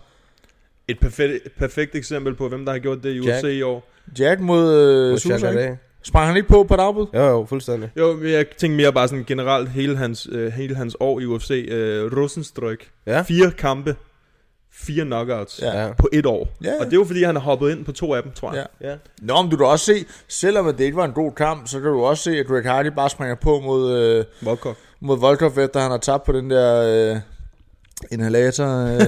S9: Et perfekt, perfekt eksempel på, hvem der har gjort det i
S11: Jack.
S9: UFC i år.
S11: Jack mod, øh,
S9: Mod
S11: Sousa,
S9: Jack
S11: ikke?
S9: Haddad.
S11: Sprang han ikke på på et afbud?
S10: Jo, jo, fuldstændig.
S9: Jo, men jeg tænker mere bare sådan generelt hele hans, øh, hele hans år i UFC. Øh, Rosenstryk.
S10: Ja.
S9: Fire kampe. Fire knockouts
S11: Ja.
S9: ja. på et år.
S11: Ja, ja.
S9: Og det er jo fordi, han har hoppet ind på to af dem, tror jeg.
S11: Ja. ja. Nå, men du kan også se, selvom at det ikke var en god kamp, så kan du også se, at Greg Hardy bare springer på mod... Øh,
S9: Volkov.
S11: Mod Volkov, efter han har tabt på den der... Øh, inhalator øh,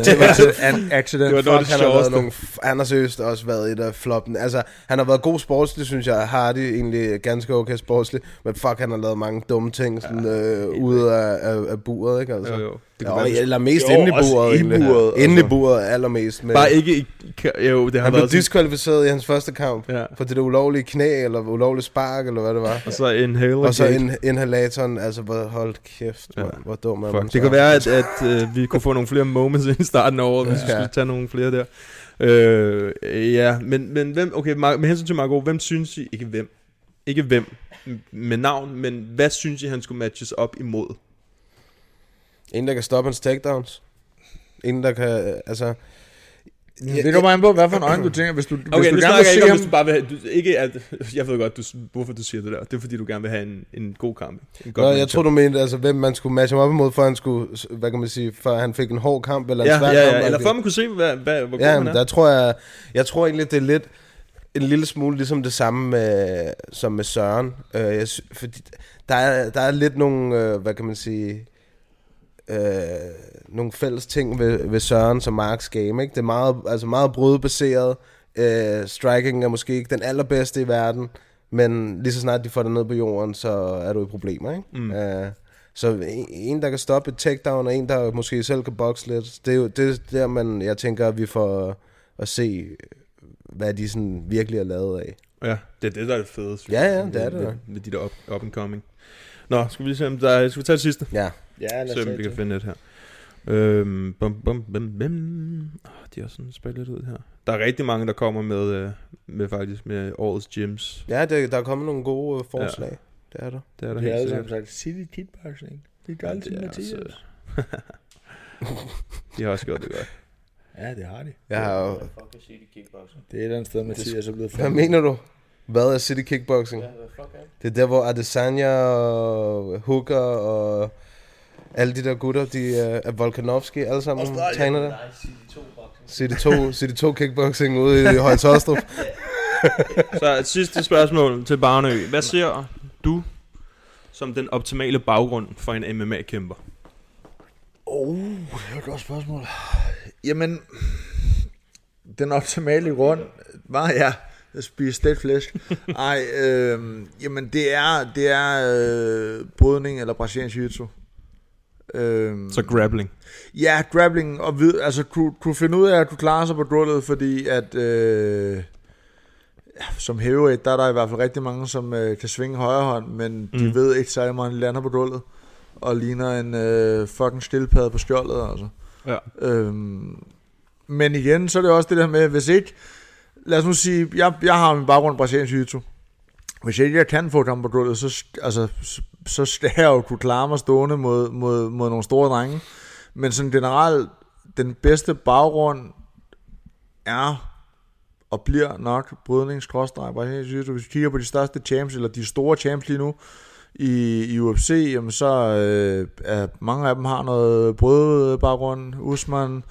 S11: an- accident.
S10: det var
S11: Fuck,
S10: noget, han, har været nogle, f- han har seriøst også været et af floppen. Altså, han har været god sportsligt, synes jeg. Hardy egentlig ganske okay sportsligt. Men fuck, han har lavet mange dumme ting sådan, øh, ude af, af, af buret, ikke? Altså.
S9: Jo, jo. Det kunne
S10: jo,
S9: være, hvis-
S10: eller mest
S9: Jo,
S10: inde i
S9: også
S10: buret.
S9: i
S10: egentlig.
S9: buret,
S10: Inde i
S9: altså.
S10: buret allermest. Med.
S9: Bare ikke i... ka- Jo, det har
S10: han blev
S9: været sådan-
S10: diskvalificeret i hans første kamp ja. for det der ulovlige knæ, eller ulovlige spark, eller hvad det var.
S9: Og så inhaler
S10: Og så
S9: gate.
S10: in- inhalatoren, altså hvor- hold kæft, ja. hvor dum er man
S9: Fuck. Det kan være, at, at øh, vi kunne få nogle flere moments ind i starten af året, hvis vi
S10: Ja.
S9: skulle tage nogle flere der. Øh, ja, men, men hvem, okay, Mar- med hensyn til Marco, hvem synes I, ikke hvem, ikke hvem m- med navn, men hvad synes I, han skulle matches op imod?
S10: En, der kan stoppe hans takedowns. En, der kan, øh, altså...
S11: Ja, det kommer an på, hvad for en øjne du tænker. Hvis du,
S9: Okay,
S11: hvis
S9: nu
S11: du
S9: snakker jeg
S11: se
S9: ikke om,
S11: ham-
S9: hvis du bare vil have, du, ikke at, jeg ved godt, du, hvorfor du siger det der. Det er fordi, du gerne vil have en, en god kamp. En
S10: Nå, jeg tror du mente, altså, hvem man skulle matche ham op imod, for han skulle, hvad kan man sige, for han fik en hård kamp, eller en
S9: ja,
S10: svær
S9: ja,
S10: kamp.
S9: ja, eller for at man kunne se, hvad, hvad, hvor god
S10: ja,
S9: han er.
S10: men der tror jeg, jeg tror egentlig, det er lidt en lille smule ligesom det samme med, som med Søren. Øh, jeg, sy- fordi der er, der er lidt nogle, øh, hvad kan man sige, øh, nogle fælles ting ved, ved Søren som Marks game. Ikke? Det er meget, altså meget brudbaseret. Øh, striking er måske ikke den allerbedste i verden, men lige så snart de får dig ned på jorden, så er du i problemer. Ikke?
S9: Mm.
S10: Øh, så en, en, der kan stoppe et takedown, og en, der måske selv kan bokse lidt. Det er jo det er der, man, jeg tænker, at vi får at se, hvad de sådan virkelig er lavet af.
S9: Ja, det er det, der er det fede. synes
S10: Ja,
S9: jeg,
S10: ja, det er det
S9: Med,
S10: da.
S9: med de der up, up and coming. Nå, skal vi lige se, om der er, skal vi tage det sidste?
S10: Ja.
S9: Ja, lad os
S14: tage
S9: vi kan
S14: det.
S9: finde et her. Øhm, bum, bum, bum, bum. Oh, de har sådan spillet lidt ud her. Der er rigtig mange, der kommer med, øh, med faktisk med årets gyms.
S10: Ja, det, der er kommet nogle gode øh, forslag. Ja. Det er der.
S9: Det er der
S11: Vi har
S9: helt
S11: alle
S9: sikkert.
S11: sammen sagt, City Kickboxing. Det gør
S9: Ja,
S11: det til
S9: det er
S11: Mathias.
S9: altså- De har også gjort det godt.
S11: Ja, det har de.
S10: Jeg har jo...
S11: Det er et eller andet sted, Mathias er blevet
S10: Hvad mener du? Hvad er City Kickboxing?
S11: Ja, hvad fuck er det?
S10: Det er der, hvor Adesanya og Hooker og alle de der gutter, de øh, er Volkanovski, alle sammen
S14: Australien.
S10: træner der.
S14: Nej, City 2 boxing.
S10: City 2, City 2 Kickboxing ude i Høje Tostrup.
S9: Så et sidste spørgsmål til Barnø. Hvad ser du som den optimale baggrund for en MMA-kæmper?
S11: Åh, oh, det var et godt spørgsmål. Jamen, den optimale grund var, ja, at spise stegt flæsk. Ej, øh, jamen det er, det er øh, brydning eller brasiliansk jiu-jitsu. Øh,
S9: Så grappling.
S11: Ja, grappling og vid, altså kunne, kunne finde ud af at kunne klare sig på gulvet, fordi at øh, ja, som heavyweight, der er der i hvert fald rigtig mange, som øh, kan svinge højre hånd, men mm. de
S9: Mm.
S11: ved ikke særlig meget, de lander på gulvet og ligner en øh, fucking stillpade på skjoldet, altså.
S9: Ja.
S11: Øhm, Men igen, så er det også det der med, hvis ikke... Lad os nu sige, jeg, jeg har min baggrund i brasiliansk jiu Hvis ikke jeg kan få kamp på gulvet, så, altså, så, så skal jeg jo kunne klare mig stående mod, mod, mod nogle store drenge. Men sådan generelt, den bedste baggrund er og bliver nok brydning, skråstreg, brasiliansk jiu Hvis vi kigger på de største champs, eller de store champs lige nu, i, i UFC, jamen så øh, er, mange af dem har noget brødbaggrund. Usman,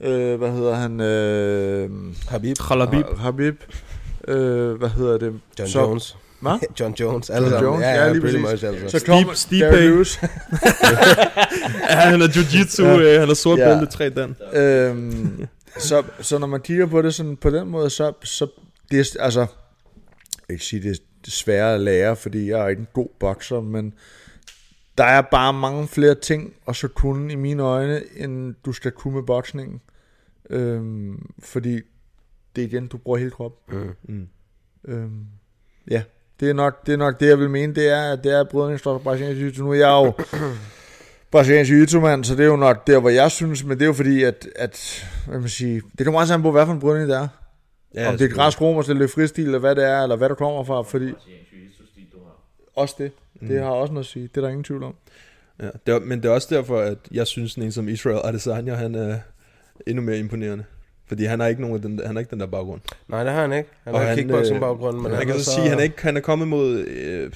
S11: øh, hvad hedder han? Øh,
S10: Habib.
S11: Khalabib. Habib. Øh, hvad hedder det?
S10: John så, Jones.
S11: Hvad?
S10: John Jones,
S11: alle John Jones, ja, ja, lige
S10: pretty much, altså.
S11: Så kom
S9: Steve, Steve ja, han er jiu-jitsu, ja. øh, han er sort ja. bælte, tre dan.
S11: Øhm, så, så når man kigger på det sådan, på den måde, så, så det er, altså, jeg kan ikke sige, det er, svære at lære, fordi jeg er ikke en god bokser, men der er bare mange flere ting og så kunne i mine øjne, end du skal kunne med boksningen. Øhm, fordi det er igen, du bruger hele kroppen. Mm. Øhm, ja, det er, nok, det er nok det, jeg vil mene, det er, det er brydningsstof og brasiliansk jiu Nu er jeg jo brasiliansk jiu mand, så det er jo nok der, hvor jeg synes, men det er jo fordi, at, at hvad man sige, det kommer også an på, hvad for en brydning det er. Ja, om det er græsk romers eller fristil, eller hvad det er, eller hvad du kommer fra, fordi... Også det. Det mm. har også noget at sige. Det er der ingen tvivl om.
S9: Ja, det er, men det er også derfor, at jeg synes, en som Israel Adesanya, han er endnu mere imponerende. Fordi han har ikke, nogen af den, han har ikke den der baggrund.
S10: Nej, det har han ikke. Han og har kickboxing baggrund. Men
S9: øh, han, han kan så sige, han er, ikke, han er kommet mod... Øh,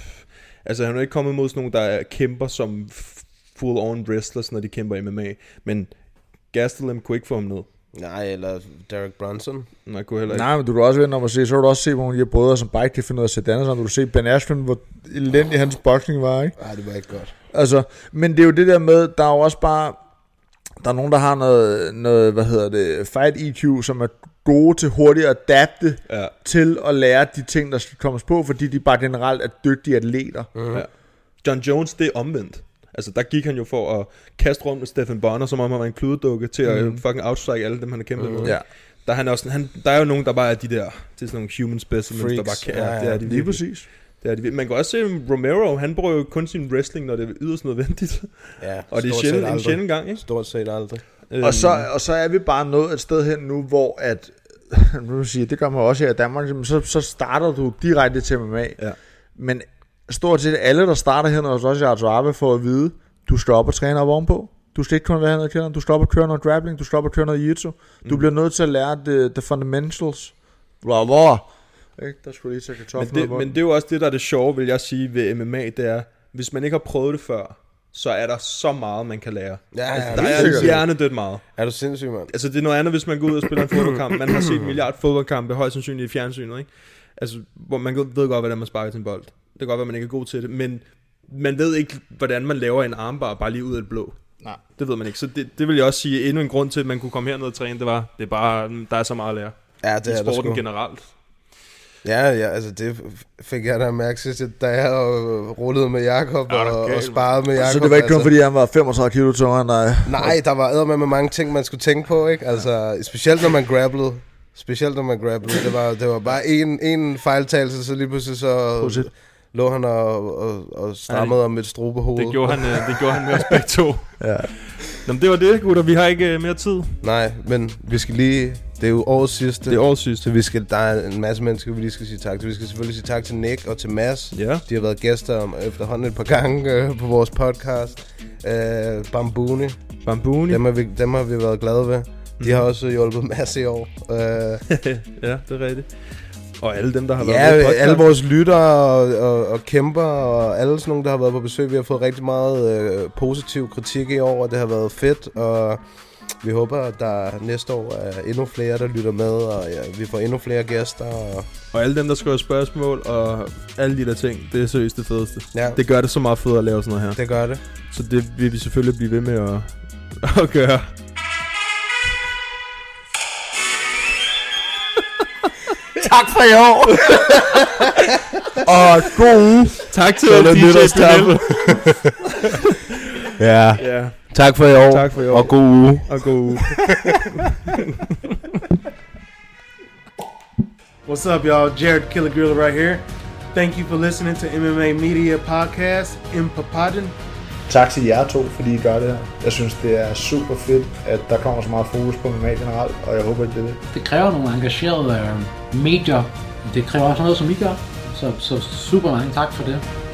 S9: altså, han er ikke kommet mod sådan nogle, der er kæmper som full-on wrestlers, når de kæmper MMA. Men Gastelum kunne ikke få ham ned.
S10: Nej, eller Derek Brunson.
S9: Nej, kunne heller
S11: ikke. Nej, men du kan også vende om at se, så vil du også se på nogle af de brødre, som bare ikke kan finde ud af at sætte andet sammen. Du kan se Ben Askren, hvor elendig oh. hans boksning var, ikke?
S10: Nej, det var ikke godt.
S11: Altså, men det er jo det der med, der er jo også bare, der er nogen, der har noget, noget hvad hedder det, fight EQ, som er gode til hurtigt at adapte ja. til at lære de ting, der skal kommes på, fordi de bare generelt er dygtige atleter.
S9: Mm-hmm. Ja. John Jones, det er omvendt. Altså, der gik han jo for at kaste rundt med Stefan Bonner, som om han var en kludedukke, til at mm. fucking outstrike alle dem, han har kæmpet mm. med.
S11: Ja.
S9: Der, er han også, han, der er jo nogen, der bare er de der, det er sådan nogle human specimens, Freaks. der bare kan.
S11: Ja, ja, det er de lige virkelig. præcis.
S9: Det er de, man kan også se Romero, han bruger jo kun sin wrestling, når det er yderst nødvendigt.
S10: Ja,
S9: og det er sjældent, en sjældent gang, ikke?
S10: Stort set aldrig.
S11: Øhm. Og, så, og så er vi bare nået et sted hen nu, hvor at, nu sige, det gør man også her i Danmark, så, så starter du direkte til MMA.
S9: Ja.
S11: Men stort set alle, der starter her hos os i Artuabe, får at vide, du skal op og træne op ovenpå. Du skal ikke kun være hernede i kælderen. Du skal op og køre noget grappling. Du skal op og køre noget jiu-jitsu. Du mm. bliver nødt til at lære the, the fundamentals. Blah, blah. Ikke? Der skulle lige tage
S9: men det, men det er jo også det, der er det sjove, vil jeg sige, ved MMA, det er, hvis man ikke har prøvet det før, så er der så meget, man kan lære.
S10: Ja, ja,
S9: altså, der er hjernedødt meget.
S10: Er du sindssyg, mand?
S9: Altså, det er noget andet, hvis man går ud og spiller en fodboldkamp. Man har set en milliard fodboldkampe, højst sandsynligt i fjernsynet, ikke? Altså, hvor man ved godt, hvordan man sparker til en bold. Det kan godt være, at man ikke er god til det, men man ved ikke, hvordan man laver en armbar bare lige ud af det blå.
S11: Nej.
S9: Det ved man ikke. Så det, det vil jeg også sige, endnu en grund til, at man kunne komme herned og træne, det var, det er bare, der er så meget at lære.
S10: Ja, det
S9: I
S10: er
S9: sporten generelt.
S10: Ja, ja, altså det fik jeg da mærke sidst, da jeg øh, rullede med Jakob ja, og, og sparede med Jakob.
S11: Så det var ikke
S10: altså.
S11: kun fordi, han var 35 kilo tungere end dig?
S10: Nej, der var med, med mange ting, man skulle tænke på, ikke? Altså, specielt når man grapplede. Specielt når man grapplede. Det var, det var bare en, en fejltagelse, så lige pludselig så... Prosit lå han og, og, og strammede ja, om et strubehoved.
S9: Det gjorde han, øh, det gjorde han med os begge to.
S11: ja.
S9: Nå, men det var det, gutter. Vi har ikke øh, mere tid.
S10: Nej, men vi skal lige... Det er jo årets sidste.
S9: Det er årets sidste.
S10: Så vi skal, der er en masse mennesker, vi lige skal sige tak til. Vi skal selvfølgelig sige tak til Nick og til Mads.
S9: Ja.
S10: De har været gæster om øh, efterhånden et par gange øh, på vores podcast. Øh, Bambuni.
S9: Bambuni. Mhm.
S10: Dem har, vi, dem har vi været glade ved. De mm. har også hjulpet masse i år. Øh.
S9: ja, det er rigtigt. Og alle dem, der har
S10: ja,
S9: været med
S10: podcast. alle vores lyttere og, og, og kæmper og alle sådan nogle, der har været på besøg. Vi har fået rigtig meget øh, positiv kritik i år, og det har været fedt. Og vi håber, at der næste år er endnu flere, der lytter med, og ja, vi får endnu flere gæster. Og,
S9: og alle dem, der skriver spørgsmål og alle de der ting, det er seriøst det fedeste.
S10: Ja.
S9: Det gør det så meget fedt at lave sådan noget
S10: her. Det gør det.
S9: Så det vil vi selvfølgelig blive ved med at, at gøre.
S10: tak for i år.
S11: og god uge.
S9: Tak til DJ Pinel.
S10: ja.
S9: ja.
S10: Tak for i år.
S9: Tak for i år.
S10: Og god uge.
S9: Og god uge.
S15: What's up, y'all? Jared Killigrill right here. Thank you for listening to MMA Media Podcast in Papadon.
S11: tak til jer to, fordi I gør det her. Jeg synes, det er super fedt, at der kommer så meget fokus på MMA generelt, og jeg håber, at det er det.
S14: Det kræver nogle engagerede øh, medier, det kræver også noget, som I gør. Så, så super mange tak for det.